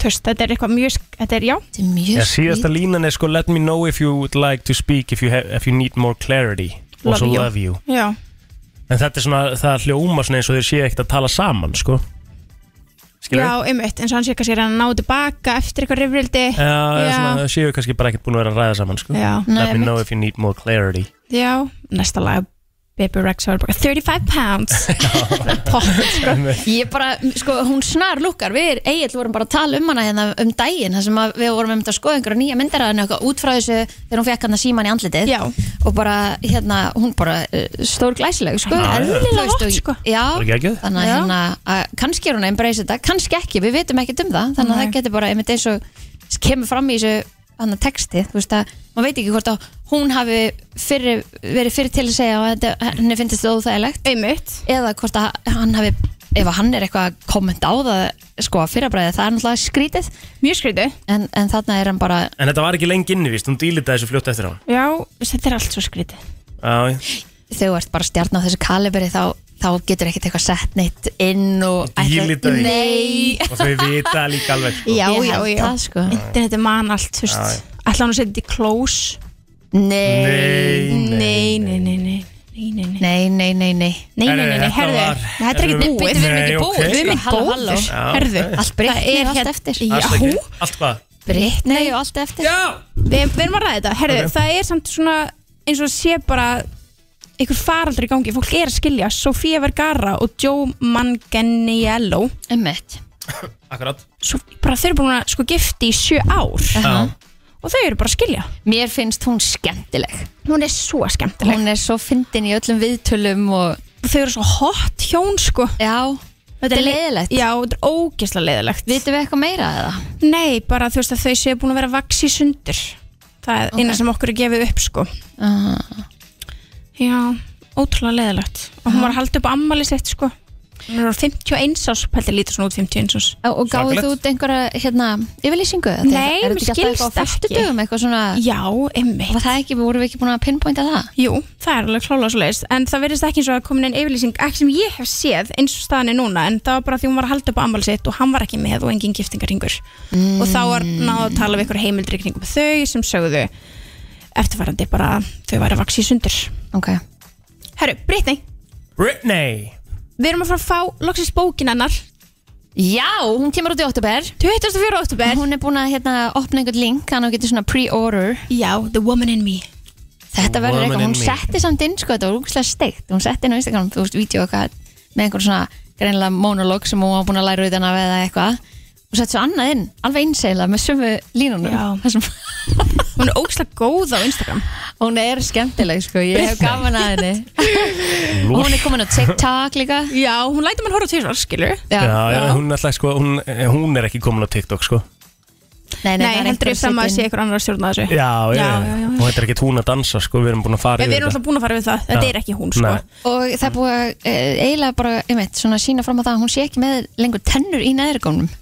Speaker 6: Þú veist, þetta er eitthvað mjög, sk- þetta er já
Speaker 3: þetta er mjög
Speaker 4: Já, síðasta línan er sko Let me know if you would like to speak If you, have, if you need more clarity Og
Speaker 6: Love
Speaker 4: svo
Speaker 6: you.
Speaker 4: love you
Speaker 6: Já,
Speaker 4: En þetta er svona, það hljóma svona eins og þeir séu ekkert að tala saman, sko Skilur
Speaker 6: já einmitt, eins og hann sé kannski að reyna að ná tilbaka eftir eitthvað rifrildi
Speaker 4: Já, eða
Speaker 6: Já.
Speaker 4: svona, þau séu kannski bara ekkert búin að vera að ræða saman, sko
Speaker 6: Já,
Speaker 4: Let
Speaker 3: Nei,
Speaker 4: me
Speaker 3: einmitt.
Speaker 4: know if you need more clarity
Speaker 6: já, næsta lag Baby Rex var bara 35 pounds Pott, sko
Speaker 3: Ég bara, sko, hún snar lukkar Við Egil vorum bara að tala um hana hérna um daginn þar sem að við vorum um þetta að skoða einhverja nýja myndir að henni eitthvað út frá þessu þegar hún fekk hann að síma hann í andlitið
Speaker 6: Já.
Speaker 3: og bara, hérna, hún bara stór glæsileg, sko
Speaker 4: Já, já.
Speaker 6: Eðlilega
Speaker 3: Þú veist,
Speaker 6: vott,
Speaker 3: og-
Speaker 6: sko.
Speaker 3: Já,
Speaker 4: Bara geggjuð.
Speaker 3: þannig að
Speaker 6: Já.
Speaker 3: hérna að kannski er hún að embrace þetta, kannski ekki við vitum ekkert um það, þannig að
Speaker 6: Nei.
Speaker 3: það getur bara einmitt eins og kemur fram í þessu hann texti, þú veist að maður veit ekki hvort að hún hafi fyrir, verið fyrir til að segja að þetta- henni finnst þetta óþægilegt
Speaker 6: Einmitt
Speaker 3: eða hvort að hann hafi ef að hann er eitthvað að kommenta á það sko að fyrrabræði það er náttúrulega skrítið
Speaker 6: Mjög skrítið
Speaker 3: en, en þarna er hann bara
Speaker 4: En þetta var ekki lengi inni, víst, hún dýlitaði þessu fljótt eftir á
Speaker 6: Já, þetta er allt svo skrítið
Speaker 4: Já,
Speaker 3: þau ert bara stjarn á þessu kalibri þá, þá getur ekkert eitthvað sett neitt inn og
Speaker 4: Dýlita því.
Speaker 3: nei
Speaker 4: og þau vita líka alveg sko.
Speaker 6: Já,
Speaker 3: Ég
Speaker 6: já,
Speaker 3: held
Speaker 6: já
Speaker 3: það, sko.
Speaker 6: Internet er man allt, þú
Speaker 4: Já,
Speaker 6: veist
Speaker 4: já.
Speaker 6: Ætla hann að setja þetta í close
Speaker 4: Nei,
Speaker 3: nei
Speaker 6: Nei, nei, nei, nei Nei, nei, nei
Speaker 3: nei, nei, nei, nei
Speaker 6: Nei, nei,
Speaker 4: Herðu,
Speaker 6: nei, nei,
Speaker 4: þetta
Speaker 6: herðu
Speaker 4: var-
Speaker 6: Nei, Þetta er ekki
Speaker 4: Herðu,
Speaker 6: búið
Speaker 3: við erum
Speaker 4: Nei,
Speaker 3: ekki
Speaker 4: ok.
Speaker 3: búið
Speaker 6: Við erum
Speaker 3: sko.
Speaker 6: ekki
Speaker 3: Halló,
Speaker 6: góðir.
Speaker 3: halló.
Speaker 4: Já,
Speaker 6: Herðu
Speaker 4: ok.
Speaker 3: allt Britney
Speaker 6: Það
Speaker 3: er
Speaker 6: er
Speaker 3: allt
Speaker 6: hér-
Speaker 3: eftir
Speaker 6: Já.
Speaker 4: Afsakið. Allt hvað?
Speaker 3: Britney og allt eftir
Speaker 4: Já
Speaker 6: Við, við erum að ræða þetta, herðu,
Speaker 4: Ok.
Speaker 6: það er samt svona eins og sé bara einhver faraldur í gangi, fólk er að skilja Sofía Vergara og Joe Manganiello
Speaker 3: ummitt
Speaker 4: Akkurat
Speaker 6: svo bara þau eru búin að sko gifti í sjö ár og þau eru bara að skilja
Speaker 3: mér finnst hún skemmtileg
Speaker 6: hún er svo skemmtileg
Speaker 3: hún er svo fyndin í öllum viðtölum og
Speaker 6: þau eru svo hot hjón sko
Speaker 3: já, þetta er
Speaker 6: le-
Speaker 3: leiðilegt
Speaker 6: já, þetta er ógeðslega leiðilegt
Speaker 3: vitum við eitthvað meira eða?
Speaker 6: nei, bara þú veist að þau séu búin að vera vaks í sundur það er eina sem okkur er gefið upp sko
Speaker 3: Uh,
Speaker 6: já, ótrúlega leiðilegt og hún var að halda upp ammali sitt sko hún er á 51 ás, pælti lítið svona út 51 ás
Speaker 3: Og- Og gáðu
Speaker 4: Svakalegt.
Speaker 3: þú út einhverja hérna, yfirlýsingu? Er þetta-
Speaker 6: Nei,
Speaker 3: er þetta ekki alltaf eitthvað
Speaker 6: skilst
Speaker 3: á
Speaker 6: ekki.
Speaker 3: föstudögum, eitthvað svona,
Speaker 6: já, einmitt
Speaker 3: var það ekki, vorum við ekki búin að pinpointa það?
Speaker 6: Jú, það er alveg klála svo leiðist en það verðist ekki eins og að komin einn yfirlýsing ekki sem ég hef séð eins og staðan er núna en það var bara því hún var að halda upp á ammali sitt og hann var ekki með og engin giftingaringur og þá var náðu að tala við ykkur heimildri kringum þau sem sögðu eftirfarandi bara að þau væri að vaksi í sundur
Speaker 3: Ok,
Speaker 6: Herru, Brittany,
Speaker 4: Britney
Speaker 6: við erum að fara að fá loksins bókin hennar
Speaker 3: já, hún kemur út í oktober
Speaker 6: 24. oktober
Speaker 3: Hún er búin að hérna, opna einhvern link, hann og getur svona pre-order
Speaker 6: Já, The Woman in Me
Speaker 3: Þetta
Speaker 4: Woman
Speaker 3: verður eitthvað,
Speaker 4: in
Speaker 3: hún
Speaker 4: me.
Speaker 3: setti samt inn, sko, þetta var úkslega steikt Hún setti inn á Instagram, þú veist, vídeo eitthvað með einhvern svona greinlega monolog sem hún var búin að læra utan af eða eitthvað og setti svo annað inn, alveg einsæla með sömu línunum
Speaker 6: Já.
Speaker 3: Þar sem,
Speaker 6: Hún er ógslag góð á Instagram
Speaker 3: Hún er skemmtileg, sko, ég hef gaman að henni Og hún er komin á TikTok líka
Speaker 6: Já, hún lætur mann horfa til þess að skilur
Speaker 4: Já, já, hún, ætla, sko, hún, hún er ekki komin á TikTok sko
Speaker 3: Nei,
Speaker 6: Nei, heldur ég fram að sé ykkur annar að stjórna þessu
Speaker 4: Já, já,
Speaker 6: já, já.
Speaker 4: Og þetta er ekki hún að dansa sko Við erum búin að fara
Speaker 6: Já, við
Speaker 4: yfir
Speaker 6: erum alltaf búin að fara við það, þetta
Speaker 4: Já.
Speaker 6: er ekki hún sko.
Speaker 4: Nei.
Speaker 3: Og það er búið að eh, eiginlega bara, einmitt, svona sína fram á það að hún sé ekki með lengur tennur í neðrigónum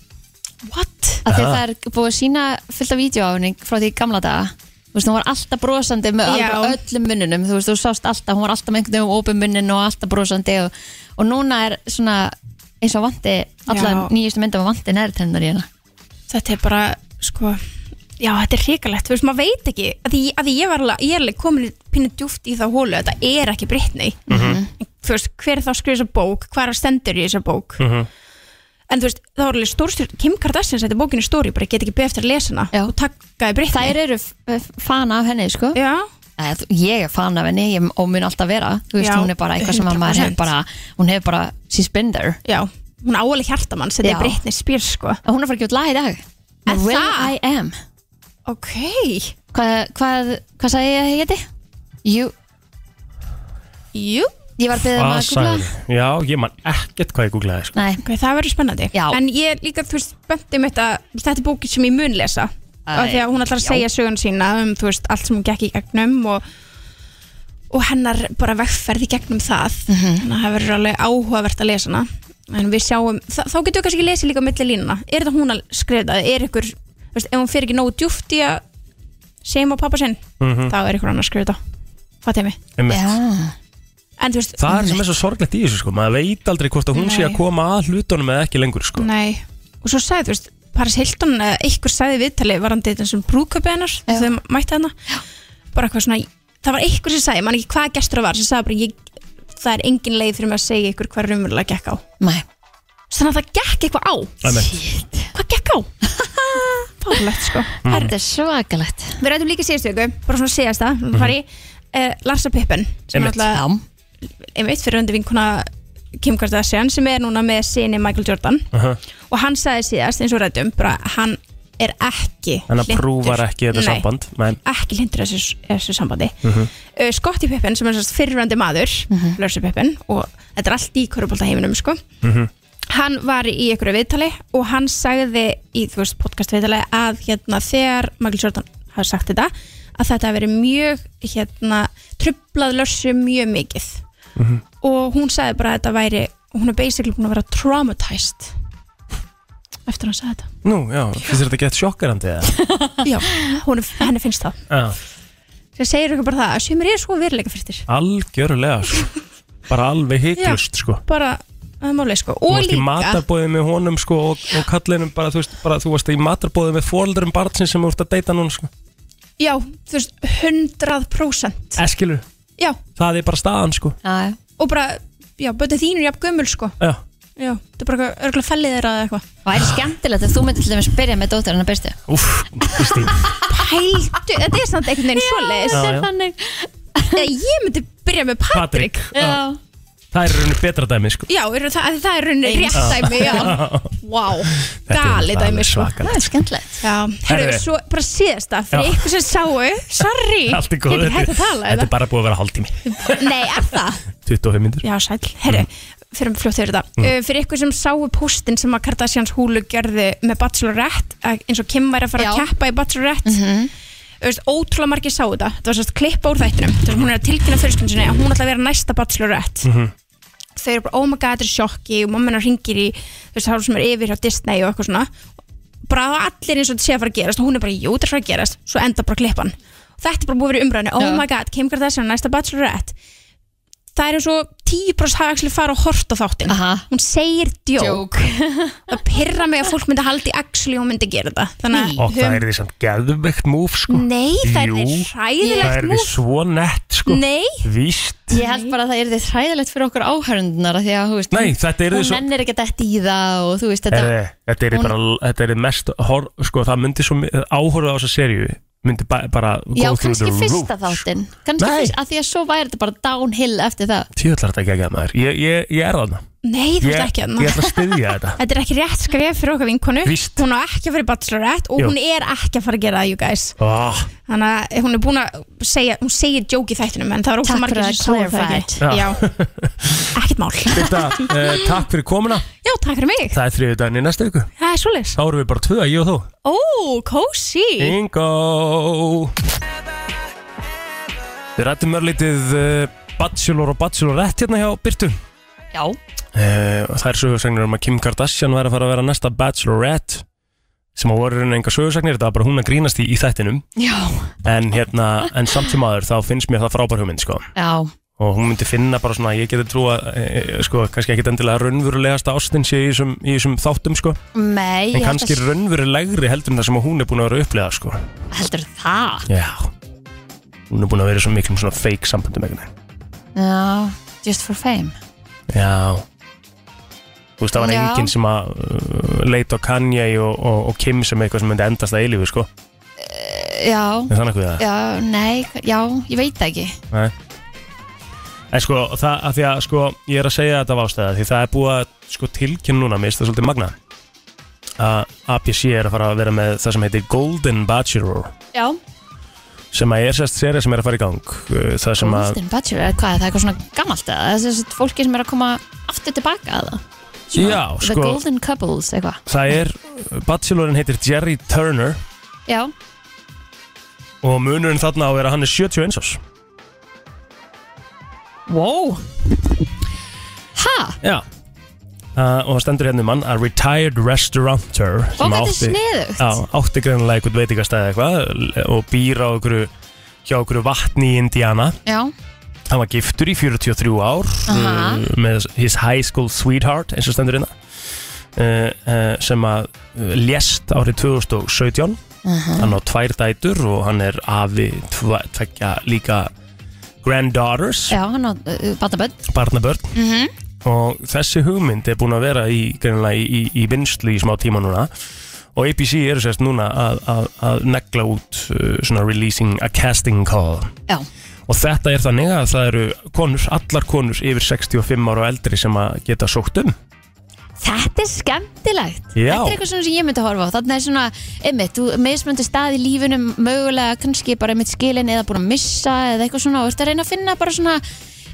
Speaker 6: What?
Speaker 3: af því að það er búið að sína fullt af vídeo á henni frá því í gamla daga Þú veist, hún var alltaf brosandi með
Speaker 6: Já.
Speaker 3: alveg öllum munnunum þú veist, þú sást alltaf, hún var alltaf með einhvern veginn opið munnin og alltaf brosandi og, og núna er svona eins og vandi allar
Speaker 6: Já.
Speaker 3: nýjustu myndum að vandi neðri tennunar í henni
Speaker 6: Þetta er bara, sko Já, þetta er hrikalegt, þú veist, maður veit ekki að því, að því ég var alveg, ég er alveg komin pínu djúft í þá hólu, þetta er ekki Britney
Speaker 4: Mhm.
Speaker 6: Þú veist, hver er þá að skrifa þessa bók hvað er að stendur í þessa bók
Speaker 4: Mhm.
Speaker 6: En þú veist, það var alveg stórstjórn Kim Kardashian sætti bókinu stóri, bara ég get ekki beð eftir að lesa hana
Speaker 3: Já.
Speaker 6: og takkaði Britney
Speaker 3: Þær eru f- f- fan af henni, sko
Speaker 6: Já,
Speaker 3: Æ, þú- ég er fan af henni ég, og mun alltaf vera þú veist,
Speaker 6: Já,
Speaker 3: hún er bara eitthvað sem að maður
Speaker 6: 100%.
Speaker 3: hefur bara hún hefur bara, she's been there
Speaker 6: já, hún á alveg hjartamann þetta
Speaker 3: Já.
Speaker 6: er Britney Spears, sko
Speaker 3: og hún er að fara að gefa út lag í dag
Speaker 6: Er
Speaker 3: Will
Speaker 6: það?
Speaker 3: I Am
Speaker 6: Ok,
Speaker 3: hvað, hvað, hvað sagði ég að ég heiti? Jú,
Speaker 6: jú
Speaker 3: ég var að beða
Speaker 4: Hvað
Speaker 3: um að googla
Speaker 4: Ah, sagði Já, ég man ekkert hvað ég googlaði sko.
Speaker 3: Nei,
Speaker 6: Ok, það verður spennandi
Speaker 3: Já.
Speaker 6: En ég er líka, þú veist, böndum þetta Þetta er bókið sem ég mun lesa
Speaker 3: Æ,
Speaker 6: Af Því að hún ætlar að
Speaker 3: já.
Speaker 6: segja sögun sína um, þú veist, allt sem hún gekk í gegnum og, og hennar bara vegferð í gegnum það
Speaker 3: Mhm.
Speaker 6: Þannig að það verður alveg áhugavert að lesa hana En við sjáum, þa þá getum við kannski lesið líka milli línuna Er þetta hún að skrifa það? Er ykkur, þú veist, ef hún fer ekki nógu djúft í að segjum á pappa sinn
Speaker 3: Mm.
Speaker 6: þá er ykkur annar að skrifa það Fatið mig
Speaker 4: Mhm, Einmitt.
Speaker 3: já
Speaker 6: En þú veist,
Speaker 4: Það er sem er svo sorglegt í þessu sko Maður veit aldrei hvort að hún sé
Speaker 6: Nei.
Speaker 4: að koma að hlutunum eða ekki lengur sko
Speaker 6: Nei, og svo sagði þú veist Paris Hilton, eða einhver sagði í viðtali varandi þetta sem brúköpi hennar
Speaker 3: Já.
Speaker 6: þau mætti hennar bara eitthvað svona, það var einhver sem sagði, mann ekki hvað gestur það var sem sagði bara, ég, það er engin leið fyrir mig að segja ykkur hvað raunverulega gekk á
Speaker 3: Nei,
Speaker 6: þannig að það gekk eitthvað á
Speaker 4: Einmitt.
Speaker 6: hvað gekk á? Fárlegt sko
Speaker 4: Mm.
Speaker 6: Herri,
Speaker 3: þetta er svakalegt
Speaker 6: Mhm. Við rættum líka síðustu ykkur, bara svona síðasta mm -hmm. uh, Larsa Pippen sem
Speaker 4: Einmitt.
Speaker 6: alltaf
Speaker 3: Já,
Speaker 6: einmitt fyrir undir vinkuna Kim Kardashian sem er núna með sinni Michael Jordan
Speaker 4: Aha.
Speaker 6: og hann sagði síðast eins og rættum bara hann er ekki
Speaker 4: Þannig að
Speaker 6: hlynntur-
Speaker 4: prúfar ekki þetta
Speaker 6: Nei,
Speaker 4: samband Nei,
Speaker 6: ekki lindur þessu, þessu sambandi uh Scotty Pippen sem er sérst fyrrandi maður uh Pippen og þetta er allt í korubólta heiminum sko hann var í einhverju viðtali og hann sagði í þú veist podcast viðtali að hérna þegar Michael Jordan hafði sagt þetta að þetta hafi verið mjög hérna trublað lörsu mjög mikið og hún sagði bara að þetta væri hún er basically búin að vera traumatized eftir að hann sagði þetta
Speaker 4: nú, já, finnst þér þetta gett sjokkarandi eða?
Speaker 6: já, hún, er- henni finnst það
Speaker 4: Já,
Speaker 6: sem segir okkur bara það að sumir er svo veruleika fyrstir
Speaker 4: algjörlega sko. Bara alveg hygglust sko
Speaker 6: bara að máli sko
Speaker 4: Þú
Speaker 6: og
Speaker 4: varst í
Speaker 6: líka
Speaker 4: matarbóðið með honum sko og, og kallinum bara, þú veist, bara þú varst í matarbóðið með fóreldurum barnsins sem þú ert að deyta núna sko
Speaker 6: já, þú veist, 100%
Speaker 4: Eskilur,
Speaker 6: já,
Speaker 4: það er bara staðan sko
Speaker 3: Já,
Speaker 6: og bara, já, bötið þín er jafn gömul sko
Speaker 4: Já,
Speaker 6: já, það er bara örgulega fellið þeirra eða eitthvað
Speaker 3: það er skemmtilegt að þú myndir til dæmis byrja með dóttir hennar bestu
Speaker 4: úff, Kristín
Speaker 6: pældu, þetta er samt einhvern veginn svoleiðis
Speaker 4: já.
Speaker 3: þannig
Speaker 6: Eða ég myndi byrja með Patrik
Speaker 4: Patrik, já. það er í rauninni betra dæmi sko
Speaker 6: já, eru það, það er rauninni rétt dæmi já, wow,
Speaker 4: Þetta er
Speaker 6: gali
Speaker 4: alveg
Speaker 6: dæmi sko
Speaker 4: svakalegt.
Speaker 3: Það er skemmtilegt
Speaker 6: já, herru,
Speaker 4: Herðu.
Speaker 6: svo bara síðast það fyrir
Speaker 4: Já.
Speaker 6: ykkur sem sáu, sorry
Speaker 4: Allt er góð,
Speaker 6: ég er hægt að tala
Speaker 4: þetta er bara búið að vera hálftími
Speaker 6: þetta nei, er það
Speaker 4: 25 myndir
Speaker 6: Já, sæl, herri, fyrir fljótt yfir þetta uh, Fyrir ykkur sem sáu postin sem að Kardashians húlu gerði með Bachelorette að eins og Kim væri að fara
Speaker 3: Já.
Speaker 6: að keppa í Bachelorette mm -hmm. Ótrúlega margir sáu þetta Þetta var sérst klippa úr þættinum Þess að hún er að tilkynna fyrirskjönd sinni að hún ætla að vera næsta Bachelorette Þau eru bara, oh my god, þetta er sjokki og mamma hennar ringir í þú veist, þá sem er yfir hjá Disney og eitthvað svona bara á allir eins og þetta sé að fara að gerast og hún er bara, jú, þetta er að fara að gerast, svo enda bara klippan Þetta er bara búið að vera í umræðinu, oh
Speaker 3: Já.
Speaker 6: my god, Kim Kardashian er næsta Bachelorette það er eins og 10% hafa actually fara og horta þáttin
Speaker 3: Aha.
Speaker 6: hún segir djók
Speaker 3: Jók
Speaker 6: það pyrra mig að fólk myndi haldi actually hún myndi gera þetta þannig
Speaker 4: Og
Speaker 6: að
Speaker 4: það er því samt geðveikt múf sko
Speaker 6: nei það er
Speaker 4: Jú, Það
Speaker 6: ræðilegt
Speaker 4: er því
Speaker 6: múf
Speaker 4: svo nett sko
Speaker 6: nei
Speaker 4: Víst
Speaker 3: Ég held bara að það er þið hræðilegt fyrir okkur áhörundunar Því að, þú veist,
Speaker 4: Nei, þetta er því
Speaker 3: hún
Speaker 4: svo
Speaker 3: nennir ekki að detti í það og þú veist þetta
Speaker 4: Herri, Þetta er
Speaker 3: hún-
Speaker 4: bara, þetta er mest hor, sko, það myndi svo áhorða á þessa serju myndi ba bara go
Speaker 3: Já,
Speaker 4: through
Speaker 3: kannski
Speaker 4: the
Speaker 3: fyrsta
Speaker 4: roof, sko.
Speaker 3: þáttinn Kannski
Speaker 4: Nei.
Speaker 3: fyrst, að því að svo væri þetta bara downhill eftir það
Speaker 4: Tjóðlar þetta ekki að geða maður Ég, ég, ég er þarna
Speaker 6: nei þú veist
Speaker 4: Ég,
Speaker 6: ekki
Speaker 3: hérna.
Speaker 4: ég
Speaker 6: að
Speaker 4: ætla að styðja þetta
Speaker 6: þetta er ekki rétt skref fyrir okkar vinkonu
Speaker 4: Víst.
Speaker 6: hún á ekki að fara í bachelorette og
Speaker 4: Jú.
Speaker 6: hún er ekki að fara að gera það you guys
Speaker 4: oh,
Speaker 6: þannig að hún er búin að segja hún segir djók í þættinum en það var ósað
Speaker 3: Takk
Speaker 6: margir
Speaker 3: fyrir
Speaker 6: sem sáu
Speaker 3: að
Speaker 6: það ekki já ekkert mál já
Speaker 4: Birta, uh, Takk fyrir komuna
Speaker 6: takk fyrir mig
Speaker 4: Það er þriðu daginn í næstu viku
Speaker 6: það er svoleiðis
Speaker 4: Þá erum við bara tvö, ég og þú
Speaker 6: ó kósi
Speaker 4: Bingo Við rættum örlítið uh, Bachelor og Bachelorette hérna hjá Byrtu
Speaker 3: Já,
Speaker 4: Eh, og það er sögursagnir um að Kim Kardashian væri að fara að vera næsta Bachelorette sem að voru enga sögursagnir þetta var bara hún að grínast í, í þættinum
Speaker 3: já,
Speaker 4: en, hérna, en samt sem aður þá finnst mér það frábær hugmynd sko.
Speaker 3: já
Speaker 4: og hún myndi finna bara svona ég getur trú að e, e, sko, kannski ekkit endilega raunverulegasta ástin sé í þessum, í þessum þáttum sko.
Speaker 3: Nei,
Speaker 4: en kannski raunverulegri heldur en það sem að hún er búin að vera að upplega sko.
Speaker 3: heldur það
Speaker 4: já hún er búin að vera í svo miklum svona fake samböndum einhvern veginn.
Speaker 3: Já, just for fame
Speaker 4: Já Þú veist, það var
Speaker 3: Já.
Speaker 4: enginn sem að uh, leita á Kanye og, og, og Kim sem eitthvað sem myndi endast að eilífu, sko
Speaker 3: Já,
Speaker 4: Er það nokkuð það?
Speaker 3: já, nei, já, ég veit það ekki
Speaker 4: Nei En sko, það að því að, sko, ég er að segja þetta af ástæða Því það er búið að, sko, tilkynna núna Mér finnst það svolítið magna Að APC er að fara að vera með það sem heitir Golden Bachelor
Speaker 3: Já
Speaker 4: Sem að er sérst serið sem er að fara í gang uh, Það sem að,
Speaker 3: Golden Bachelor, eða hvað, er það eitthvað svona gammalt eða Það er þessi fólki sem er að koma aftur tilbaka að það
Speaker 4: já,
Speaker 3: The
Speaker 4: sko
Speaker 3: Golden Couples, eitthvað
Speaker 4: Það er, Bachelorin heitir Jerry Turner
Speaker 3: Já,
Speaker 4: Og munurinn þarna á er að hann er 71 árs
Speaker 3: wow Ha,
Speaker 4: Já uh, Og það stendur hérna um hann A retired restauranter
Speaker 3: og þetta er sniðugt
Speaker 4: á, átti greinlega einhvern veitingastæði eitthvað Og býr á okkur Hjá okkur vatni í Indiana
Speaker 3: Já,
Speaker 4: Hann var giftur í 43 ár
Speaker 3: Aha.
Speaker 4: uh, Með his high school sweetheart Eins og stendur hérna Uh, uh, sem að uh, lést árið 2017 hann á tvær dætur og hann er afi tva, tvekja líka granddaughters
Speaker 3: já, hann á uh, Bataböld
Speaker 4: barnabörn
Speaker 6: Mhm.
Speaker 4: og þessi hugmynd er búin að vera í, greinilega í, í, í vinslu í smá tíma núna og ABC eru sérst núna að, að, að negla út uh, svona releasing a casting call
Speaker 3: Já,
Speaker 4: og þetta er þannig að það eru konur, allar konur yfir 65 ára og eldri sem að geta sótt um
Speaker 3: Þetta er skemmtilegt
Speaker 4: Já.
Speaker 3: Þetta er eitthvað svona sem ég myndi að horfa á Þannig er svona, einmitt, þú meðsmöndu stað í lífunum Mögulega kannski bara einmitt skilin Eða búin að missa eða eitthvað svona Og ertu að reyna að finna bara svona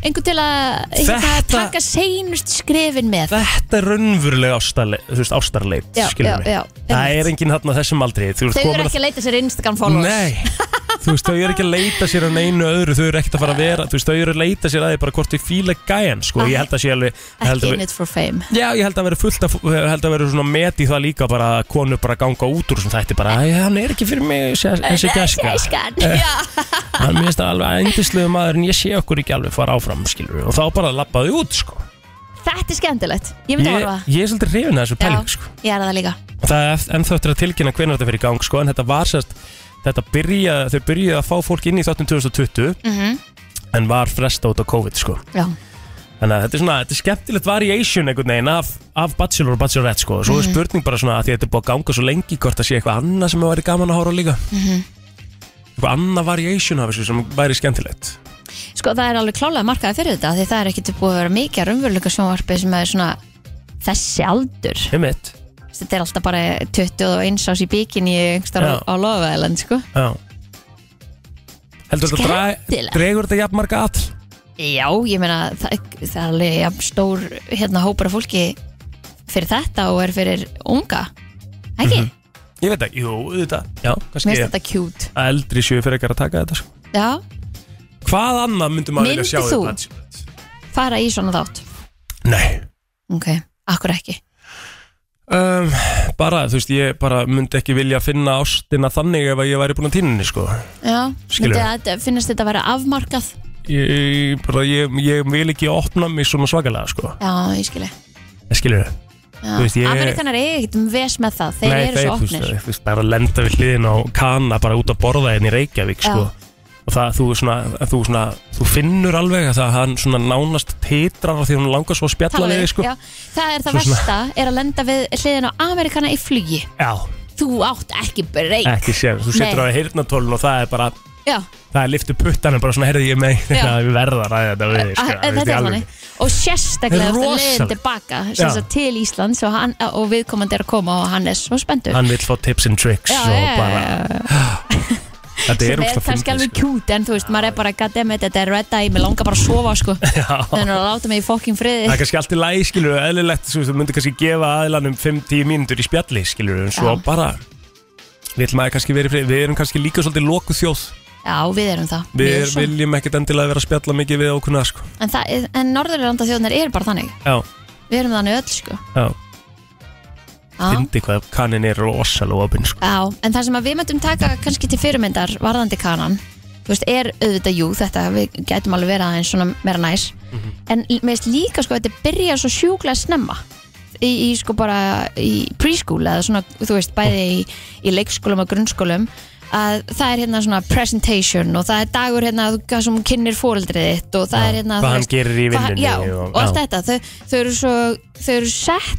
Speaker 3: Einhvern til að hérna,
Speaker 4: Þetta-
Speaker 3: taka seinust skrefin með
Speaker 4: Þetta er raunverulega ástarle, þú veist, ástarleit
Speaker 3: Já,
Speaker 4: skilur
Speaker 3: já,
Speaker 4: við.
Speaker 3: já,
Speaker 4: Það
Speaker 3: einmitt.
Speaker 4: er enginn þarna á þessum aldri Þú ert
Speaker 3: Þau
Speaker 4: komin
Speaker 3: eru
Speaker 4: að-
Speaker 3: ekki að leita sér Instagram followers
Speaker 4: Nei, þú veist, þau eru ekki að leita sér að neinu öðru, þau eru ekkert að fara að vera þú veist, þau eru að leita sér að því bara hvort þau fíla gæjan sko, ég held að sé alveg ég held
Speaker 3: Ah. Ekki
Speaker 4: að
Speaker 3: in
Speaker 4: við-
Speaker 3: it for fame
Speaker 4: Já, ég held að vera fullt að, ég held að vera svona met í það líka bara að konur bara ganga út úr sem þætti bara, æ, hann er ekki fyrir mig sé- þessi gæska,
Speaker 3: Gæskan, já
Speaker 4: hann minnst það alveg endisluðu maður en ég sé okkur ekki alveg fara áfram, skilur og þá bara labbaðu út, sko
Speaker 3: Þetta er skemmtilegt, ég
Speaker 4: Ég,
Speaker 3: myndi að horfa á það.
Speaker 4: ég er svolítið hrifin að þessu pæling, sko
Speaker 3: Já, ég er það líka
Speaker 4: og það er ennþá eftir að tilkynna hvernig þetta fyrir í gang sko, en þetta var sérst þetta byrja, þau byrjaði að fá fólk inn í þáttum 2020
Speaker 3: Mhm.
Speaker 4: en var fresta út á COVID sko.
Speaker 3: Já,
Speaker 4: þannig að þetta er, svona, þetta er skemmtilegt variation einhvern veginn af, af Bachelor og Bachelorette sko. svo
Speaker 3: Mhm.
Speaker 4: er spurning bara svona að því að þetta er búið að ganga svo lengi hvort að sé eitthvað annað sem væri gaman að horfa á líka
Speaker 3: Mhm.
Speaker 4: eitthvað annað variation af þessu sem væri skemmtilegt
Speaker 3: sko það er alveg klálega markaði fyrir þetta Því það er ekki búið að vera mikið rumvöldleika sjónvarpi sem er svona þessi aldur
Speaker 4: heimitt
Speaker 3: þetta er alltaf bara 21 ás í bikini einhverstað
Speaker 4: Já.
Speaker 3: á lofaðiland sko.
Speaker 4: heldur þetta dra-
Speaker 3: Skemmtilegt.
Speaker 4: dregur þetta jafn marga all
Speaker 3: já, ég meina það, það er alveg ja, stór hérna, hópar af fólki fyrir þetta og er fyrir unga ekki, mm
Speaker 4: ég veit ekki, jú, þetta já,
Speaker 3: mér finnst
Speaker 4: kannski
Speaker 3: þetta cute
Speaker 4: að eldri séu fyrir ekkert að taka þetta sko.
Speaker 3: já,
Speaker 4: Hvað annað myndum að vilja
Speaker 3: Myndi
Speaker 4: sjá
Speaker 3: þú?
Speaker 4: í Bachelorette?
Speaker 3: fara í svona þátt
Speaker 4: Nei
Speaker 3: ok, akkur ekki
Speaker 4: um, Bara, þú veist, ég bara myndi ekki vilja finna ástina þannig ef að ég væri búin að tíninni, sko
Speaker 3: já,
Speaker 4: Skilur.
Speaker 3: myndi að finnast þetta að vera afmarkað
Speaker 4: Ég, ég- bara, ég, ég vil ekki opna mig svona svakalega, sko
Speaker 3: já, ég skilji
Speaker 4: Ég Skilur þau? Þú veist, ég-
Speaker 3: Amerikanar eiga ekkert um ves með það þeir eru svo
Speaker 4: þú veist,
Speaker 3: opnir
Speaker 4: þú veist, það er að lenda við hliðin á kana bara út að borða henni í Reykjavík,
Speaker 3: Já.
Speaker 4: sko Og það, þú, svona, þú, svona, þú finnur alveg að það hann svona nánast titrar af því að hún langar svo að spjalla
Speaker 3: Tala
Speaker 4: við,
Speaker 3: við,
Speaker 4: þig, sko
Speaker 3: já. það er það
Speaker 4: Svo svona-
Speaker 3: versta er að lenda við hliðin á Amerikana í flugi
Speaker 4: já
Speaker 3: þú átt ekki breyk
Speaker 4: ekki sér, þú setur á
Speaker 3: Nei.
Speaker 4: heyrnatólun og það er bara
Speaker 3: Já,
Speaker 4: Það er liftu puttanum bara svona, heyrðu ég með
Speaker 3: Já.
Speaker 4: þetta, við verðum að ræða þetta við, þig,
Speaker 3: a-
Speaker 4: sko,
Speaker 3: a-
Speaker 4: veist,
Speaker 3: þetta
Speaker 4: í
Speaker 3: er
Speaker 4: alvöru.
Speaker 3: þannig og sérstaklega
Speaker 4: Þetta er
Speaker 3: eftir leiðin
Speaker 4: rosalegt.
Speaker 3: tilbaka sem
Speaker 4: Já.
Speaker 3: sagt til Íslands og, hann, og viðkomandi er að koma og hann er svo spenntur
Speaker 4: Hann vil fá tips and tricks
Speaker 3: Já,
Speaker 4: og
Speaker 3: já, já,
Speaker 4: bara, þetta
Speaker 3: sem
Speaker 4: er sko.
Speaker 3: er
Speaker 4: úrslag
Speaker 3: kannski alveg kjút en þú veist, maður er bara goddammit, þetta er red eye, mér langar bara að sofa sko,
Speaker 4: Það
Speaker 3: þannig að láta mig í fokkin friði
Speaker 4: er kannski allt í lagi, skilur, eðlilegt, þú veist, þú myndir kannski gefa aðlanum 5-10 mínútur í spjalli, skilur, en svo
Speaker 3: Já.
Speaker 4: bara, vil maður kannski verið frið, við erum kannski líka svolítið loku þjóð,
Speaker 3: Já, við erum það
Speaker 4: við
Speaker 3: Við
Speaker 4: er,
Speaker 3: erum
Speaker 4: viljum ekkert endilega vera að spjalla mikið við okkurna, sko.
Speaker 3: svo- En, það- en norðurlanda þjóðnir er bara þannig
Speaker 4: Já,
Speaker 3: Við erum þannig öll sko
Speaker 4: já,
Speaker 3: Já.
Speaker 4: fyndi hvað kanin er rosalega opinn, sko.
Speaker 3: Já, en það sem að við möttum taka kannski til fyrirmyndar varðandi kanan þú veist, er auðvitað jú þetta við gætum alveg verið aðeins svona meira næs
Speaker 4: Mhm.
Speaker 3: en l- mér finnst líka sko þetta byrja svo sjúklega snemma í, í sko bara í preschool eða svona, þú veist, bæði í, í leikskólum og grunnskólum að það er hérna svona presentation og það er dagur hérna að þú- sem kynir fóreldrið þitt og það er hérna
Speaker 4: hvað
Speaker 3: þú
Speaker 4: hann gerir í
Speaker 3: hvað-
Speaker 4: vinnunni
Speaker 3: já,
Speaker 4: og-
Speaker 3: og allt
Speaker 4: já.
Speaker 3: þetta þau, þau eru svo, þau eru sett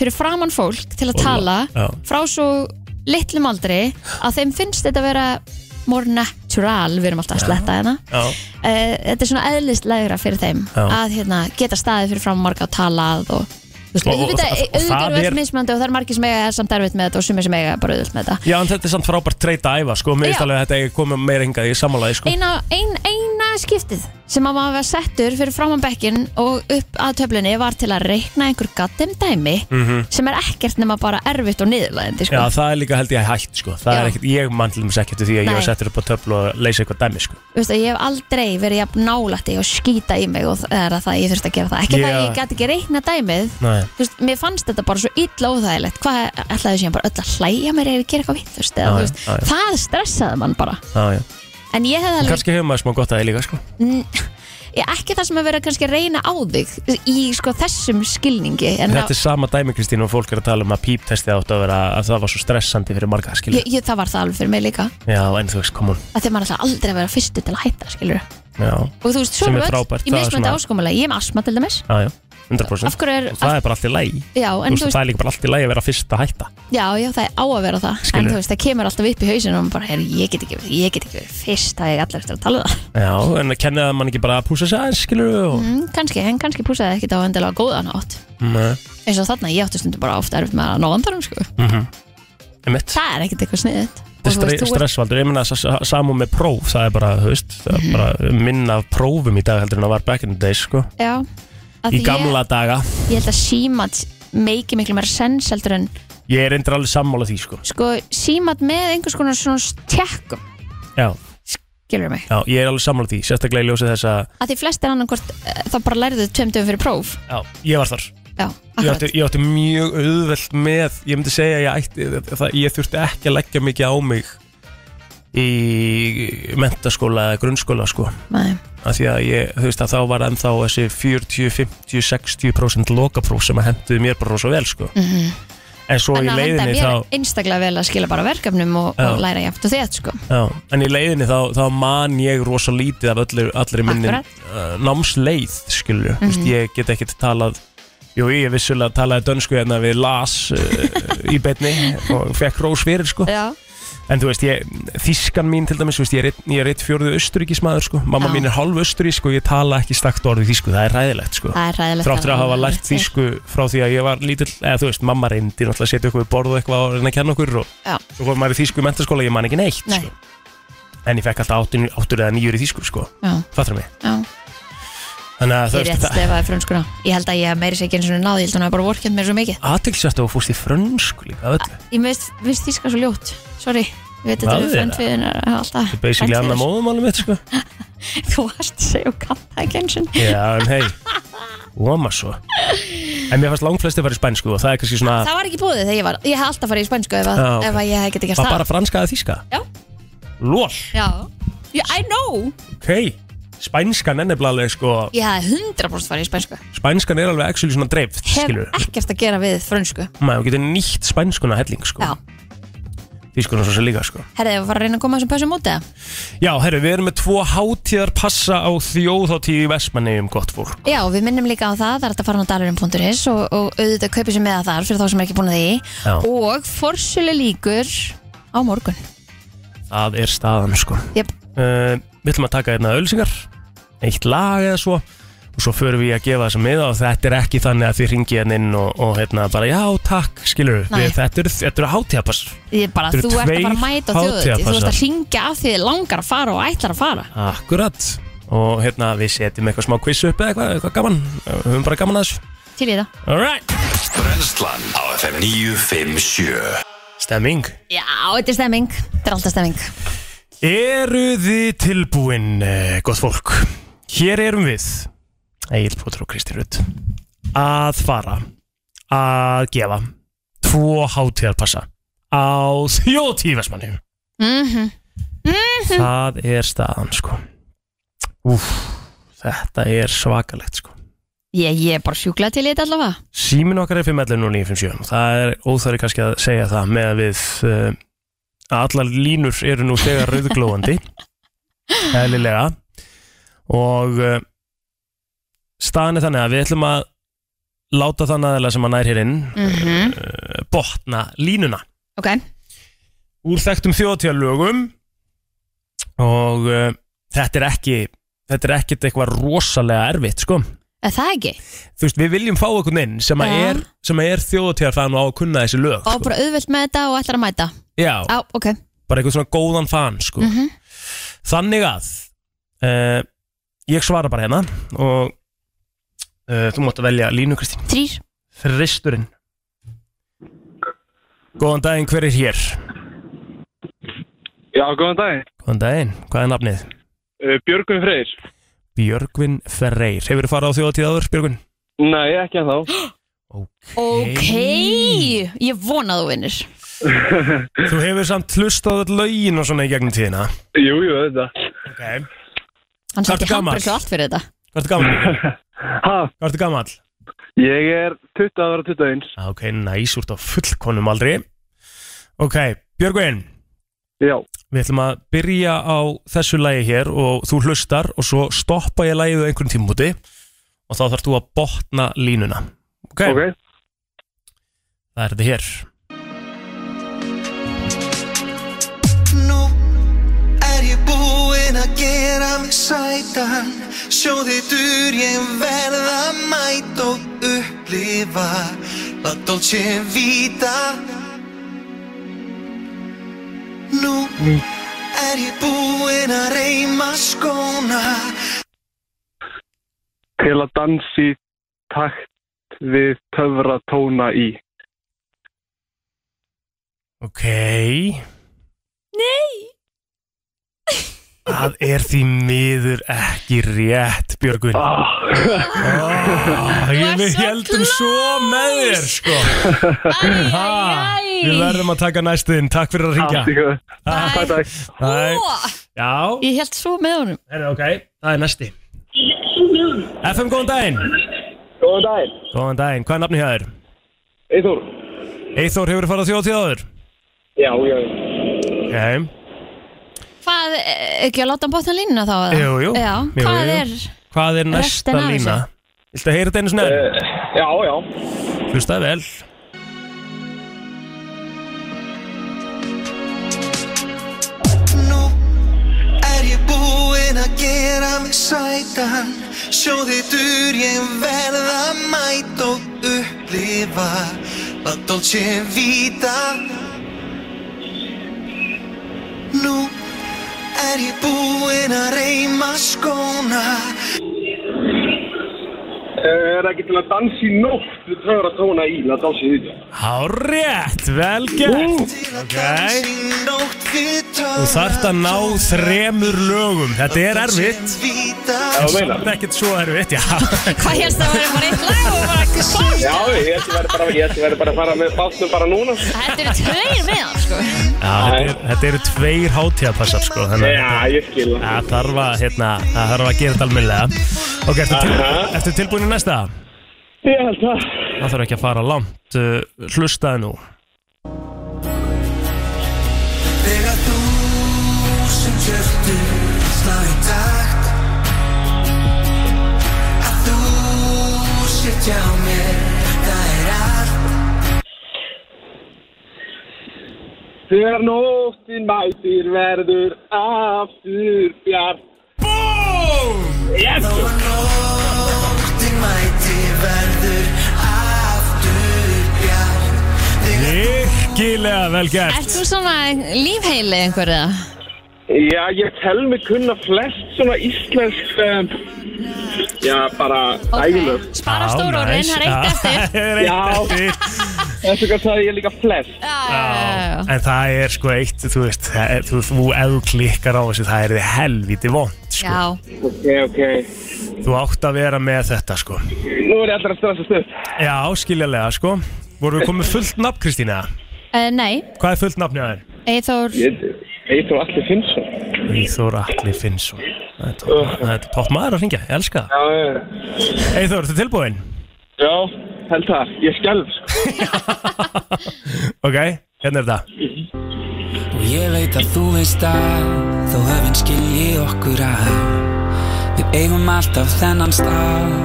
Speaker 3: fyrir framann fólk til að tala
Speaker 4: já.
Speaker 3: frá svo litlum aldri að þeim finnst þetta vera more natural, við erum alltaf að sletta hérna
Speaker 4: Já,
Speaker 3: uh, þetta er svona eðlislegra fyrir þeim
Speaker 4: Já.
Speaker 3: að hérna, geta staðið fyrir framann marga og talað og þú veist,
Speaker 4: Og- og-
Speaker 3: auðvitað
Speaker 4: og- og- og
Speaker 3: auðvitað
Speaker 4: það
Speaker 3: eru
Speaker 4: er-
Speaker 3: öll mismandi og það er margir sem eiga samt erfitt með þetta og sumir sem eiga bara auðvilt með þetta
Speaker 4: Já, en þetta er samt frábært treyta æfa, sko, mér finnst
Speaker 3: Já.
Speaker 4: alveg að þetta eigi að koma meira hingað í samanlæði, sko.
Speaker 3: eina, ein, eina skiptið sem að maður var settur fyrir framan bekkin og upp að töflunni var til að reikna einhver gattum dæmi sem er ekkert nema bara erfitt og niðurlæðandi sko.
Speaker 4: Mhm. Já, það er líka held ég hægt sko Það
Speaker 3: Já.
Speaker 4: er ekkert, ég mann til þess ekki eftir því að ég var
Speaker 3: Nei.
Speaker 4: settur upp á töflu og leysa eitthvað dæmi sko
Speaker 3: Þú veist að ég hef aldrei verið jafn nálætti og skýta í mig og það er að það ég þurfti að gera það ekki
Speaker 4: Já.
Speaker 3: það að ég gæti ekki reikna dæmið
Speaker 4: Nei.
Speaker 3: Þú veist, mér fannst þetta bara svo illa óþægilegt hvað ætlaði sér bara öll að hlæja mér ef ég gera eitthvað vitt þú veist, eða,
Speaker 4: Já,
Speaker 3: þú
Speaker 4: já,
Speaker 3: veist,
Speaker 4: já, já.
Speaker 3: það stressaði mann bara
Speaker 4: Já, já
Speaker 3: en ég
Speaker 4: En
Speaker 3: hefði alveg
Speaker 4: Kannski hefur maður smá gott að því líka sko
Speaker 3: N- Já, ekki það sem að vera kannski að reyna á þig í sko þessum skilningi en
Speaker 4: Þetta er sama dæmi Kristín og fólk er að tala um að píptesti átt að vera að það var svo stressandi fyrir marga
Speaker 3: það,
Speaker 4: skilur
Speaker 3: ég, ég, það var það alveg fyrir mig líka
Speaker 4: Já, en þú veist, kom hún
Speaker 3: að þegar maður alltaf aldrei að vera fyrstu til að hætta skilur og
Speaker 4: Já,
Speaker 3: þú veist, svo
Speaker 4: Sem
Speaker 3: erum
Speaker 4: er
Speaker 3: við öll
Speaker 4: frábært, það
Speaker 3: í
Speaker 4: er
Speaker 3: mismöndi
Speaker 4: svona-
Speaker 3: áskomulega ég er með asma til dæmis
Speaker 4: já, já
Speaker 3: Af
Speaker 4: 100%
Speaker 3: hverju er
Speaker 4: Það er bara allt í lægi
Speaker 3: Já, en þú veist,
Speaker 4: Það er líka bara allt í lægi að vera fyrst að hætta
Speaker 3: já, já, það er á að vera það
Speaker 4: Skilur.
Speaker 3: En þú veist, það kemur alltaf upp í hausinu og maður bara, herri, ég get ekki, ég get ekki verið fyrst Það er allir eftir að tala um það
Speaker 4: Já, en að kenna það mann ekki bara að púsa sig aðeins, skilur við og...
Speaker 3: mm, Kannski, en kannski púsaði ekkit á endilega góðan átt
Speaker 4: mm.
Speaker 3: Eins og þarna, ég átti stundum bara oft erfitt með að ná andanum, sko
Speaker 4: Emitt,
Speaker 3: Það er ekkit eitthvað sniðið
Speaker 4: þetta er stre- stressvaldur Ég meina sa- sa- samúð með próf, það er bara, þú veist Það er bara minna af prófum í dag heldur en það var back in the days, sko
Speaker 3: Já, að
Speaker 4: Í gamla daga
Speaker 3: ég, ég held að símat meiki miklu meira sens heldur en
Speaker 4: Ég er endur alveg sammála því, sko
Speaker 3: sko símat með einhvers konar svona tjekkum
Speaker 4: Já,
Speaker 3: gilur mig,
Speaker 4: já ég er alveg sammála því Sérstaklega í ljósið þess að
Speaker 3: að því flestir annan hvort eh, þá bara læriðu tveim dögum fyrir próf
Speaker 4: Já, ég var þar
Speaker 3: já,
Speaker 4: Ég
Speaker 3: akkurat,
Speaker 4: átti, ég átti mjög auðvelt með Ég myndi segja að ég, ætti, það, ég þurfti ekki að leggja mikið á mig Í mentaskóla eða grunnskóla sko
Speaker 3: Nei.
Speaker 4: að því að ég, þú veist að þá var ennþá þessi 40, 50, 60% lokapróf sem að henduði mér bara rosa vel sko en svo í
Speaker 3: en að henda
Speaker 4: leiðinni
Speaker 3: mér
Speaker 4: þá
Speaker 3: einstaklega vel að skila bara verkefnum og,
Speaker 4: Já.
Speaker 3: og læra jafnt og þett sko
Speaker 4: já, en í leiðinni þá, þá man ég rosa lítið af öllu, allri minni
Speaker 3: Akkurat. Mhm.
Speaker 4: uh, námsleið skilur, mm veist, ég get ekkert talað jú, ég vissulega talaði dönsku hérna við las uh, í betni og fekk rós fyrir sko
Speaker 3: já,
Speaker 4: En þú veist, ég, þískan mín til dæmis, þú veist, ég er einn- ég er eitt fjórðu austuríkismæður, sko. Mamma
Speaker 3: Já.
Speaker 4: mín er hálf austurísk og ég tala ekki stakt orðið þísku, það er ræðilegt, sko.
Speaker 3: það er ræðilegt
Speaker 4: Þráttur að hafa lært þísku frá því sko. að ég var lítill, eða þú veist, mamma reyndi náttúrulega að setja okkur við borð og eitthvað og reyna að kenna okkur og
Speaker 3: Já.
Speaker 4: svo fór maður í þísku í mentaskóla, ég man ekki neitt,
Speaker 3: Nei.
Speaker 4: sko. En ég fekk alltaf áttur, áttur eða nýjur í þísku, sko.
Speaker 3: já,
Speaker 4: Fattur mig.
Speaker 3: já,
Speaker 4: Þannig að þú
Speaker 3: ég rétt
Speaker 4: veist, það
Speaker 3: stefaði frönskuna ég held að ég meiri sér ekki eins og náði, ég held að hún hafi bara vorkjönd mér svo mikið
Speaker 4: aðtilsvært að þú fórst í frönsku líka, af öllu.
Speaker 3: ég veist, veist þíska svo ljótt, sorry ég veit þetta
Speaker 4: Náðir
Speaker 3: er
Speaker 4: það?
Speaker 3: frendfiðin alltaf
Speaker 4: Basically annað
Speaker 3: frændfyrir.
Speaker 4: móðumálum mitt, sko.
Speaker 3: þú varst að segja og kanta ekki eins og
Speaker 4: Já, en hei, óma svo. En mér fannst langflesti að fara í spænsku og það er kannski svona...
Speaker 3: það var ekki búið þegar ég var, ég hef alltaf farið í spænsku ef,
Speaker 4: Já, Ah. ok.
Speaker 3: að, ef að ég hef ekki gert
Speaker 4: Var
Speaker 3: það
Speaker 4: bara franska eða þíska?
Speaker 3: Já.
Speaker 4: Lól,
Speaker 3: já, yeah, I know
Speaker 4: ok Spænskan er nefnilega alveg sko
Speaker 3: ég hef 100% farið í spænsku
Speaker 4: Spænskan er alveg actually svona dreift
Speaker 3: hef
Speaker 4: Skilur
Speaker 3: ekkert að gera við frönsku
Speaker 4: Maður getur nýtt spænskuna helling sko
Speaker 3: já,
Speaker 4: Þýskuna svo sem líka sko
Speaker 3: herðið, við fara að reyna að koma þessum pössum út eða?
Speaker 4: Já, herru, við erum með tvo hátíðar passa á þjóðhátíð í Vestmannegjum gott fólk
Speaker 3: já, við minnum líka á það, það er hægt að fara á dalurum.is og, og auðvitað kaupið sem meða þar fyrir þá sem er ekki búin að því
Speaker 4: Já.
Speaker 3: og forsölu líkur á morgun
Speaker 4: Það er staðan sko
Speaker 3: Jep.
Speaker 4: uh, Við ætlum að taka einna ölsingar Eitt lag eða svo Og svo förum við í að gefa þessa miða Og þetta er ekki þannig að þið ringi hérna inn Og, og hérna bara já takk skilur
Speaker 3: Nei.
Speaker 4: við Þetta eru- þetta eru hátíðapass
Speaker 3: ég er bara,
Speaker 4: Þetta eru
Speaker 3: þú ert að fara að
Speaker 4: tveir
Speaker 3: mæta á þjóðutíð þú ert
Speaker 4: hátíðarpassar.
Speaker 3: að ringja af því þið langar að fara og ætlar að fara
Speaker 4: Akkurat Og hérna við setjum eitthvað smá quiz upp eða eitthvað, eitthvað gaman Við höfum bara gaman að þessu
Speaker 3: til í það
Speaker 4: Alright
Speaker 2: Brennslan á FM 957
Speaker 4: Stemming
Speaker 3: já, þetta er stemming, þetta er alltaf stemming
Speaker 4: Eru þið tilbúin, eh, gott fólk Hér erum við Egil Pótur og Kristi Rutt Að fara Að gefa Tvo hátíðarpassa Á þjóðtífesmanni
Speaker 3: mhm
Speaker 4: Það er staðan sko Úf, þetta er svakalegt sko
Speaker 3: Ég, ég er bara sjúklað til í þetta allavega
Speaker 4: Símin okkar er 511 og 957 og það er óþæri kannski að segja það með að við uh, að allar línur eru nú þegar rauðglóandi eðlilega og uh, staðan er þannig að við ætlum að láta þann aðeila sem að nær hér inn
Speaker 3: mm -hmm.
Speaker 4: uh, botna línuna
Speaker 3: Ok,
Speaker 4: úr þekktum þjóðtíðalögum og uh, þetta er ekki þetta er ekkit eitthvað rosalega erfitt sko
Speaker 3: er það ekki?
Speaker 4: þú veist, við viljum fá okkur inn sem að
Speaker 3: Já.
Speaker 4: er, sem að er þjóðatíðarfan og á að kunna þessi lög
Speaker 3: Og bara auðvelt með þetta og ætlar að mæta
Speaker 4: Já,
Speaker 3: Á, ok
Speaker 4: bara eitthvað svona góðan fan sko.
Speaker 3: mm -hmm.
Speaker 4: þannig að uh, ég svara bara hérna og uh, þú mátt að velja Línu Kristín
Speaker 3: Þrýr
Speaker 4: Þristurinn Góðan daginn, hver er hér?
Speaker 7: Já, góðan daginn.
Speaker 4: Góðan daginn, hvað er nafnið?
Speaker 7: Uh, Björgum Freyr.
Speaker 4: Björgvin Ferreir Hefur þú farið á þjóðatíð áður, Björgvin?
Speaker 7: Nei, ekki en þá.
Speaker 3: Ok, ég vona að þú vinnir
Speaker 4: Þú hefur samt hlustað öll lögin og svona í gegnum tíðina
Speaker 7: Jú, jú, þetta.
Speaker 4: okay.
Speaker 3: Hann
Speaker 4: Hvað ertu
Speaker 3: sætti
Speaker 4: gamall?
Speaker 3: handbrið svo allt fyrir þetta
Speaker 4: Hvað ertu gamall? Björgvin?
Speaker 7: Ha,
Speaker 4: Hvað ertu gamall?
Speaker 7: ég er 20 ára 21.
Speaker 4: Ah, Ok, næs, úr þetta fullkonum aldrei Ok, Björgvin
Speaker 7: Já,
Speaker 4: Við ætlum að byrja á þessu lægi hér og þú hlustar og svo stoppa ég lægið á einhvern tímúti og þá þarf þú að botna línuna ok,
Speaker 7: ok
Speaker 4: það er þetta hér
Speaker 2: Nú er ég búinn að gera mig sætan Sjóði dur ég verða mæt og upplifa La Dolce Vita Nú er ég búinn að reyma skóna
Speaker 7: Til að dansi takt við töfra tóna í
Speaker 4: ok nei það er því miður ekki rétt Björgun
Speaker 7: ah,
Speaker 4: oh, ég við heldum svo með þér sko ha, við verðum að taka næstuðin takk fyrir að ringja
Speaker 7: Allt í góðu Bye bye
Speaker 4: Hæ. já,
Speaker 3: Ég held svo með honum
Speaker 4: Herra, ok, það er næsti FM, góðan daginn
Speaker 7: Góðan daginn
Speaker 4: Góðan daginn, hvað er nafni hjá þér?
Speaker 7: Íþór
Speaker 4: Eithór hefur farið á þjóðtíð áður
Speaker 7: Já, já
Speaker 4: Ok,
Speaker 3: Hvað, eh, ekki að láta hann botna línuna þá? eða?
Speaker 4: Jú, jú.
Speaker 3: Já,
Speaker 4: Jú,
Speaker 3: hvað
Speaker 4: jú.
Speaker 3: er
Speaker 4: hvað er
Speaker 3: Restin
Speaker 4: næsta
Speaker 3: af
Speaker 4: lína?
Speaker 3: þessu.
Speaker 4: Viltu að heyra þetta einu sinni? enn?
Speaker 7: Eh, Já, já
Speaker 4: Hlustaði vel
Speaker 2: Nú er ég búinn að gera mig sætan Sjóði dur ég verða mæt og upplifa La Dolce Vita Nú er ég búinn að reyma skóna
Speaker 7: Er ekki til að dansi nótt við töfra tóna í La Dolce Vita
Speaker 4: Hárétt, vel gert Ok,
Speaker 2: Dansi nótt við
Speaker 4: þú þarft að ná þremur lögum Þetta er erfitt
Speaker 2: erfitt
Speaker 7: Já, meina
Speaker 4: Það er ekkert svo erfitt, já
Speaker 3: Hvað helst það að vera bara eitt lag og bara klart?
Speaker 7: Já, ég ætti verið bara, ég ætti verið bara að fara með bátnum bara núna
Speaker 3: Þetta eru tveir með hann sko
Speaker 4: Já, þetta er- Þetta eru tveir hátíðapassar sko Þannig að
Speaker 7: Já, ég skil það
Speaker 4: það þarf að, hérna, það þarf að gera þetta almennilega Ok, ertu, til,
Speaker 7: Aha.
Speaker 4: ertu tilbúin í næsta?
Speaker 7: Ég held það
Speaker 4: Það þarf ekki að fara langt uh, Hlustaði nú
Speaker 2: Þegar þú sem hjörtur slá í takt Að þú sétt hjá mér, það er allt
Speaker 7: Þegar nóttin mætir verður aftur bjart BOOM! Yes!
Speaker 2: Þó að nóttin mæti verður aftur bjart Þegar
Speaker 4: Virkilega vel gert
Speaker 3: Ert þú svona lífheili einhverja?
Speaker 7: Já, ég tel mig kunna flest svona íslensk um, Já, bara ægilöf
Speaker 3: Spara stóru orðin, það er eitt eftir
Speaker 4: eftir
Speaker 7: Já.
Speaker 4: Það er eitt eftir
Speaker 7: Þessu hvað sagði ég líka flest
Speaker 3: Já, já,
Speaker 4: Já, En það er sko eitt, þú veist það er- Þú, þú ef þú klikkar á þessu, það er þið helviti vond
Speaker 3: já.
Speaker 4: sko.
Speaker 3: Já,
Speaker 7: Ok, ok
Speaker 4: Þú átt að vera með þetta sko
Speaker 7: Nú er ég allra að stressast upp
Speaker 4: Já, skiljalega sko Vorum við komið fullt nafn, Kristína?
Speaker 3: uh, nei,
Speaker 4: Hvað er fullt nafn hjá þér?
Speaker 3: Eithór
Speaker 7: Ég, ég þrú allir finnsum
Speaker 4: Eithor Atli Finnsson Það er topp- það er topp maður að ringja, ég elska það
Speaker 7: Já, já,
Speaker 4: Eithor, ertu tilbúin?
Speaker 7: já, held það Ég skelf sko
Speaker 4: Ok, hérna er þetta
Speaker 8: Og ég veit að þú veist að Þó höfinn skilji okkur að Við eigum alltaf þennan stað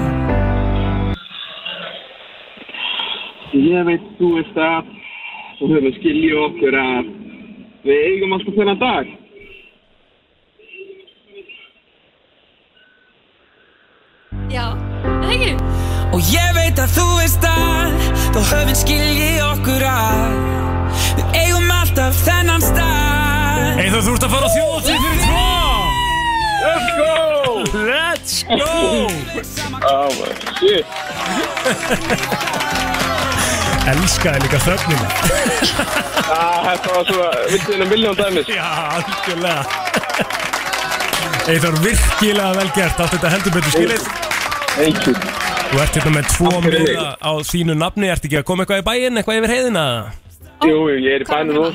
Speaker 7: Ég veit, þú veist að Þú höfum að skilja okkur að Við eigum alltaf þennan dag
Speaker 3: Já, ekki
Speaker 8: Og ég veit að þú veist að Þó höfinn skilji okkur að Við eigum alltaf þennan stað
Speaker 4: Eithor, þú ert að fara á þjóðatíð fyrir tvo
Speaker 7: Let's go!
Speaker 4: Let's go!
Speaker 7: Oh my shit
Speaker 4: Elskaði líka þögnina
Speaker 7: Ah, Þetta var svona, vittu þennan miljón dæmis
Speaker 4: Já, algjörlega Eithor, virkilega vel gert Allt þetta heldur betur skilið
Speaker 7: Thank you
Speaker 4: Þú ert hérna með tvo
Speaker 7: fyrir mig.
Speaker 4: miða á þínu nafni Ertu ekki að koma eitthvað í bæinn, eitthvað yfir heiðina?
Speaker 7: Jú, jú, ég er í bænum nú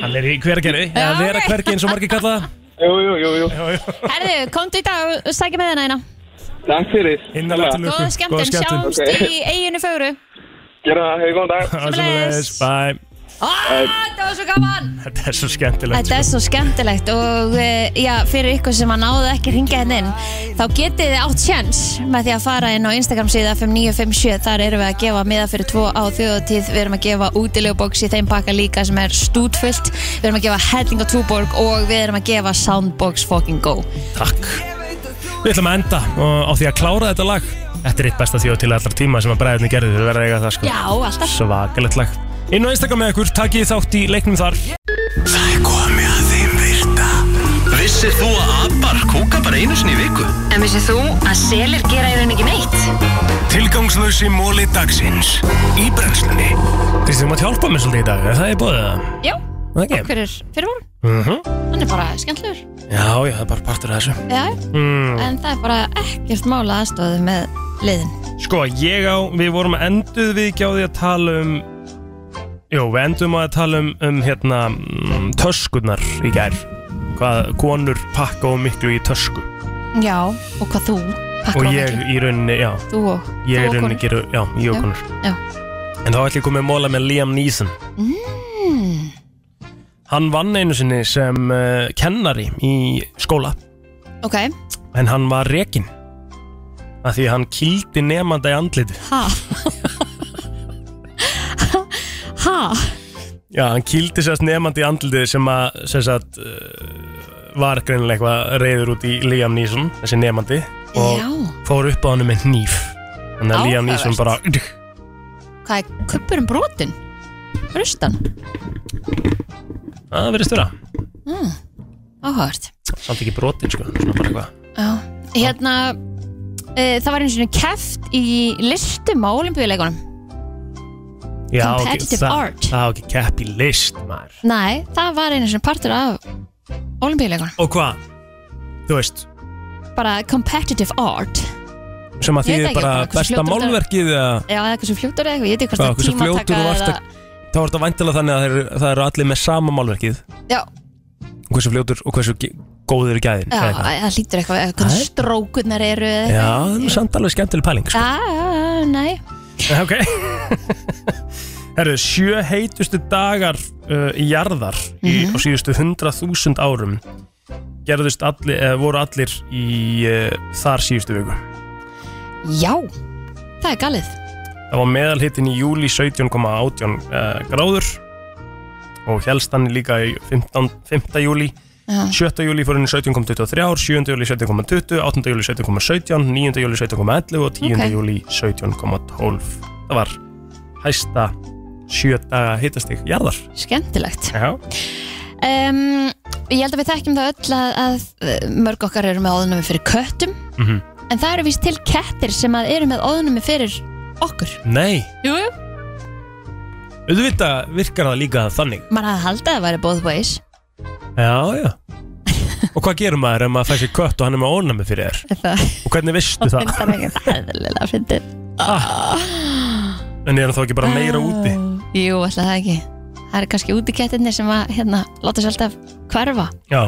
Speaker 4: Hann er í hveragerði Eða
Speaker 3: Já,
Speaker 4: vera
Speaker 3: ok.
Speaker 4: hvergi eins og margir kalla það.
Speaker 7: Jú, jú, jú, jú
Speaker 4: Já, já.
Speaker 3: Herðu, komdu í dag og sækja með hérna
Speaker 7: Takk fyrir Hérna,
Speaker 4: Innanlega til
Speaker 3: Góða
Speaker 4: lukku
Speaker 3: skemmtun, sjáumst
Speaker 7: Ok.
Speaker 3: í eiginu fögru
Speaker 7: Gera það, hefur góðan dag
Speaker 4: Sjáum
Speaker 3: Sömuleiðis.
Speaker 4: Bye
Speaker 3: Þetta var svo gaman
Speaker 4: Þetta er svo skemmtilegt
Speaker 3: Þetta er svo skemmtilegt og eh, já, fyrir ykkur sem að náðu ekki ringja henn inn þá getið þið átt sjens með því að fara inn á Instagram síða 5957 þar erum við að gefa miða fyrir tvo á þjóðatíð við erum að gefa útilegubóks í þeim pakka líka sem er stútfullt við erum að gefa helling og túborg og við erum að gefa soundbox fucking go
Speaker 4: Takk Við ætlum að enda og á því að klára þetta lag Þetta er eitt besta þjóð til allra tíma sem að bræðinni gerði Þau verða að eiga það sko
Speaker 3: Já, alltaf
Speaker 4: Svakalegt lag Inn á Instagram með ykkur, takk ég þátt í leiknum þar
Speaker 2: Það er komið að þeim virta Vissir þú að abar kúka bara einu sinni í viku?
Speaker 5: En vissið þú að selir gera í raun ekki neitt?
Speaker 2: Tilgangslösi móli dagsins Í brennslunni
Speaker 4: Kristi, þú mátt hjálpa mér svolítið í dag, er það ég bóðið það?
Speaker 3: Já,
Speaker 4: Okay.
Speaker 3: hver er fyrir voru?
Speaker 4: Mm
Speaker 3: Hann er bara skemmtilegur
Speaker 4: Já, já, það er bara partur af þessu
Speaker 3: Já,
Speaker 4: mm.
Speaker 3: en það er bara ekkert mála aðstofið með liðin
Speaker 4: Sko, ég á, við vorum að enduð við ekki á því að tala um Jú, við endum að tala um, um hérna, mm, töskurnar í gær Hvað konur pakka og miklu í tösku
Speaker 3: Já, og hvað þú? Pakkar
Speaker 4: Og
Speaker 3: á
Speaker 4: ég
Speaker 3: milli.
Speaker 4: í rauninni, já,
Speaker 3: Þú og
Speaker 4: ég í
Speaker 3: Þú og
Speaker 4: rauninni
Speaker 3: konur.
Speaker 4: geru, já, ég og
Speaker 3: Já,
Speaker 4: konur
Speaker 3: já.
Speaker 4: En þá ætlum ég komið að móla með Liam Neeson
Speaker 3: mm,
Speaker 4: Hann vann einu sinni sem uh, kennari í skóla
Speaker 3: Ok,
Speaker 4: En hann var rekin Af því hann kýldi nefnanda í andliti
Speaker 3: ha Ha
Speaker 4: Já, hann kýldi sérst nefnandi í andlitið sem að sem sagt, uh, var greinilega eitthvað reyður út í Liam Neeson, þessi nefnandi og
Speaker 3: Já,
Speaker 4: fór upp á hann með hníf þannig að Liam Neeson bara
Speaker 3: Áhugavert. hvað er kuppurum brotin? Rustan,
Speaker 4: það verðist vera,
Speaker 3: áhört
Speaker 4: samt ekki brotin sko, svona bara eitthvað
Speaker 3: Já, hérna e, Það var eins og keft í listum á olimpíuleikunum
Speaker 4: ok,
Speaker 3: Competitive
Speaker 4: það,
Speaker 3: art.
Speaker 4: Það á ekki kepp í list maður
Speaker 3: Nei, það var einu sinni partur af olimpíuleikunum,
Speaker 4: Og hvað? Þú veist,
Speaker 3: bara competitive art
Speaker 4: sem að
Speaker 3: Ég veit
Speaker 4: þýðir
Speaker 3: ekki,
Speaker 4: bara
Speaker 3: bara hversu
Speaker 4: besta
Speaker 3: fljótur þetta-
Speaker 4: málverkið eða
Speaker 3: Já, eða hversu fljótur eða eitthvað, ég veit ekki hvort
Speaker 4: Já,
Speaker 3: það er
Speaker 4: hversu fljótur
Speaker 3: tímataka
Speaker 4: þú varst
Speaker 3: eða
Speaker 4: þá er þetta væntilega þannig að það eru, það eru allir með sama málverkið
Speaker 3: Já,
Speaker 4: hversu fljótur og hversu ge- góður í gæðin
Speaker 3: já eh, það hlýtur eitthvað, eitthvað
Speaker 4: Nei.
Speaker 3: strókunar eru eða
Speaker 4: Já,
Speaker 3: eitthvað
Speaker 4: það er samt alveg skemmtileg pæling sko.
Speaker 3: Ah, nei
Speaker 4: Ok Herru, sjö heitustu dagar uh, í jarðar í, á síðustu 100.000 árum gerðust allir, eða voru allir í uh, þar síðustu viku
Speaker 3: Já, það er galið
Speaker 4: Það var meðalhitin í júli 17,18 uh, gráður og helst hann líka í 15, 5. júli
Speaker 3: Já.
Speaker 4: 7. júli fór hann í 17,23 7. júli 17,20, 8. júli 17,17 9. júli 17,11 og 10.
Speaker 3: Ok.
Speaker 4: júli 17,12 Það var hæsta sjö daga hitastig jarðar
Speaker 3: Skemmtilegt
Speaker 4: Já.
Speaker 3: um, Ég held að við þekkjum það öll að, að eh, mörg okkar eru með óðnumi fyrir köttum
Speaker 4: Mhm.
Speaker 3: En það eru víst til kettir sem að eru með óðnumi fyrir okkur
Speaker 4: Nei,
Speaker 3: Jú, jú
Speaker 4: auðvitað virkar það líka þannig
Speaker 3: Man hafði haldið að það væri both ways
Speaker 4: Já, já Og hvað gerum maður ef maður fær sér kött og hann er með ónæmi fyrir þér?
Speaker 3: Það
Speaker 4: Og hvernig veistu það?
Speaker 3: finnst það ekki það er leila að fyndi
Speaker 4: En er hann þá ekki bara meira úti?
Speaker 3: Jú, alltaf það ekki Það eru kannski útikettirni sem að hérna, láta sér alltaf hverfa
Speaker 4: Já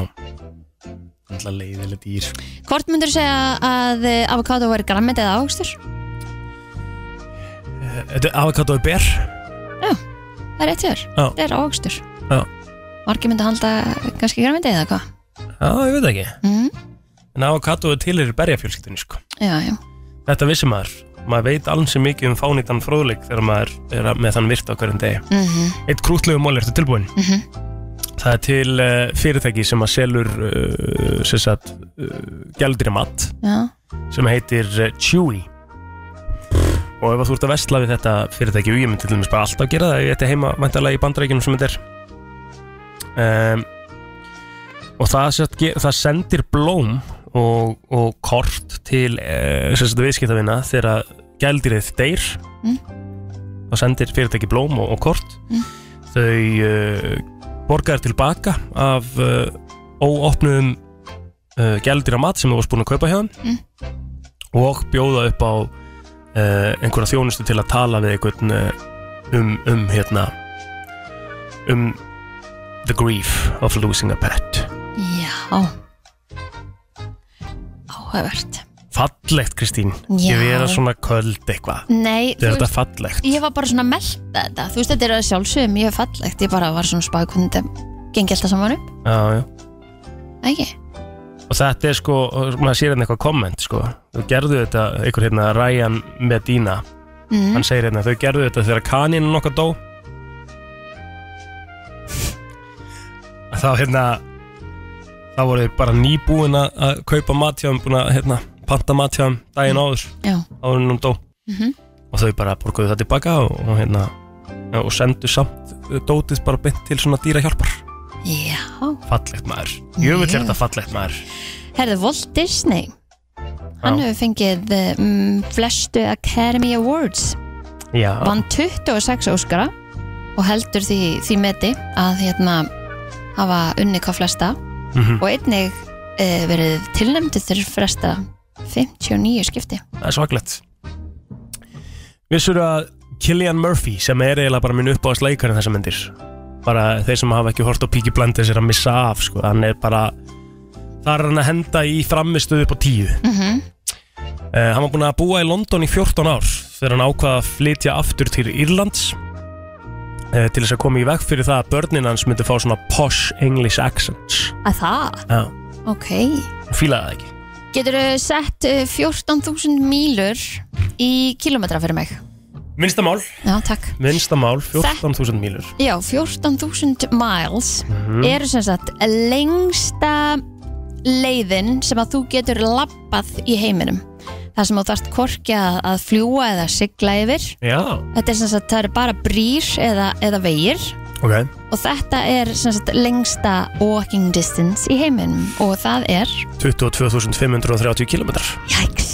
Speaker 4: Alltaf leiðileg dýr
Speaker 3: Hvort myndur segja að eh, avocado væri grammet eða áhugstur?
Speaker 4: Þetta er avokado og ber
Speaker 3: Það er rétt hjá þér,
Speaker 4: Já.
Speaker 3: það er áhugstur
Speaker 4: Já.
Speaker 3: Margir myndi halda kannski grammet eða hvað
Speaker 4: Já, ég veit ekki
Speaker 3: mm?
Speaker 4: En avokado til er berjafjölskyldunni sko
Speaker 3: Já, já,
Speaker 4: Þetta vissi maður Maður veit alls sem mikið um fánýtan fróðleik þegar maður er að- með þann virt á hverjum degi
Speaker 3: mm
Speaker 4: Eitt krútlegu mál ertu tilbúin
Speaker 3: mhm.
Speaker 4: Það er til uh, fyrirtæki sem að selur uh, sem sagt uh, gældri mat
Speaker 3: já.
Speaker 4: sem heitir eh, Chewy og ef að þú ert að vesla við þetta fyrirtæki og ég myndi til dæmis bara alltaf gera það ef ég ætti heima vantarlega í bandarækjunum sem þetta er um, og það, sett, ge- það sendir blóm og, og kort til uh, viðskiptavina þegar gældirðið deyr
Speaker 3: Mm.
Speaker 4: þá sendir fyrirtæki blóm og, og kort
Speaker 3: Mm.
Speaker 4: þau uh, borgar tilbaka af uh, óopnum uh, gældir mat sem þú varst búin að kaupa hjá þeim og bjóða upp á uh, einhverja þjónustu til að tala við einhvern uh, um, um hérna um the grief of losing a pet
Speaker 3: já Áhugavert
Speaker 4: fallegt Kristín
Speaker 3: Já.
Speaker 4: Ég vera svona köld eitthvað
Speaker 3: Nei,
Speaker 4: Er
Speaker 3: þú
Speaker 4: þetta
Speaker 3: veist,
Speaker 4: fallegt?
Speaker 3: ég var bara svona að melta þetta Þú veist, þetta er að sjálfsögum, ég er fallegt Ég bara var svona spáði hvernig þetta gengi alltaf saman upp
Speaker 4: Já, já
Speaker 3: Ekki?
Speaker 4: Og þetta er sko, maður sér hérna eitthvað komment sko Þau gerðu þetta, einhver hérna Ryan Medina
Speaker 3: Mm.
Speaker 4: Hann segir hérna, þau gerðu þetta þegar kaninu okkar dó Þá hérna Þá voru þau bara nýbúin að- að kaupa matjáum Búin að hérna, panta matjáum daginn áður
Speaker 3: Já,
Speaker 4: Áður en hún dó
Speaker 3: Mhm.
Speaker 4: Og þau bara borguðu það tilbaka og, og hérna já, Og sendu samt eh, dótið bara beint til svona dýrahjálpar
Speaker 3: já
Speaker 4: Fallegt maður Jöfull er
Speaker 3: Já.
Speaker 4: þetta fallegt maður
Speaker 3: Herðu, Walt Disney Hann
Speaker 4: Já.
Speaker 3: hefur fengið um, flestu Academy Awards
Speaker 4: Já,
Speaker 3: vann 26 óskara og heldur því, því meti að hérna hafa unni hvað flesta
Speaker 4: Mhm.
Speaker 3: og einnig e, verið tilnæmdu þegar flesta 59 skipti
Speaker 4: það er svaklegt Vissur að Killian Murphy sem er eiginlega bara minn uppáðast leikar en þessa myndir bara þeir sem hafa ekki hort á Peaky Blinders er að missa af sko. hann er bara þar er hann að henda í framistuð upp á tíu
Speaker 3: mm -hmm.
Speaker 4: Uh, hann var búinn að búa í London í 14 ár þegar hann ákvaða að flytja aftur til Írlands uh, til þess að koma í veg fyrir það að börnin hans myndi fá svona posh English accents
Speaker 3: að það,
Speaker 4: Já,
Speaker 3: ok
Speaker 4: hann fílaði það ekki
Speaker 3: getur þú sett eh, 14.000 mílur í kilometra fyrir mig
Speaker 4: Minnsta mál,
Speaker 3: já, takk
Speaker 4: minnsta mál, 14.000 mílur
Speaker 3: Já, 14.000 miles eru sem sagt lengsta leiðin sem að þú getur labbað í heiminum. Það sem þú þarft korki að, að fljúa eða sigla yfir.
Speaker 4: Já,
Speaker 3: Þetta er sem sagt, það eru bara brýr eða, eða vegir
Speaker 4: ok
Speaker 3: og þetta er sem sagt lengsta walking distance í heiminum og það er,
Speaker 4: 22.530 km
Speaker 3: jæks,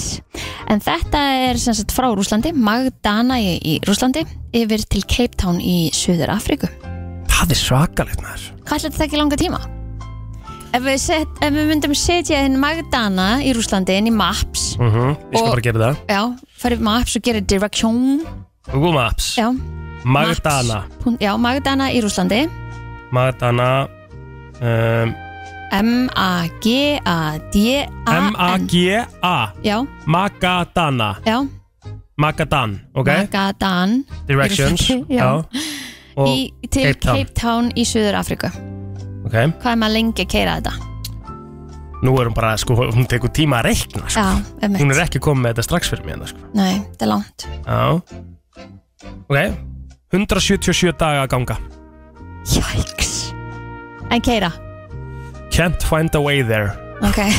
Speaker 3: en þetta er sem sagt frá Rúslandi, Magdana í, í Rúslandi, yfir til Cape Town í Suður Afríku.
Speaker 4: Það er svakalegt maður
Speaker 3: Hvað ætlaði þetta ekki langa tíma? Ef við, set, ef við myndum setja inn Magdana í Rúslandi inn í Maps
Speaker 4: mm Ég skal
Speaker 3: Og-
Speaker 4: bara gera það
Speaker 3: Já, farið í Maps og gera direction
Speaker 4: Google Maps
Speaker 3: Já,
Speaker 4: Magdana
Speaker 3: Maps. Pún- Já, Magdana í Rúslandi
Speaker 4: Magdana um,
Speaker 3: M-A-G-A-D-A-N
Speaker 4: M-A-G-A
Speaker 3: Já,
Speaker 4: Magadana
Speaker 3: já,
Speaker 4: Magadan Ok
Speaker 3: Magadan
Speaker 4: Directions
Speaker 3: Rússlandi, já.
Speaker 4: Og
Speaker 3: í, til
Speaker 4: Cape Town.
Speaker 3: Cape Town í Suður Afriku
Speaker 4: ok
Speaker 3: Hvað er maður lengi að keira þetta?
Speaker 4: Nú er hún bara sko Hún tekur tíma að reikna sko.
Speaker 3: Já,
Speaker 4: Hún er
Speaker 3: emmitt
Speaker 4: ekki komið með þetta strax fyrir mér sko.
Speaker 3: Nei, þetta er langt
Speaker 4: Já Ok 177 daga að ganga
Speaker 3: Jæks En keira
Speaker 4: Can't find a way there
Speaker 3: Ok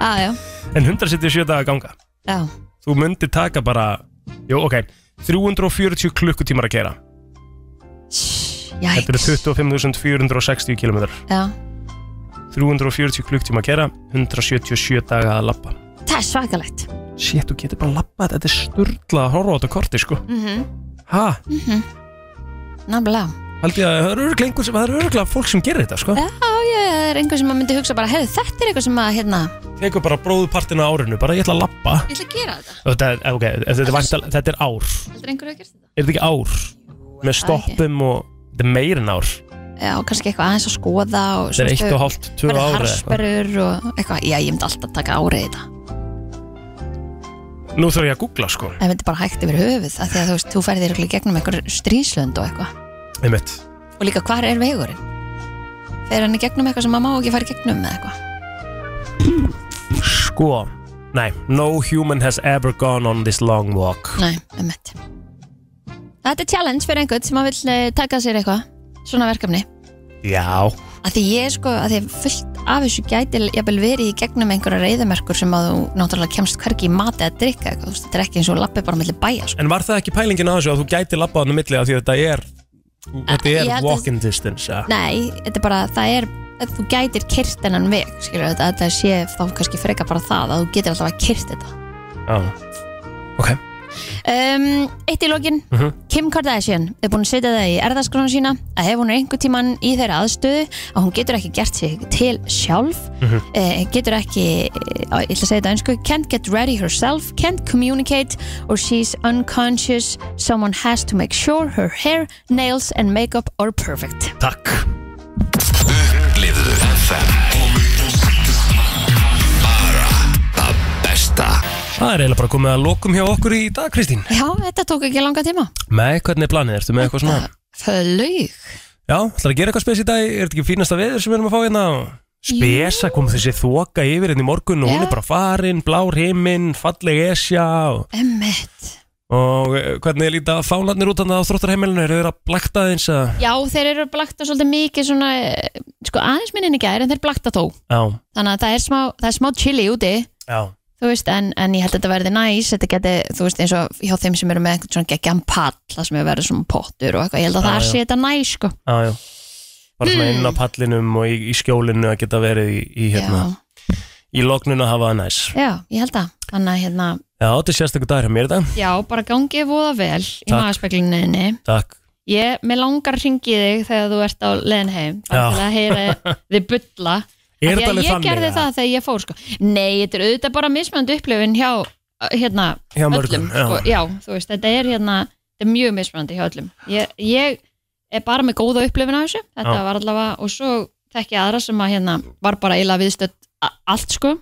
Speaker 3: ah, Já,
Speaker 4: En 177 daga að ganga
Speaker 3: já
Speaker 4: þú myndir taka bara jú, ok, 340 klukkutímar að kera þetta eru
Speaker 3: Jæks
Speaker 4: 25.460 km
Speaker 3: Já.
Speaker 4: 340 klukkutímar að kera 177 daga að lappa
Speaker 3: Það er svakalegt
Speaker 4: shit, þú getur bara lappa þetta er sturla að horfa á þetta korti sko
Speaker 3: mm -hmm.
Speaker 4: ha,
Speaker 3: Námlega
Speaker 4: held ég að það eru örgla einhver sem það eru örgla fólk sem gerir þetta sko
Speaker 3: Já, já, það er einhver sem að myndi hugsa bara Hefðu, þetta er eitthvað sem að, hérna
Speaker 4: tekur bara bróðupartina á árinu, bara ég ætla að lappa
Speaker 3: Ég ætla að gera þetta
Speaker 4: þetta, er- ok, þetta, er væntal, þetta er ár
Speaker 3: Heldur einhver að gera þetta?
Speaker 4: er þetta ekki ár með stoppum og þetta er meirin ár
Speaker 3: Já, kannski eitthvað aðeins að skoða og
Speaker 4: þetta er eitt og hálft, tvö
Speaker 3: Verða
Speaker 4: ár
Speaker 3: harsperur og eitthvað Já, ég myndi alltaf taka árið í þetta
Speaker 4: nú þarf ég að googla sko
Speaker 3: En þetta er bara hægt yfir höfuð af Því að þú veist, þú ferðir eitthvað gegnum einhver stríslönd og eitthvað
Speaker 4: einmitt
Speaker 3: Og líka, hvar er vegurinn? Fer hann í gegnum eitthvað sem maður má ekki fara í gegnum með eitthvað
Speaker 4: Sko, nei No human has ever gone on this long walk
Speaker 3: Nei, um Þetta er challenge fyrir einhvern sem að vill eh, taka sér eitthvað Svona verkefni
Speaker 4: Já
Speaker 3: að því ég sko, að því fullt af þessu gæti jafnvel verið í gegnum einhverja reyðumerkur sem að þú náttúrulega kemst hvergi í mat eða drikka eitthvað, þú veist, þetta er ekki eins og lappi bara mellir bæja, sko.
Speaker 4: En var það ekki pælingin að þessu að þú gæti labbað hann um milli af því að þetta er Þetta
Speaker 3: Ég
Speaker 4: er
Speaker 3: held að-
Speaker 4: walking distance ja.
Speaker 3: Nei, þetta er bara, það er að þú gætir kyrt hennan veg, skilur þetta, þetta sé þá kannski freka bara það að þú getur alltaf að kyrt þetta.
Speaker 4: Já Ok
Speaker 3: Um, eitt í lokin,
Speaker 4: Mhm.
Speaker 3: Kim Kardashian er búin að setja það í erðaskrona sína að ef hún er einhver tíman í þeirra aðstöðu að hún getur ekki gert sig til sjálf
Speaker 4: Mhm.
Speaker 3: eh, getur ekki eh, ég ætla að segja þetta einsku can't get ready herself, can't communicate or she's unconscious someone has to make sure her hair, nails and makeup are perfect
Speaker 4: Takk
Speaker 2: Upplifðu FM Bara
Speaker 4: Það er eiginlega bara komið að lokum hjá okkur í dag, Kristín
Speaker 3: Já, þetta tók ekki langa tíma
Speaker 4: Nei, hvernig er planið? Ertu með eitthvað svona?
Speaker 3: Föðlaug
Speaker 4: Já, ætlar að gera eitthvað spes í dag? Er þetta ekki fínasta veður sem við erum að fá hérna? Spesa kom þessi þoka yfir hérna í morgun og hún
Speaker 3: Já.
Speaker 4: er bara farin, blár himinn, falleg esja og,
Speaker 3: Emmett
Speaker 4: og eh, hvernig er líta fánarnir út annað á þróttarheimilinu? Eru þeir að blakta þeins að...
Speaker 3: Já, þeir eru blakta svolítið mikið svona eh, sko aðeins minnin í gær en þeir blakta þó
Speaker 4: Já,
Speaker 3: þannig að það er smá, það er smá chili úti
Speaker 4: já,
Speaker 3: þú veist, en, en ég held að þetta verði næs þetta geti, þú veist, eins og hjá þeim sem eru með einhvern svona geggjan pall, það sem hefur verið svona pottur og eitthvað, ég held að
Speaker 4: Já,
Speaker 3: það
Speaker 4: já.
Speaker 3: sé þetta næs sko,
Speaker 4: já, já. Bara svona inn á pallinum og í, í skjólinu að geta verið í, í hérna... Í loknun að hafa það næs.
Speaker 3: já, ég held að þannig að hérna,
Speaker 4: Já, þetta er sérstakur dagur hjá mér í dag.
Speaker 3: já, bara gangi voða vel í
Speaker 4: Takk.
Speaker 3: magaspeklinniðinni
Speaker 4: Takk.
Speaker 3: ég, mér langar hringið þig þegar þú ert á leðin heim, bara
Speaker 4: Já.
Speaker 3: til að heyra þið bulla
Speaker 4: Er
Speaker 3: Af því
Speaker 4: þetta
Speaker 3: að
Speaker 4: alveg
Speaker 3: ég
Speaker 4: þannig,
Speaker 3: gerði
Speaker 4: eða?
Speaker 3: það þegar ég fór sko. nei, þetta er auðvitað bara mismöndu upplifin hjá hérna,
Speaker 4: Hjá mörgum,
Speaker 3: öllum sko. já, þú veist, þetta er hérna þetta er mjög mismöndu hjá öllum ég, ég er bara með góða upplifin á þessu þetta
Speaker 4: Já.
Speaker 3: var allavega, og svo þekki ég aðra sem að hérna var bara eila viðstödd a- allt sko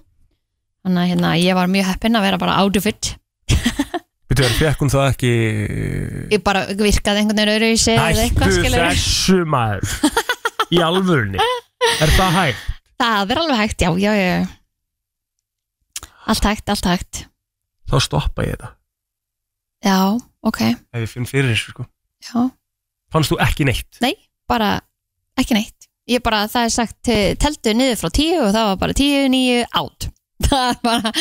Speaker 3: þannig að hérna, ég var mjög heppin að vera bara out of it
Speaker 4: Býtu, er fekk hún það ekki...
Speaker 3: ég bara virkaði einhvern veginn öðru í sig
Speaker 4: Hættu þessu maður. Í alvörni. Er það hægt?
Speaker 3: Það er alveg hægt, já, já, já. Allt hægt, allt hægt.
Speaker 4: Þá stoppa ég þetta.
Speaker 3: Já, ok,
Speaker 4: Ef ég finn fyrir þessu, sko.
Speaker 3: já.
Speaker 4: Fannst þú ekki neitt?
Speaker 3: Nei, bara ekki neitt. Ég bara, það er sagt, eh, teldu niður frá tíu og það var bara tíu, níu, átt. Það er bara,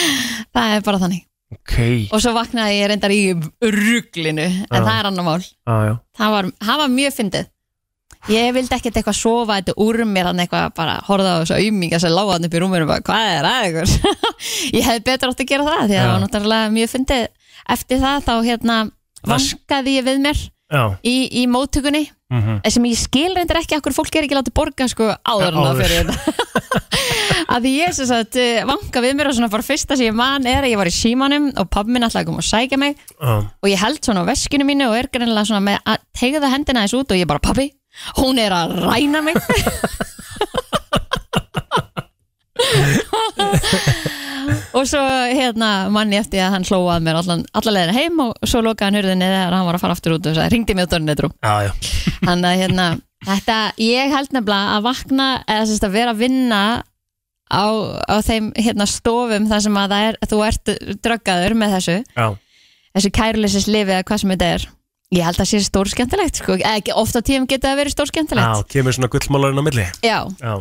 Speaker 3: það er bara þannig.
Speaker 4: Ok.
Speaker 3: Og svo vaknaði ég reyndar í rugglinu, en
Speaker 4: Já.
Speaker 3: það er annar
Speaker 4: Já,
Speaker 3: mál.
Speaker 4: Ah, já.
Speaker 3: Það var, það var mjög fyndið. Ég vildi ekkert eitthvað sofa þetta úr mér hann eitthvað bara horða á þessu auminga sem lága hann upp í rúminu bara hvað er að ykkur ég hefði betur átt að gera það því að
Speaker 4: Já.
Speaker 3: það var náttúrulega mjög fyndið eftir það þá hérna
Speaker 4: Það s-
Speaker 3: vangaði ég við mér
Speaker 4: Já.
Speaker 3: í, í móttökunni
Speaker 4: Mm
Speaker 3: sem ég skil reyndar ekki okkur fólk er ekki látið borga sko áður en
Speaker 4: Áður.
Speaker 3: það fyrir þetta að því ég sem sagt eh, vanga við mér og svona bara fyrsta sem ég man er að ég var í símanum og pabbi minn alltaf kom og sækja mig
Speaker 4: Já.
Speaker 3: og ég held svona á veskinu mínu og er greinilega svona með að tegða hendina þess út og ég bara pappi, hún er að ræna mig og svo hérna manni eftir að hann hlóað mér allan, allan leðina heim og svo lokaði hann hurðinni þegar hann var að fara aftur út og sagði, ringdi mig á dörrnetrum
Speaker 4: Já, já.
Speaker 3: Þannig að hérna, þetta, ég held nefnilega að vakna, eða sérst að vera að vinna á, á þeim hérna stofum þar sem að það er, þú ert dröggaður með þessu,
Speaker 4: Já.
Speaker 3: þessu kæruleysins lifi eða hvað sem þetta er. Ég held að það sé stórskemmtilegt, sko, eða ekki ofta tíum getur það verið
Speaker 4: Já,
Speaker 3: stórskemmtilegt.
Speaker 4: kemur svona gullmálarinn á milli.
Speaker 3: Já,
Speaker 4: Já.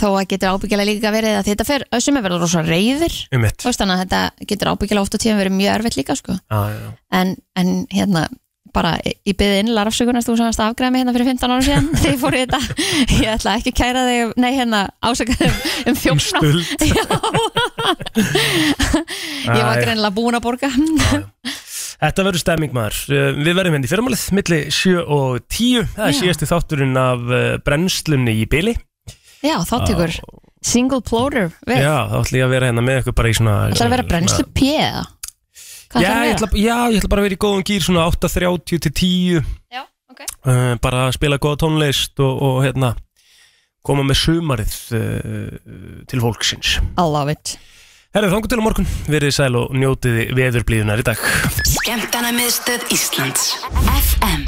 Speaker 3: þó að getur ábyggilega líka verið að þetta fer, sem er verið rosa reyðir,
Speaker 4: Um mitt.
Speaker 3: þú veist þannig að þetta getur ábyggilega ofta tíum verið mjög erfitt líka, sko.
Speaker 4: Já, já.
Speaker 3: en, en hérna bara í byði innlega afsökunar þú sem varst að afgræða mig hérna fyrir 15 ára síðan þegar ég fór í þetta, ég ætla ekki að kæra þig nei hérna ásaka þig um, um
Speaker 4: Um
Speaker 3: fjófnað
Speaker 4: stuld.
Speaker 3: Já. ég var
Speaker 4: Æ.
Speaker 3: greinilega búin að borga
Speaker 4: Þetta verður stemming maður. Eh, Við verðum henni í fyrramálið, milli 7 og 10. Það er
Speaker 3: Já.
Speaker 4: síðasti þátturinn af eh, brennslunni í byli.
Speaker 3: já þá tekur single plotter við,
Speaker 4: Já, þá ætlum ég að vera hérna með ykkur bara í svona...
Speaker 3: ætlar að vera brennslu P eða
Speaker 4: Já,
Speaker 3: hvað ætlar að
Speaker 4: ég
Speaker 3: vera?
Speaker 4: ætla, já, ég ætla bara að vera í góðum gýr svona 8.30 til 10
Speaker 3: Já, ok.
Speaker 4: uh, bara að spila góða tónlist og, og hérna koma með sumarið uh, til fólksins
Speaker 3: I love it
Speaker 4: Herðu þangu til á morgun, verið sæl og njótiði veðurblíðunar í dag
Speaker 5: Skemmtana miðstöð Íslands FM